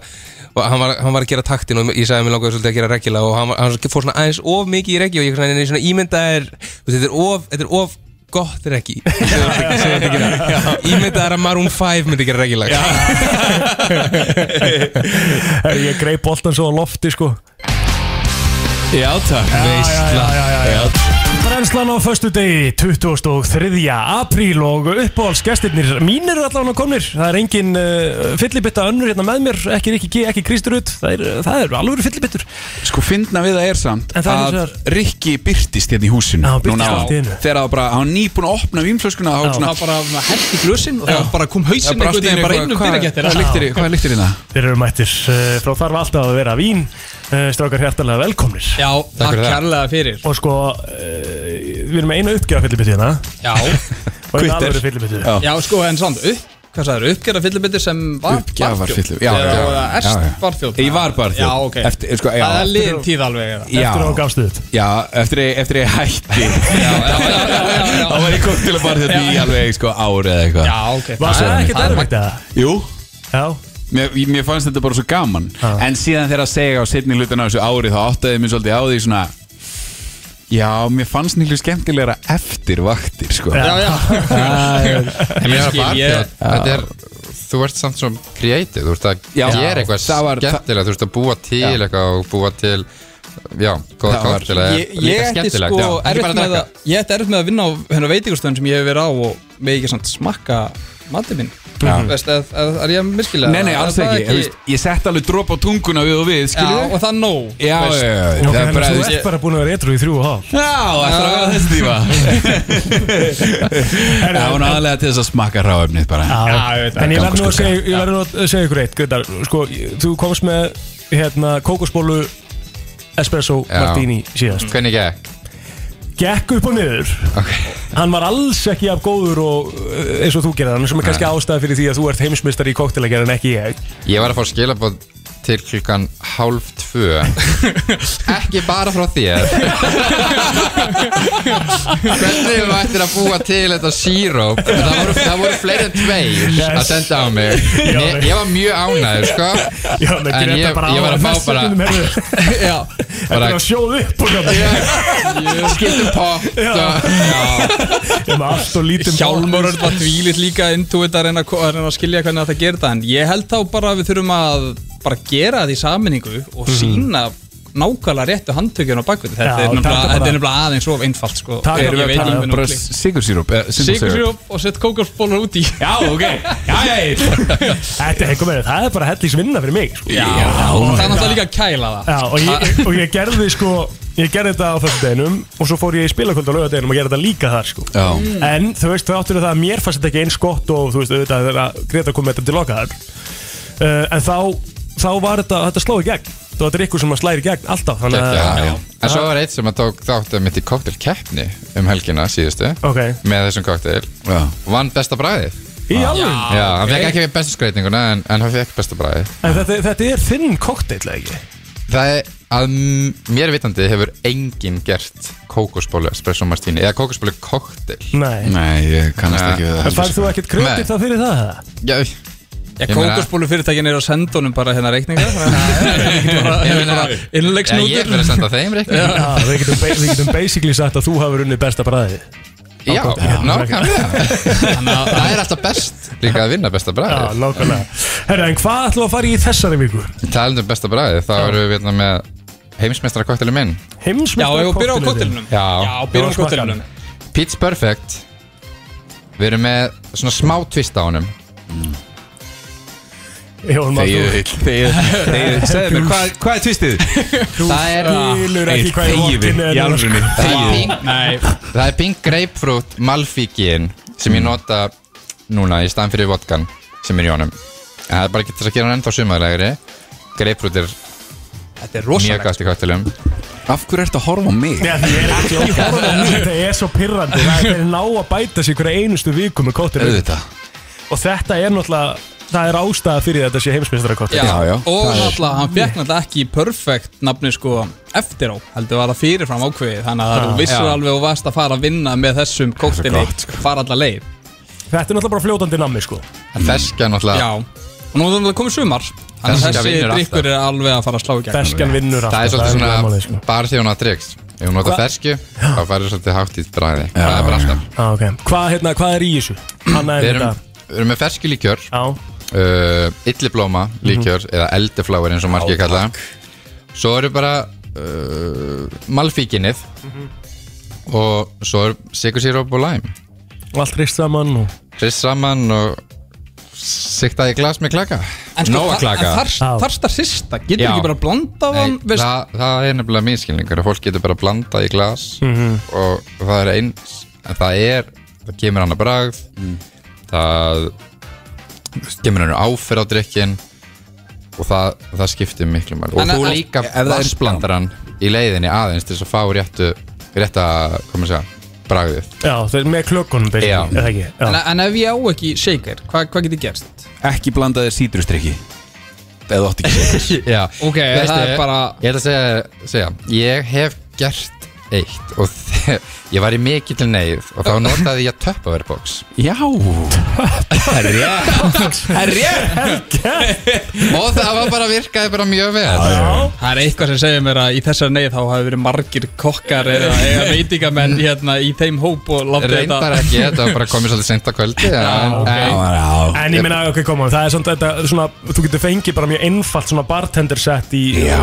Speaker 10: og hann var, hann var að gera taktin og ég sagði að mér langaði svolítið að gera reggila og hann, var, hann fór svona aðeins of mikið í reggi og ég svona, nei, svona ímyndaðir þú veist, þetta er of, þetta er of gott reggi ímyndaðir að Maroon 5 myndi gera reggilag
Speaker 1: Herru, Ég greip boltan svo á lofti sko
Speaker 2: Já, takk
Speaker 1: Veistla Brennslan á föstu degi 23. apríl og uppáhaldsgestirnir mínir eru allavega komnir það er engin uh, fyllibitta önnur hérna með mér ekki Rikki G, ekki Kristurud það er, uh, það er alveg fyllibittur
Speaker 2: Sko, fyndna við það er samt
Speaker 1: En það er
Speaker 2: að
Speaker 1: hins
Speaker 2: Rikki byrtist hérna í húsinu
Speaker 1: Já, hann birtist
Speaker 2: núna á-
Speaker 1: allt í einu.
Speaker 2: Þegar það bara, hann var nýbúin að opna vínflöskuna
Speaker 1: Já.
Speaker 2: Það
Speaker 11: Það bara hætti glösin og það bara kom
Speaker 2: Það
Speaker 11: hausinn
Speaker 2: brast
Speaker 11: einhvern
Speaker 2: í
Speaker 11: veginn bara inn
Speaker 2: einu eitthvað,
Speaker 11: um
Speaker 2: hvað-
Speaker 11: dyragættir
Speaker 2: Hvað er lyktir- hvað er lyktir hérna?
Speaker 1: Þeir eru mættir uh, frá þarf alltaf að vera vín uh, strákar hjartalega velkomnir
Speaker 11: Já, takk kærlega fyrir
Speaker 1: og sko uh, við erum með eina uppgjöða fyllibittu hérna
Speaker 11: Já,
Speaker 1: og hérna eina
Speaker 2: Quitter.
Speaker 1: alveg fyllibittu
Speaker 2: Já.
Speaker 11: já sko en samt upp Hvað sagður, uppgerða fyllibiti sem var
Speaker 2: Uppgjafar
Speaker 11: barþjónn.
Speaker 2: fyllibytti, já, já,
Speaker 11: Eða
Speaker 2: já,
Speaker 11: erst
Speaker 2: já, já.
Speaker 11: barþjóð
Speaker 2: Ég var bara
Speaker 11: Já, ok
Speaker 2: eftir, sko, já,
Speaker 11: Það er liðin tíð alveg eða?
Speaker 2: já,
Speaker 1: eftir að þú gafstu þetta
Speaker 2: já, eftir, að- eftir að ég hætti
Speaker 11: Já, já, já, já, já, já.
Speaker 2: Þá var ég koktel að bara þetta í alveg sko, ári eða eitthvað
Speaker 11: Já, ok
Speaker 1: Var
Speaker 11: það
Speaker 1: það
Speaker 11: er-
Speaker 1: ekkert
Speaker 11: það er-
Speaker 1: erfitt eða?
Speaker 2: Jú,
Speaker 1: Já,
Speaker 2: mér, mér fannst þetta bara svo gaman
Speaker 1: Já.
Speaker 2: En síðan þegar að segja á setni hlutin á þessu ári Þá áttaði mér svolítið á því svona Já, mér fannst nýlu skemmtilegra eftir vaktir sko.
Speaker 11: Já, já
Speaker 12: En mér
Speaker 11: Ég skil,
Speaker 12: skil,
Speaker 11: ég-
Speaker 12: ég Þetta er Þú ert samt sem creative, þú ert að
Speaker 2: Já.
Speaker 12: gera eitthvað
Speaker 2: Það var-
Speaker 12: skemmtilega, þú ert að búa til
Speaker 2: Já.
Speaker 12: eitthvað og búa til, já, góða
Speaker 2: Það var-
Speaker 12: kvartilega,
Speaker 11: Ég ég
Speaker 12: líka
Speaker 11: ætti
Speaker 12: skemmtilegt,
Speaker 11: sko
Speaker 12: já, ekki bara
Speaker 11: erfitt
Speaker 12: að
Speaker 11: með
Speaker 12: drakka.
Speaker 11: að Ég ætti erfitt með að vinna á hennar veitingustöðum sem ég hef verið á og með ekki samt smakka matið minn Veist, eð- eð- er ég að miskilega?
Speaker 2: Nei, nei, alls
Speaker 11: Er það
Speaker 2: ekki, ekki. Veist, Ég sett alveg drop á tunguna við og við
Speaker 11: Já,
Speaker 2: skilurðu?
Speaker 11: og það er nóg
Speaker 2: Já, já,
Speaker 11: veist.
Speaker 2: já, já,
Speaker 1: Nú,
Speaker 2: það er
Speaker 1: hennar,
Speaker 2: bara
Speaker 1: þú
Speaker 2: Já,
Speaker 1: ert bara búin að vera etru í þrjú og hálf
Speaker 2: það er að þessi tíma Já, hún er aðlega til þess að smakka ráöfnið bara
Speaker 1: En ég
Speaker 2: Gangur
Speaker 1: verð nú að
Speaker 2: skugga.
Speaker 1: segja, ég verð nú að segja ykkur eitt Gautar, sko, ég- þú komst með hérna, kókosbólu espresso
Speaker 12: Já.
Speaker 1: martini síðast
Speaker 12: Hvernig gekk?
Speaker 1: Gekk upp og niður Hann var alls ekki af góður og, uh, eins og þú gerðar hann sem er kannski ástæða fyrir því að þú ert heimsmyndstari í kóktelagerð en ekki ég
Speaker 12: Ég var að fá skilabóð til klukkan hálf tvö, ekki bara frá þér. Hvernig þú ættir að búa til þetta síróp, það voru, það voru fleiri en tveir að
Speaker 1: Yes.
Speaker 12: senda á mig. Ég, ég var mjög ánægður, sko.
Speaker 1: Já, menn,
Speaker 12: En
Speaker 1: Greta
Speaker 12: ég- ég var að
Speaker 1: á
Speaker 12: fá bara-
Speaker 1: messunum, heyrðu. Þetta
Speaker 12: bara-
Speaker 1: er að sjóðu upp og hérna
Speaker 12: Skiptum pott
Speaker 1: Já.
Speaker 12: og...
Speaker 1: Ég er með allt og lítið
Speaker 11: sko? Hjálmur er bara dvílit líka intuit að reyna að, að reyna að skilja hvernig þetta gerir það en ég held þá bara að við þurfum að bara gera þetta í saminningu og sína nákvæmlega réttu handtökjun á bakvið
Speaker 1: Mhm.
Speaker 11: þetta
Speaker 1: Já,
Speaker 11: er nefnilega-
Speaker 1: taka bara-
Speaker 11: þetta er nefnilega aðeins of einfalt sko
Speaker 1: Taka
Speaker 11: Ég
Speaker 1: bara-
Speaker 11: veit
Speaker 1: taka
Speaker 11: ekki hvernig
Speaker 2: Bara
Speaker 11: hún
Speaker 2: Eh,
Speaker 11: klikkar.
Speaker 2: sigursýrup
Speaker 11: Sykur sér upp og sett kókosbólur út í
Speaker 2: Já, ok Já, já,
Speaker 1: Þetta er eitthvað með það er bara hellingsvinna fyrir mig sko.
Speaker 2: já
Speaker 11: og það er náttúrulega líka að kæla það
Speaker 1: Já, og ég, og ég gerði sko Ég gerði þetta á þessu deginum Og svo fór ég í spilakvöld á laugardeginum og gerði þetta líka þar sko
Speaker 2: Já.
Speaker 1: En þú veist, þá áttur það að mér fannst þetta ekki eins gott Og þú veist, auðvitað þegar að Greta kom með þetta til loka þar uh, En þá, þá var þetta, þetta sló í gegn Þú þetta er ykkur sem að slæri í gegn alltaf Þannig að,
Speaker 12: Já, já. En svo var eitt sem að tók þáttu mitt í koktel keppni um helgina síðustu
Speaker 1: Ok,
Speaker 12: með þessum koktel
Speaker 2: Já.
Speaker 12: vann besta bræðið
Speaker 1: í alveg
Speaker 12: Já, hann fekk ekki bestu skreitinguna en, en hann fekk besta bræðið
Speaker 1: En þetta, þetta er þinn kokteil, eða ekki?
Speaker 12: Það er að m- mér vitandi hefur enginn gert kókosbólu espresso martini eða kókosbólu koktel
Speaker 1: Nei,
Speaker 2: Nei, ég kannast ekki við
Speaker 1: En
Speaker 2: það
Speaker 1: fannst Eh, þú ekkert
Speaker 12: sko. Nei.
Speaker 1: kredit þá fyrir það? eða?
Speaker 12: Já,
Speaker 11: Já,
Speaker 12: Ég meina-
Speaker 11: kókosbólur fyrirtækin er á sendunum bara hérna reikninga
Speaker 12: ég meina Já, ég
Speaker 11: innlegsnútur
Speaker 12: fyrir að senda þeim reikning
Speaker 1: Já, við getum, ba- við getum basically sagt að þú hafur unnið besta bræði
Speaker 12: Já, nákvæmlega Það er alltaf best líka að vinna besta bræðið
Speaker 1: Já, nákvæmlega Herra, en hvað ætlum við að fara í þessari viku?
Speaker 12: Talandi um besta bræðið, þá erum við hérna með heimsmeistra koktelum minn
Speaker 10: Heimsmeistarakokteilinn? Já, eigum við að byrja á kokteilnum?
Speaker 12: Já,
Speaker 10: Já, byrjum á kokteilnum.
Speaker 12: Pete's Perfect Við erum með svona smá tvist á honum
Speaker 1: Jón
Speaker 12: Már, þú-
Speaker 2: Þegiðu Þegiðu Segðu mér, hvað, hvað er tvistið?
Speaker 12: Það er
Speaker 2: Skilur ekki hvað í lokin er, sko.
Speaker 12: Það er
Speaker 2: Þegiðu.
Speaker 12: pink- Það er pink grapefruit malfíkin sem ég nota núna í staðan fyrir vodkan sem er í honum En það er bara ekki til þess að gera hann ennþá sumaðlegri Grapefruit er
Speaker 10: Þetta er
Speaker 12: mjög gæst í kvættilum
Speaker 2: Af hverju ertu að horfa á mig?
Speaker 1: Já, því ég er ekki að horfa á mig, það er svo pirrandi Það er þeir ná að bæta sig hverja einustu viku með kóttir
Speaker 2: Auðvitað.
Speaker 1: Og þetta er náttúrulega, það er ástæða fyrir því að þetta sé heimsmeistara kóttir
Speaker 11: Og náttúrulega, hann fekk náttúrulega ekki perfekt nafni sko eftir á heldur var það fyrirfram ákveðið þannig að
Speaker 1: Já.
Speaker 11: þú vissir
Speaker 1: Já.
Speaker 11: alveg og varst að fara að vinna með þessum kóttinni fara alla leið
Speaker 1: Þetta er náttúrulega bara fljótandi nammi sko
Speaker 12: Ferskja náttúrulega
Speaker 11: Já, og nú er það komið sumar Þannig
Speaker 12: Ferskja
Speaker 11: að þessi
Speaker 12: vinnur alltaf.
Speaker 11: drikkur er alveg að fara að slá í gegn
Speaker 12: Það er svolítið svona barþjóna triks Ef hún nota
Speaker 1: Hva-
Speaker 12: ferskju, þá færður svolítið hátt í bræði Það er bara alltaf
Speaker 1: ah, okay. Hvað hérna, hva er í þessu? Hanna
Speaker 12: Við
Speaker 1: er
Speaker 12: erum,
Speaker 1: þetta
Speaker 12: við erum með ferskju líkjör uh, Illiblóma
Speaker 1: Mhm.
Speaker 12: líkjör Eða eldifláir eins og margir kalla það. Svo eru bara uh, Malfíkinnið
Speaker 1: Mhm.
Speaker 12: Og svo er sikursíróp og læm
Speaker 1: og allt rist saman og...
Speaker 12: Rist saman og Siktaði glas með klaka
Speaker 11: En sko,
Speaker 12: Nóa
Speaker 11: þa-
Speaker 12: klaka
Speaker 11: en þarst- þarst að sista, getur
Speaker 12: Já.
Speaker 11: ekki bara að blanda af
Speaker 12: Nei,
Speaker 11: hann veist?
Speaker 12: það, það er nefnilega miskilningur að fólk getur bara að blanda í glas
Speaker 11: Mhm.
Speaker 12: og það er eins en það er, það kemur hann að bragð
Speaker 2: Mm.
Speaker 12: það þú veist, kemur hann áferð á drikkin og það, það skiptir miklu mál og
Speaker 2: En-
Speaker 12: þú
Speaker 2: en-
Speaker 12: líka
Speaker 2: ef það er-
Speaker 12: vassblandar hann í leiðinni aðeins til þess að fá réttu rétta, hvað maður segja, bragðið
Speaker 1: Já, það er með klökkunum basically,
Speaker 12: Já.
Speaker 1: er það ekki? Já.
Speaker 11: en, en ef ég á ekki shaker, hvað hva getur gerst?
Speaker 2: Ekki blandaði sítrustryki Eða þú átt ekki sítrus
Speaker 12: Já,
Speaker 11: Ok, það er bara-
Speaker 12: Ég ætla að segja, segja ég hef gert eitt og þe- ég var í mikill neyð og þá notaði ég töppaverbox
Speaker 2: Já Það er rétt
Speaker 12: Það er rétt Og það var bara virkaði bara mjög vel
Speaker 11: Það er eitthvað sem segir mér að í þessar neyð þá hafi verið margir kokkar eða, eða veitingamenn hérna í þeim hóp og láta þetta
Speaker 12: Reyndar ekki, þetta var bara komið svolítið sent á kvöldi en-
Speaker 11: ok.
Speaker 12: en-
Speaker 1: En ég minna, ok, koma, það er svona, þetta, svona, þú getur fengið bara mjög einfalt svona bartender set í Já,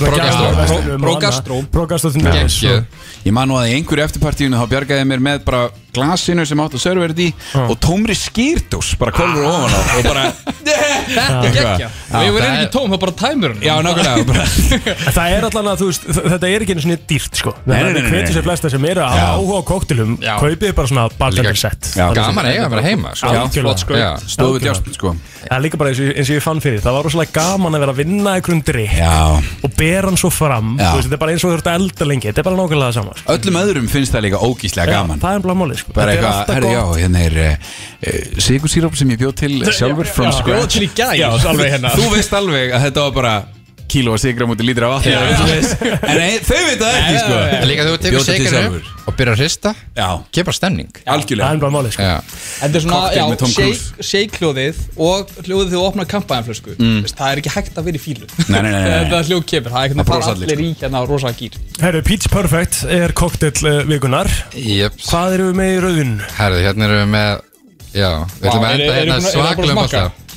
Speaker 2: Progastró.
Speaker 1: Progastró Progastró til dæmis
Speaker 2: Gekkjuð.
Speaker 1: og-
Speaker 2: Ég man nú að í einhverju eftirpartíinu þá bjargaði ég mér með bara glasinu sem átt að serverið í og tómri skýrdós, bara
Speaker 1: Ah.
Speaker 2: kólfur ofan á og bara
Speaker 11: Þetta er gekkja
Speaker 2: Já.
Speaker 11: Við vorum
Speaker 2: Það
Speaker 11: ekki tóm, það bara tæmur hann
Speaker 2: Já, nákvæmlega, bara-
Speaker 1: En Það er allan að, þú veist, þ- þetta er ekki einu svona dýrt, sko
Speaker 2: Nei, nei, nei, nei,
Speaker 1: Það hvetur
Speaker 2: nei.
Speaker 1: sér flesta sem eru að
Speaker 2: Já.
Speaker 1: áhuga á koktelum
Speaker 2: Já.
Speaker 1: Kaupið bara svona bartender set
Speaker 2: Já,
Speaker 1: Þannig
Speaker 12: gaman
Speaker 1: sem-
Speaker 12: að eiga bara heima, sko.
Speaker 1: Já,
Speaker 12: Já, flott skraut. Já.
Speaker 2: Stóðu við djásn, sko
Speaker 1: Það er líka bara eins og, eins og ég fann fyrir Það var rosalega gaman að vera að vinna einhverjum drikk
Speaker 2: Já.
Speaker 1: Og bera hann svo fram
Speaker 2: Já.
Speaker 1: Þú veist, Þetta er bara eins og þú ert að elda lengi Þetta er bara nákvæmlega það sama sko.
Speaker 2: Öllum öðrum finnst það líka
Speaker 1: Já,
Speaker 2: ógíslega gaman
Speaker 1: Það er bara málið sko.
Speaker 2: Bara
Speaker 1: Þetta er
Speaker 2: eitthvað,
Speaker 1: alltaf
Speaker 2: herri já,
Speaker 1: gott.
Speaker 2: hérna er uh, sigursýróp sem ég bjóð til sjálfur from
Speaker 1: já,
Speaker 2: scratch
Speaker 1: bjó til í gær. Alveg hérna.
Speaker 2: Þú veist alveg að þetta var bara kíló að sigra múti lítra af vatni
Speaker 12: Já,
Speaker 2: eða
Speaker 12: já.
Speaker 2: þú veist. En nei, þau veit það ekki sko
Speaker 12: Líka þú tekur
Speaker 2: Bjó til
Speaker 12: shakerinn
Speaker 2: sjálfur.
Speaker 12: upp og byrjar að hrista kemur bara stemning
Speaker 2: Algjörlega
Speaker 1: Það er bara málið sko.
Speaker 11: Þetta er
Speaker 12: Cocktail með Tom
Speaker 11: svona, já,
Speaker 12: Cruise.
Speaker 11: shake-hljóðið og hljóðið þegar þú opnar kampaðanflösku
Speaker 12: Mm.
Speaker 11: Það er ekki hægt að vera í fílu
Speaker 2: Nei, nei, nei, nei, nei.
Speaker 11: Þetta hljóð kemur, það er ekki
Speaker 2: Það
Speaker 11: að fara
Speaker 2: brosa allir,
Speaker 11: allir í hérna á rosa gýr
Speaker 1: Herru, Peach Perfect er koktel uh, vikunar
Speaker 12: Jep.
Speaker 1: Hvað erum við með í rauðin?
Speaker 12: Herðu, hérna erum við með Já, við
Speaker 1: Vá,
Speaker 12: ætlum að
Speaker 1: eru-
Speaker 12: enda hérna
Speaker 1: eru búin að- eru
Speaker 12: svaklum
Speaker 1: búin að smakka?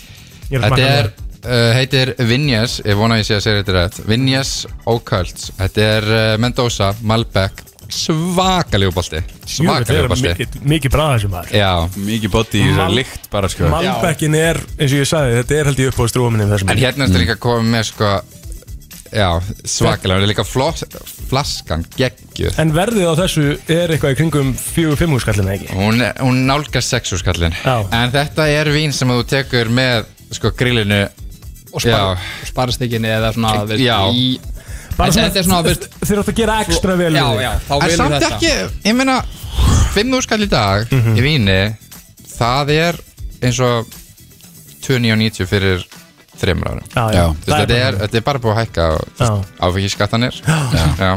Speaker 1: Ég er að
Speaker 12: Þetta
Speaker 1: smakka hérna.
Speaker 12: er, uh, heitir Vinjas Ég vona að ég sé að segja þetta rétt Vinjas Occults Þetta er uh, Mendoza, Malbec Svakalega bolti
Speaker 1: Jú,
Speaker 12: Svakalega
Speaker 1: þetta er
Speaker 12: bolti
Speaker 1: mikið, mikið bræða sem maður
Speaker 12: Já
Speaker 2: Mikið body í þessari lykt bara sko
Speaker 1: Malbeckin er, eins og ég sagði, þetta er held ég upp á strúminni
Speaker 12: En hérna ertu líka komið með sko Já, svakalega Það er líka flott, flaskan geggju
Speaker 1: En verðið Mm. á þessu er eitthvað í kringum 4-5 úrskallina ekki
Speaker 12: Hún, er- hún nálgar sexúskallin En þetta er vín sem þú tekur með sko grillinu
Speaker 11: Og spar- sparristekkinni eða svona veist,
Speaker 12: Já
Speaker 11: í-
Speaker 1: Bara
Speaker 11: En
Speaker 1: svona-
Speaker 11: þetta er svona, veist
Speaker 1: Þeir áttu að gera ekstra vel
Speaker 11: Já,
Speaker 1: við.
Speaker 11: já, þá
Speaker 12: En
Speaker 11: viljum
Speaker 12: samt
Speaker 11: þetta Mhm.
Speaker 12: ekki, ég meina 5 úrskall í dag í víni Það er eins og 2,90 fyrir þreymur árum
Speaker 1: Já, já.
Speaker 12: Þú veist,
Speaker 1: Það er
Speaker 12: þetta, er,
Speaker 1: bara-
Speaker 12: þetta er bara búið að hækka áfengiskattanir Já, já.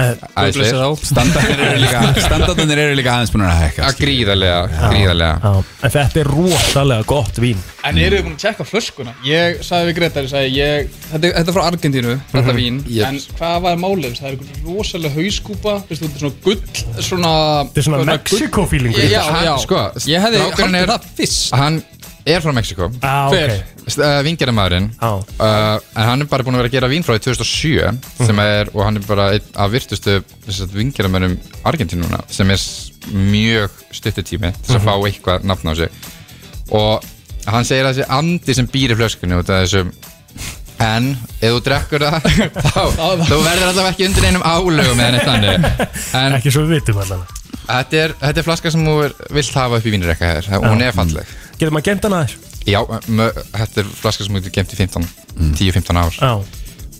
Speaker 11: Eh,
Speaker 12: Æsir.
Speaker 2: Standardarnir eru líka Standardarnir eru líka aðeins sko. búin að hækka
Speaker 12: Að gríðarlega, gríðarlega
Speaker 1: já. En þetta er rosalega gott vín
Speaker 11: En eru þið búin að tjekka flöskuna? Ég sagði við Gretar, ég sagði ég, þetta, er- þetta er frá Argentínu, þetta
Speaker 1: Mhm.
Speaker 11: vín
Speaker 1: Yep.
Speaker 11: En hvað var málið? Það er einhvern rosalega hauskúpa, veistu, þetta er svona gull, svona
Speaker 1: Þetta er
Speaker 12: Sko,
Speaker 1: svona
Speaker 11: gull-
Speaker 1: Mexíkó-feelingur.
Speaker 11: Já,
Speaker 12: Hann-
Speaker 11: já,
Speaker 12: sko,
Speaker 11: ég hefði
Speaker 12: strákurinn
Speaker 11: haldið
Speaker 12: er-
Speaker 11: það fyrst
Speaker 12: Hann er frá Mexiko
Speaker 1: ah,
Speaker 11: Hver?
Speaker 12: uh, vingerðamæðurinn uh, en hann er bara búin að vera að gera vín frá því 2007
Speaker 1: Mhm.
Speaker 12: sem er, og hann er bara einn af virtustu vingerðamæðurum Argentínuna sem er s- mjög stuttu tími til að
Speaker 13: Mhm.
Speaker 12: fá eitthvað nafn á sig og hann segir að þessi andi sem býr í flöskunni út af þessu en ef þú drekkur það þá, þú verður allavega ekki undir einum álögum eða neitt þannig en,
Speaker 1: Ekki svo við vitum allavega
Speaker 12: Þetta er, þetta er flaska sem þú er- vilt hafa upp í vínrekka hér Hún er falleg
Speaker 1: Getur maður gemt hann aðeins?
Speaker 12: Já, mö- þetta er flaska sem þú getur gemt í 15,
Speaker 11: Mm.
Speaker 12: 10-15 ár
Speaker 1: Já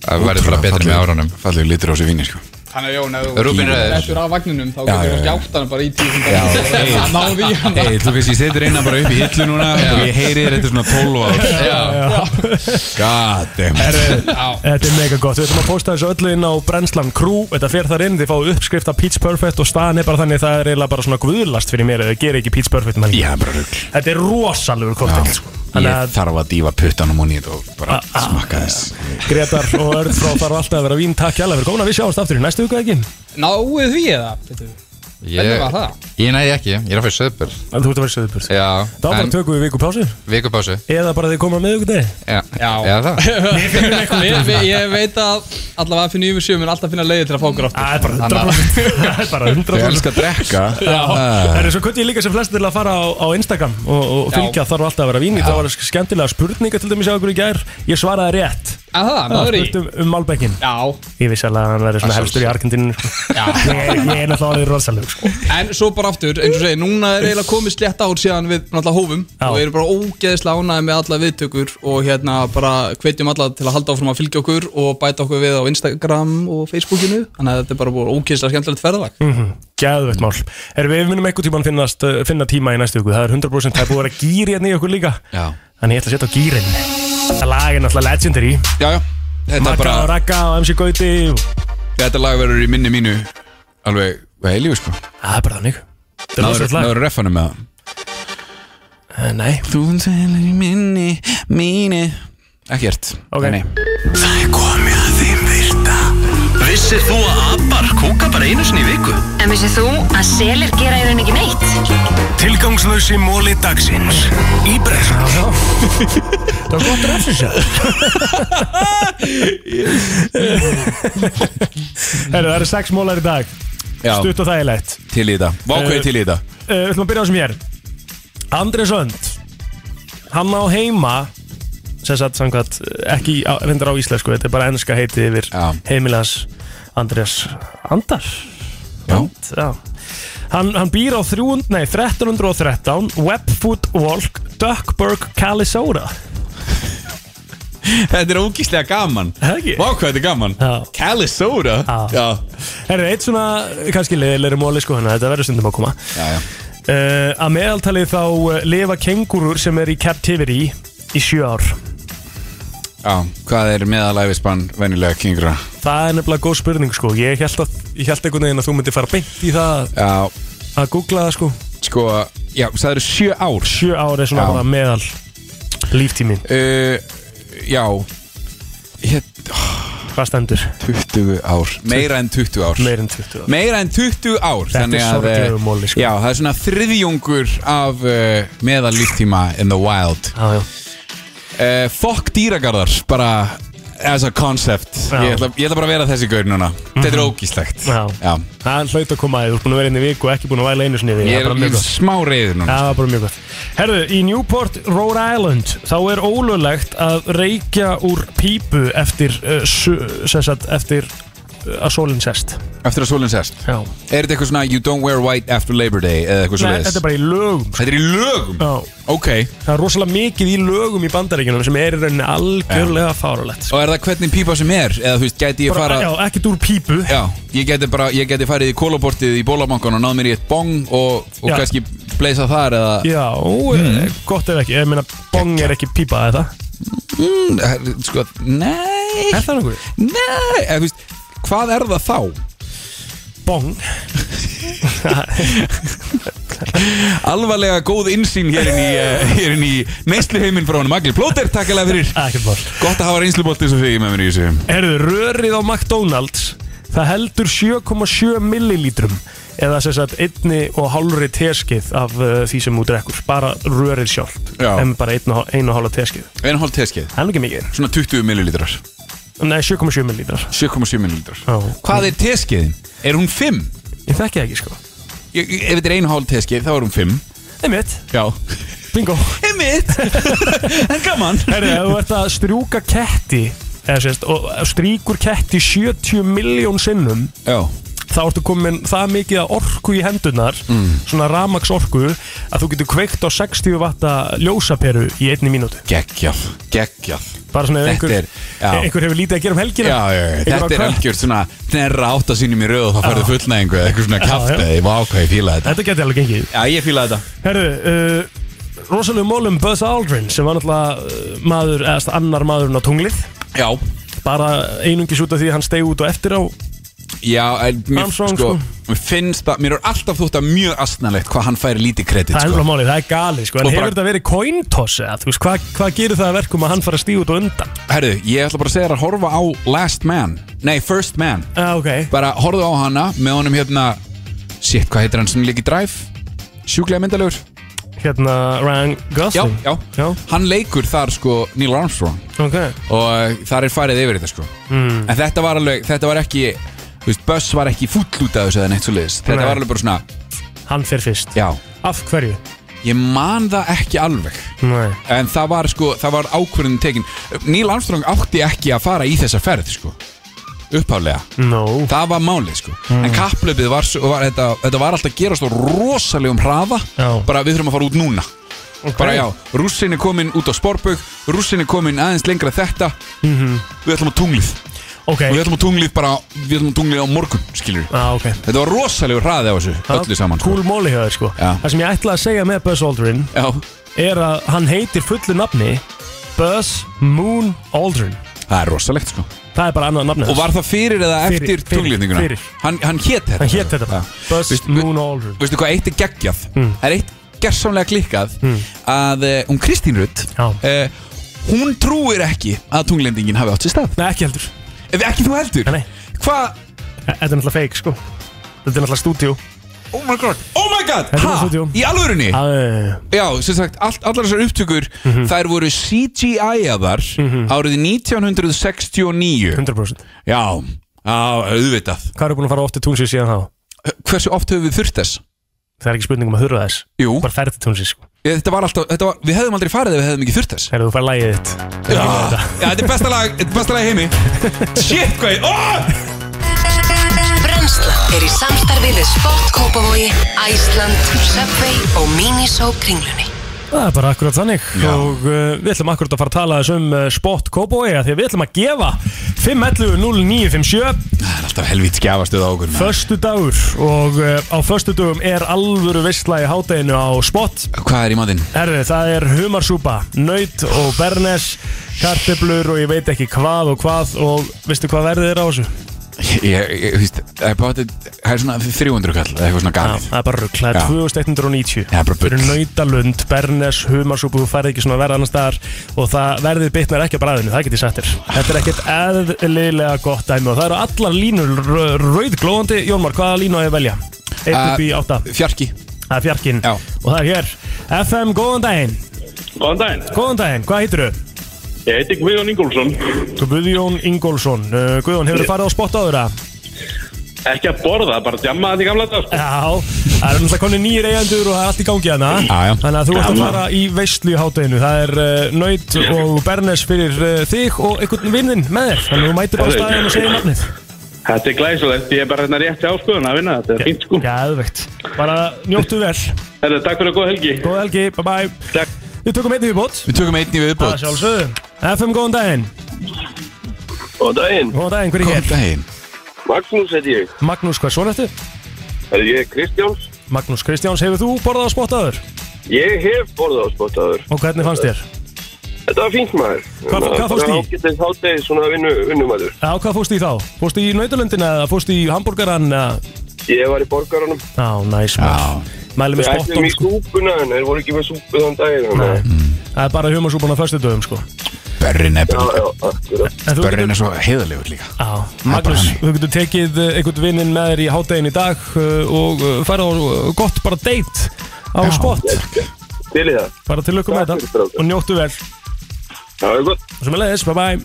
Speaker 12: Það verður bara betra með árunum
Speaker 2: Fallegur litur á þessu víni sko
Speaker 11: Þannig að Jón, ef
Speaker 12: þú Rúbín Rauður.
Speaker 11: Þetta er af vagninum, þá
Speaker 2: Já,
Speaker 11: getur
Speaker 2: já,
Speaker 11: þú
Speaker 2: já.
Speaker 11: hjátt hana bara í
Speaker 2: Já,
Speaker 11: tíu
Speaker 2: hey.
Speaker 11: Náði í hana
Speaker 2: Hey, þú veist, ég setur eina bara upp í hillu núna
Speaker 11: Já.
Speaker 2: og ég heyri þér eftir svona 12 ár God damn it
Speaker 1: Þetta er mega gott, við ætlum að posta þessu öllu inn á Brennslan Crew, þetta fer þar inn, þið fáið uppskrift af Peach Perfect og staðan er bara þannig það er eiginlega bara svona guðlast fyrir mér eða gera ekki Peach Perfect um helgina.
Speaker 2: Já, bara rugl
Speaker 1: Þetta er rosalegur koktel sko. Þannig
Speaker 2: Ég
Speaker 1: að
Speaker 2: þarf að dífa puttanum og nýtt og bara smakka þess
Speaker 1: sko. Gretar og Örn frá þarf alltaf að vera vín, takk hjá fyrir góna, við sjáumst aftur í næstu viku ekki
Speaker 11: Náðu því eða? Pétur? Hvernig var það?
Speaker 12: Ég næði ekki, ég er að fara í söðbjörn
Speaker 1: En þú ert að fara í söðbjörn?
Speaker 12: Já
Speaker 1: Þá bara tökum við vikupásu
Speaker 12: Vikupásu
Speaker 1: eða bara þið koma á miðvikudegi
Speaker 12: Já, já það
Speaker 11: Ég- ég- Ég veit að allavega fyrir nýjum sjöum mun alltaf finna leiði til að fá okkur aftur Það
Speaker 1: er bara 100% Það er bara 100%
Speaker 11: Þau elska að drekka.
Speaker 1: Já,
Speaker 11: Ah.
Speaker 1: það er svo kvöld ég líka sem flestir til að fara á, á Instagram og, og fylgja þarf alltaf að vera víni Það var skemmtilega spurninga til dæmis á okkur í gær Ég svaraði rétt
Speaker 11: Aha,
Speaker 1: Það
Speaker 11: náður í
Speaker 1: spurt um, um Malbeckin
Speaker 11: Já
Speaker 1: Ég vissi alveg að hann verður svona
Speaker 11: Að
Speaker 1: helstur í Argentínu sko.
Speaker 11: Já.
Speaker 1: Ég er ég er náttúrulega orðið rosaleg sko.
Speaker 11: En svo bara aftur, eins og segi, núna er eiginlega komið slétt ár síðan við náttúrulega hófum og við erum bara ógeðislega ánæði með alla viðtökur og hérna bara hvetjum alla til að halda áfram að fylgja okkur og bæta okkur við á Instagram og Facebookinu þannig að þetta er bara búið ógeðislega skemmtilegt ferðag
Speaker 1: mm Gæðveitt mál Erum við munum einhvern tíman finnast, uh, finna tíma í næstu viku Það er 100% það er búið að vera gýri hérna í okkur líka
Speaker 2: Já.
Speaker 1: Þannig ég ætla að setja á gýrin Það lag er náttúrulega legendary
Speaker 2: Já, já Þetta
Speaker 1: Magga
Speaker 2: bara-
Speaker 1: og Ragga og MC Gauti og...
Speaker 2: Þetta lag verður í minni mínu alveg heilíu sko
Speaker 1: Það er bara þannig Þetta er rosalegt lag. Eh,
Speaker 2: Náður reffanum með það
Speaker 1: Nei
Speaker 2: Þú segir í minni, mínu Ekkert
Speaker 1: Ok
Speaker 2: Nei
Speaker 3: Það er komið að þeim virta Vissir þú að abar kúka bara einu sinni í viku?
Speaker 7: En vissið þú að selir gera í raun ekki neitt?
Speaker 3: Tilgangslösi móli dagsins Í brenslan
Speaker 1: Það var gott refsins Herru, það eru sex mólar í dag
Speaker 2: Já.
Speaker 1: Stutt og þægilegt
Speaker 2: Til í þetta Vákveð til í þetta
Speaker 1: uh, Við ætlum að byrja á sem ég er Andrés Önd Hann á heima sem sagt samkvæmt eh, ekki á, reyndar á íslensku, þetta er bara ennska heiti yfir já. heimilans Andrés Andar já. And, já. Hann, hann býr á 300, nei, 1313 Webfoot Walk Duckburg, Calisora
Speaker 2: Þetta er ógíslega gaman Vákveð þetta er gaman Calisoda Já
Speaker 1: Herri, eitt svona, eh, kannski leiðilegri móli sko hana, þetta verður stundum að koma
Speaker 2: Já, já
Speaker 1: Uh, að meðaltalið þá eh, lifa kengurur sem er í captivity í sjö ár
Speaker 2: Já, hvað er meðalæfisbann venjulega kingra?
Speaker 1: Það er nefnilega góð spurning sko Ég held, að, ég held einhvern veginn að þú myndir fara beint í það
Speaker 2: Já
Speaker 1: Að googla það sko
Speaker 2: Sko, já, það eru sjö ár
Speaker 1: Sjö ár er svona
Speaker 2: Já.
Speaker 1: bara meðal Líftímin
Speaker 2: uh, Já Hér,
Speaker 1: Hvað stendur?
Speaker 2: 20 ár Meira en 20 ár
Speaker 1: Meira en 20 ár
Speaker 2: Meira en 20 ár
Speaker 1: Þetta
Speaker 2: þannig
Speaker 1: er
Speaker 2: að,
Speaker 1: sorglegur
Speaker 2: eh,
Speaker 1: móli, sko.
Speaker 2: Já, það er svona þriðjungur af uh, meðal líftíma in the wild
Speaker 1: Já, já
Speaker 2: Fokk dýragarðar, bara as a concept ég ætla, ég ætla bara að vera þessi gaur núna Þetta
Speaker 1: Mhm.
Speaker 2: er ógíslegt
Speaker 1: Já. Það er hlaut að koma að þú ert búin að vera inn í viku og ekki búin að væla einu sinni í því.
Speaker 2: Ég
Speaker 1: Það
Speaker 2: er
Speaker 1: bara
Speaker 2: ég
Speaker 1: mjög
Speaker 2: er
Speaker 1: gott.
Speaker 2: smá reyður núna
Speaker 1: Það var bara mjög gott Herðu, í Newport, Rhode Island þá er ólulegt að reykja úr pípu eftir uh, su, sem sagt, eftir uh, að sólinn sest
Speaker 2: Eftir að sólinn sest
Speaker 1: Já.
Speaker 2: Er þetta eitthvað svona You don't wear white after Labor Day eða eitthvað
Speaker 1: Nei,
Speaker 2: svoleiðis?
Speaker 1: þetta er bara í lögum
Speaker 2: Þetta er í lögum?
Speaker 1: Já
Speaker 2: Ok
Speaker 1: Það er rosalega mikið í lögum í bandaríkjunum sem er í rauninni algjörlega fáralegt
Speaker 2: Og er það hvernig pípa sem er? Eða þú veist, gæti ég
Speaker 1: Bara,
Speaker 2: fara
Speaker 1: já, ekkert úr pípu
Speaker 2: Já, ég gæti bara, ég gæti farið í kólaportið í bólamangan og náð mér í eitt bong og, og
Speaker 1: Já.
Speaker 2: kannski bleisa þar eða
Speaker 1: Já, eh, gott ef ekki Ég meina, bong er ekki pípa eða
Speaker 2: mm, eh, Sko, nei
Speaker 1: Er það nokkuð?
Speaker 2: Nei, eða þú veist, hvað er það þá?
Speaker 1: Bong
Speaker 2: Alvarlega góð innsýn hér inn í, eh, hér inn í neysluheiminn frá honum Agli Plóter, takk alveg fyrir
Speaker 1: Ekkert mál
Speaker 2: Gott að hafa reynsluboltið sem þig með mér í þessu
Speaker 1: Herðu, rörið á McDonalds Það heldur 7,7 millilítrum eða sem sagt einni og hálfri teskið af uh, því sem þú drekkur bara rörið sjálft
Speaker 2: Já.
Speaker 1: en bara einn og, ein og hálfa teskið
Speaker 2: Einu hálf teskið
Speaker 1: Það er ekki mikið
Speaker 2: Svona 20 millilítrar
Speaker 1: Nei, 7,7 millilítrar
Speaker 2: 7,7 millilítrar
Speaker 1: Já.
Speaker 2: Hvað er teskiðin? Er hún 5?
Speaker 1: Ég þekki það ekki sko
Speaker 2: ég, ég- Ef þetta er einu hálf teskið þá er hún 5
Speaker 1: Einmitt
Speaker 2: Já
Speaker 1: Bingo
Speaker 2: Einmitt En gaman
Speaker 1: Herri, ef þú ert að strjúka ketti eða sérst, og stríkur ketti 70 miljón sinnum
Speaker 2: Já
Speaker 1: þá ertu komin það mikið að orku í hendunar
Speaker 2: Mm.
Speaker 1: svona ramaks að þú getur kveikt á 60 vatta ljósaperu í einni mínútu
Speaker 2: Geggjaf, geggjaf
Speaker 1: bara svona ef
Speaker 2: Þetta
Speaker 1: einhver,
Speaker 2: er- já.
Speaker 1: einhver hefur lítið að gera um helgina
Speaker 2: Já, já, já,
Speaker 1: einhver á
Speaker 2: þetta er
Speaker 1: kvöld.
Speaker 2: algjört svona Nerra átta sínum í röð og þá færðu fullnæðingu eða eitthvað svona
Speaker 1: Já, já.
Speaker 2: kæft eða ég var ákveði fíla þetta
Speaker 1: Þetta geti alveg gengið
Speaker 2: Já, ég fíla þetta
Speaker 1: Herru, uh, rosalega mólum Buzz Aldrin sem var náttúrulega uh, maður, eðast annar maðurinn á tunglið
Speaker 2: Já
Speaker 1: Bara einungis út af því að hann steig út og eftir á
Speaker 2: Já, en mér,
Speaker 1: Armstrong,
Speaker 2: sko, mér finnst það, mér er alltaf þótt að mjög astnalegt hvað hann færi lítið kredit
Speaker 1: Það er
Speaker 2: sko.
Speaker 1: alveg málið, það er galið sko En
Speaker 2: Og
Speaker 1: hefur
Speaker 2: bara-
Speaker 1: þetta verið coin toss eða, þú veist, hvað hva gerir það að verkum að hann fara að stíða út og undan?
Speaker 2: Herðu, ég ætla bara að segja þér að horfa á Last Man Nei, First Man
Speaker 1: ah, okay.
Speaker 2: Bara horfðu á hana með honum hérna Shit, hvað heitir hann sem leik í Drive? Sjúklega myndalegur
Speaker 1: Hérna Ryan Gosling
Speaker 2: Já, já, Hann leikur þar sko Neil Armstrong
Speaker 1: Ok
Speaker 2: Og eh, þar er farið yfir þetta sko
Speaker 1: mm.
Speaker 2: En þetta var alveg, þetta var ekki þú veist, Buzz var ekki fúll út af þessu eða neitt svo liðis Þetta
Speaker 1: Nei.
Speaker 2: var alveg bara svona
Speaker 1: Hann fer fyrst
Speaker 2: Já
Speaker 1: Af hverju?
Speaker 2: Ég man það ekki alveg
Speaker 1: Nei
Speaker 2: En það var sko, það var ákvörðin tekin Neil Armstrong átti ekki að fara í þessa ferð sko Upphálega
Speaker 1: no.
Speaker 2: Það var málið sko
Speaker 1: Hmm.
Speaker 2: En kapplöpið var, svo- var þetta, þetta var alltaf að gerast á rosalegum hraða
Speaker 1: Já.
Speaker 2: Bara við þurfum að fara út núna
Speaker 1: Ok.
Speaker 2: Bara já, rússin er komin út á sporbögg Rússin er komin aðeins lengra þetta
Speaker 1: Mhm.
Speaker 2: Við ætlum á tunglið
Speaker 1: okay.
Speaker 2: Og við ætlum á tunglið bara, við ætlum á tunglið á morgun Skilur
Speaker 1: ah, okay.
Speaker 2: Þetta var rosalegur hraði á þessu, öllu saman
Speaker 1: Cool móli hjá þér sko
Speaker 2: Já.
Speaker 1: Það sem ég ætla að segja með Buzz Aldrin
Speaker 2: Já.
Speaker 1: Er að hann heitir fullu nafni Buzz Moon Aldrin
Speaker 2: Það er rosalegt sko
Speaker 1: Það er bara annað nafni
Speaker 2: Og var það fyrir eða eftir tunglýfninguna?
Speaker 1: Fyrir
Speaker 2: Hann, hann hét þetta
Speaker 1: Hann hét þetta bara. Buzz Moon Aldrin Hmm.
Speaker 2: Veistu hvað eitt er geggjað? Það er eitt gersamlega klikkað að eh, hún Kristín Rutt uh, hún trúir ekki að tunglendingin hafi átt sér stað
Speaker 1: Nei, ekki heldur
Speaker 2: Ef ekki þú heldur?
Speaker 1: Nei
Speaker 2: Hvað?
Speaker 1: Þetta er náttúrulega fake sko Þetta er náttúrulega stúdíu
Speaker 2: Oh my god, oh my god,
Speaker 1: Þetta er
Speaker 2: ha?
Speaker 1: stúdíu.
Speaker 2: Í alvörunni?
Speaker 1: Já, Mhm.
Speaker 2: Já, sem sagt, all, allar þessar upptökur þær voru CGI-aðar árið 1969
Speaker 1: 100%
Speaker 2: Já, á, auðvitað
Speaker 1: Hvað eru búin að fara oft í túnsins síðan þá?
Speaker 2: Hversu oft höfum við þurft þess?
Speaker 1: Það er ekki spurning um að þurfa þess
Speaker 2: Jú
Speaker 1: Bara ferð til túnsins sko
Speaker 2: Ég, Þetta var alltaf, þetta var, við hefðum aldrei farið ef við hefðum ekki þurft þess
Speaker 1: Herðu, þú fær lægið þitt
Speaker 2: Já, já, þetta er besta lag, þetta er besta lag í heimi Shit, hvað ég, oh!
Speaker 13: Brennslan er í samstarfi við Sport Kópavogi, Æsland, Subway og Miniso kringlunni.
Speaker 1: Það er bara akkurat þannig og uh, við ætlum akkurat að fara að tala þess um uh, Spot Cowboy af því að við ætlum að gefa 511-0957
Speaker 2: Það er alltaf helvít skjafastuð á okkur maður.
Speaker 1: Föstu dagur og uh, á föstu dagum er alvöru veistla í hátæginu á Spot
Speaker 2: Hvað er í matinn?
Speaker 1: Herðu, það er humarsúpa, naut og bernes, karteblur og ég veit ekki hvað og hvað og veistu hvað verðið er á þessu?
Speaker 2: Ég, ég, þú veist, það er bara þetta- það er svona 300 kall, eða eitthvað svona galið
Speaker 1: Það er bara rugg, það
Speaker 2: Já.
Speaker 1: er 2190
Speaker 2: Það er bara bull.
Speaker 1: Fyrir nautalund, bernes, humarsúpu, þú færði ekki svona verð annar staðar og það verðið bitnar ekki að bræðinu, það get ég sagt þér Þetta er ekkert eðlilega gott dæmi og það eru allar línur rauðglóðandi Jónmar, hvaða línu á ég að velja? 1 upp í 8
Speaker 2: Eh, Fjarki
Speaker 1: Það er fjarkin Já. og það er hér FM, góðan daginn
Speaker 14: Góðan daginn
Speaker 1: Góðan daginn, hvað heitir þau?
Speaker 14: Ég heiti Guðjón Ingólfsson
Speaker 1: Guðjón Ingólfsson Uh, Guðjón, hefur þið farið á spott áður að?
Speaker 14: Ekki að borða, bara djamma þetta í gamla dag sko.
Speaker 1: Já, það er náttúrulega konni nýjir eigendur og það er allt í gangi hérna. hana
Speaker 14: já.
Speaker 1: Þannig að þú ert að
Speaker 14: Gaman.
Speaker 1: fara í veistlu í hátæginu Það er uh, nöyt og bernes fyrir uh, þig og einhvern vinninn með þér Þannig að þú mætir bara á staðin og segir nafnið
Speaker 14: Þetta er glæsilegt, ég er bara hérna rétti áskuðun að vinna þetta, þetta er fínt sko
Speaker 1: Gæðvegt Bara njóttu vel
Speaker 14: Þetta, takk fyrir að góð helgi
Speaker 1: Góð helgi, bye bye
Speaker 14: Takk
Speaker 1: Við tökum einni viðbót
Speaker 2: Við tökum einni viðbót.
Speaker 1: Það sjálfsögðu FM, góðan daginn
Speaker 15: Góðan daginn
Speaker 1: Góðan daginn, hver er hér?
Speaker 2: Góðan daginn
Speaker 15: Magnús heiti ég
Speaker 1: Magnús, hvað svona ertu?
Speaker 15: Er ég Kristjáns?
Speaker 1: Magnús Kristjáns, hefur þú borðað á spottaður?
Speaker 15: Ég hef borðað á spottaður
Speaker 1: Og hvernig fannst þér?
Speaker 15: Þetta var fínt maður Hérna,
Speaker 1: Hvað- hvað fórstu í?
Speaker 15: Ágætið þáttið svona vinnu, vinnumæður
Speaker 1: Já, hvað fórstu í þá? Fórstu í nautalöndina eða fórstu í hambúrgaran? eða-
Speaker 15: Ég var í borgarunum
Speaker 1: Já, næs maður Mælum við
Speaker 15: Við ætlum
Speaker 1: spottum sko.
Speaker 15: hérna, í súpuna en þeir voru ekki með súpu þann daginn
Speaker 1: Nei. Það er bara humarsúpan á föstudöfum sko
Speaker 2: Börrin er
Speaker 15: Já, já,
Speaker 1: En þú hérna-
Speaker 2: Börrin
Speaker 1: getur-
Speaker 2: er svo heiðalegur líka
Speaker 1: Já, Magnús, þú getur tekið eh, einhvern vinninn með þér í hádegin í dag eh, og eh, fara á eh, gott bara date á spott
Speaker 15: Til í það
Speaker 1: Bara til lukku með þetta og njóttu vel
Speaker 15: Það er gott
Speaker 1: Og sem er leiðis, bye bye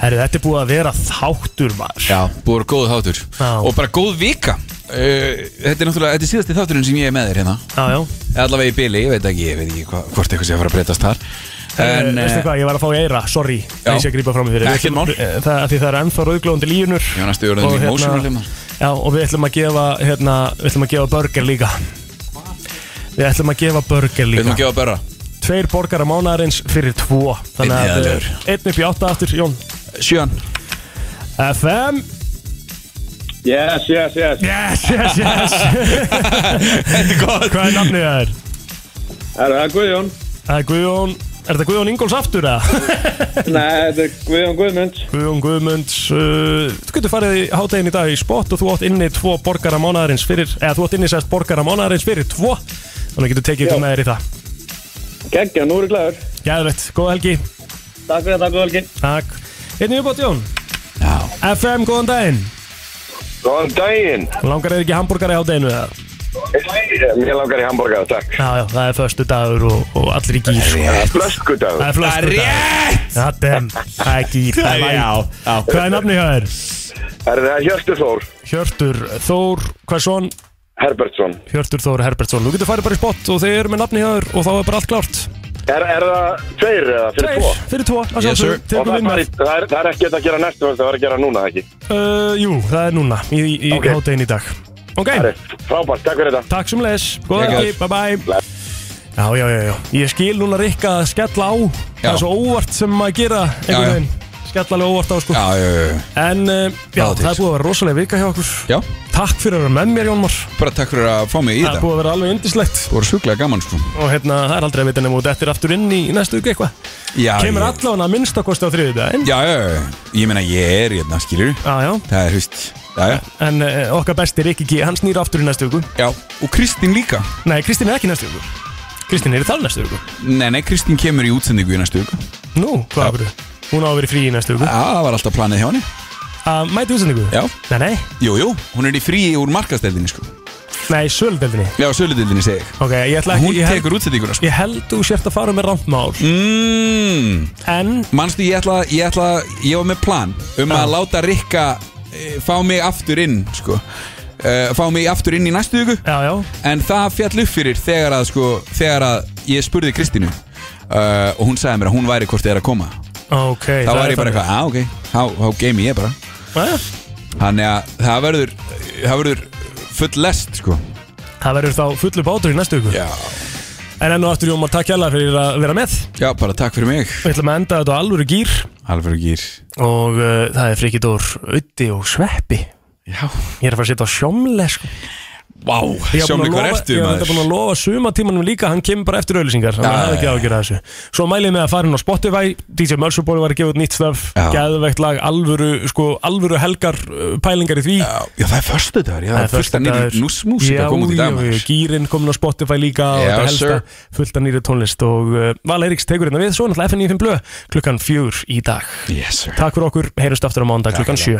Speaker 1: Herru, þetta er búið að vera þáttur maður
Speaker 2: Já, búið að vera góð þáttur Og bara góð vika uh, Þetta er náttúrulega, þetta er síðasti þátturinn sem ég er með þér hérna
Speaker 1: Já, já
Speaker 2: Eða Allavega í bili, ég veit ekki, ég veit ekki hva, hvort eitthvað sé að fara að breytast þar
Speaker 1: En,
Speaker 2: En
Speaker 1: Eh, veistu
Speaker 2: uh,
Speaker 1: hvað, ég var að fá í eira, sorry
Speaker 2: Já.
Speaker 1: Það sé að grípa fram í fyrir
Speaker 2: Ekkert mál.
Speaker 1: Eh, Það, af því það er ennþá rauðglóðandi línur
Speaker 2: Já, næstu eru orðin emotional, hérna.
Speaker 1: Já, og við ætlum að gefa, hérna, við ætlum að gefa burger líka Við ætlum að gefa burger líka
Speaker 2: við erum að gefa börra
Speaker 1: Tveir borgar að mánaðarins fyrir tvo Þannig að
Speaker 2: Einn í
Speaker 1: eh, einn upp í átta aftur, Jón
Speaker 2: Sjön
Speaker 1: FM
Speaker 14: Yes, yes, yes
Speaker 1: Yes, yes, yes
Speaker 14: Þetta er gott
Speaker 1: Hvað er nafnið það er?
Speaker 14: Það er Guðjón
Speaker 1: Það er Guðjón Er þetta Guðjón Ingóls aftur eða?
Speaker 14: Nei, þetta er Guðjón Guðmunds
Speaker 1: Guðjón Guðmunds uh, Þú getur farið í hátægin í dag í spott og þú átt inni tvo borgara mánaðarins fyrir eða þú átt inni sérst borgara mánaðarins fyrir tvo þannig getur tekið ykkur með þér í það
Speaker 14: Geggja, nú eru glæður
Speaker 1: Gæðvett, góð helgi
Speaker 14: Takk fyrir þetta, góð helgi
Speaker 1: Takk Einnig uppátt Jón Já FM, góðan daginn
Speaker 15: Góðan daginn
Speaker 1: Langar þér ekki hambúrgari í hátæginu eða?
Speaker 15: Mér langar í hambúrgar, takk
Speaker 1: Já, já, það er föstu dagur og, og allir í gýr sko.
Speaker 15: Það er flöskudagur
Speaker 1: Það er flösku dagur Já, dem, það er gýr Það er væl
Speaker 15: Já, já.
Speaker 1: Hvað er nafnið hjá þér?
Speaker 15: Er það Hjörtur Þór
Speaker 1: Hjörtur Þór, hvað svon?
Speaker 15: Herbertsson
Speaker 1: Hjörtur Þór Herbertsson, þú getur farið bara í spott og þeir eru með nafni hjá þér og þá er bara allt klárt
Speaker 15: Er, er það tveir eða fyrir
Speaker 1: Tveir,
Speaker 15: tvo?
Speaker 1: fyrir tvo, að
Speaker 15: Yes,
Speaker 1: sjálfsögðu,
Speaker 15: sir.
Speaker 1: tekur
Speaker 15: Og það
Speaker 1: við
Speaker 15: er,
Speaker 1: með.
Speaker 15: bara í- það, er, það er ekki þetta að gera næstu Það er að gera núna, ekki?
Speaker 1: uh, Jú, það er núna, í, í
Speaker 15: Ok.
Speaker 1: okay. háttegin í dag Ok,
Speaker 15: Það er Frábært, takk fyrir þetta
Speaker 1: takk sem les, góða
Speaker 15: Takk.
Speaker 1: ekki, bye bye Já, já, já, já, ég skil núna Rikka að skella á Það
Speaker 2: Já.
Speaker 1: er svo óvart sem maður gera
Speaker 2: Já, já.
Speaker 1: einhvern veginn Skella alveg óvart á sko
Speaker 2: Já, já, já, já.
Speaker 1: En, uh, já,
Speaker 2: Það er til.
Speaker 1: það er búið að vera rosalega vika hjá okkur
Speaker 2: Já.
Speaker 1: Takk fyrir að vera með mér, Jónmar
Speaker 2: bara takk fyrir að fá mig í
Speaker 1: Það er
Speaker 2: þetta
Speaker 1: búið að vera alveg indislegt
Speaker 2: Það voru sjúklega gaman sko
Speaker 1: Og hérna, það er aldrei að vita nema út eftir aftur inn í næstu viku eitthvað
Speaker 2: Já,
Speaker 1: Kemur
Speaker 2: ég-
Speaker 1: allan að minnstakosti á þriðjudaginn
Speaker 2: Já, já, já, ég meina ég er hérna, skilur
Speaker 1: Já, já
Speaker 2: Það er, hust, já, já
Speaker 1: En uh, okkar besti Rikki G, hann snýr aftur í næstu viku
Speaker 2: Já, og Kristín líka
Speaker 1: Nei, Kristín er ekki í næstu viku Kristín er í þar næstu viku
Speaker 2: Nei, nei, Kristín kemur í útsendingu í næstu viku
Speaker 1: Nú, hvað af hverju? Hún á að vera í frí í næstu viku
Speaker 2: Já, það var alltaf planið hjá henni
Speaker 1: Að mæti útsendingu?
Speaker 2: Já
Speaker 1: Nei, nei,
Speaker 2: Jú, jú, hún er í fríi úr markasteldinni sko
Speaker 1: nei, söludeldinni
Speaker 2: Já, söludeldinni segi ég
Speaker 1: Ok, ég ætla ekki
Speaker 2: Hún
Speaker 1: ég held-
Speaker 2: tekur útsendinguna sko
Speaker 1: Ég held þú sért að fara með randmál
Speaker 2: mm.
Speaker 1: En
Speaker 2: Manstu, ég ætla, ég ætla, ég var með plan Um að láta Rikka e, fá mig aftur inn sko Uh, fá mig aftur inn í næstu viku
Speaker 1: já, já.
Speaker 2: en það fjall upp fyrir þegar að, sko, þegar að ég spurði Kristínu uh, og hún sagði mér að hún væri hvort þið er að koma
Speaker 1: Ok
Speaker 2: þá var ég bara eitthvað, á ok, þá, þá geimi ég bara
Speaker 1: eitthvað
Speaker 2: Þannig að það verður, það verður full lest sko
Speaker 1: Það verður þá fullur bátur í næstu viku
Speaker 2: Já
Speaker 1: En enn og aftur Jómar, takk hjálpa fyrir að vera með
Speaker 2: Já, bara takk fyrir mig
Speaker 1: Við ætlum að enda þetta á alvöru gýr
Speaker 2: Alveg gýr
Speaker 1: Og uh, það er frikidór Uddi og Sveppi
Speaker 2: Já
Speaker 1: Ég er að fara að setja á sjómle sko.
Speaker 2: Vá,
Speaker 1: Ég hef búin
Speaker 2: sjómli
Speaker 1: að
Speaker 2: hvað
Speaker 1: lofa-
Speaker 2: ertu
Speaker 1: Ég hef
Speaker 2: maður
Speaker 1: þetta búin að lofa sumatímanum líka Hann kemur bara eftir auðlýsingar Þannig að
Speaker 2: Já,
Speaker 1: það ekki
Speaker 2: já,
Speaker 1: ágjör að þessu Svo mælið með að fara inn á Spotify DJ Mörsubóri var að gefa út nýtt stöf
Speaker 2: Já.
Speaker 1: Gæðvegt lag, alvöru, sko, alvöru helgar uh, Pælingar í því Já,
Speaker 2: Já, það er förstu dagur, já,
Speaker 1: Það er
Speaker 2: það er fullt að
Speaker 1: föstudagur.
Speaker 2: nýri núsmúsik
Speaker 1: Já,
Speaker 2: að koma út í dag
Speaker 1: já,
Speaker 2: maður
Speaker 1: já, Gýrin komin á Spotify líka og
Speaker 2: Já,
Speaker 1: þetta helsta
Speaker 2: sir.
Speaker 1: fullt að nýri tónlist og uh, Val Eiríks tekur hérna við, svo náttúrulega FNF blöð klukkan fjör í dag
Speaker 2: yes,
Speaker 1: Takk fyrir okkur, heyrjumst aftur á mándag klukkan sjö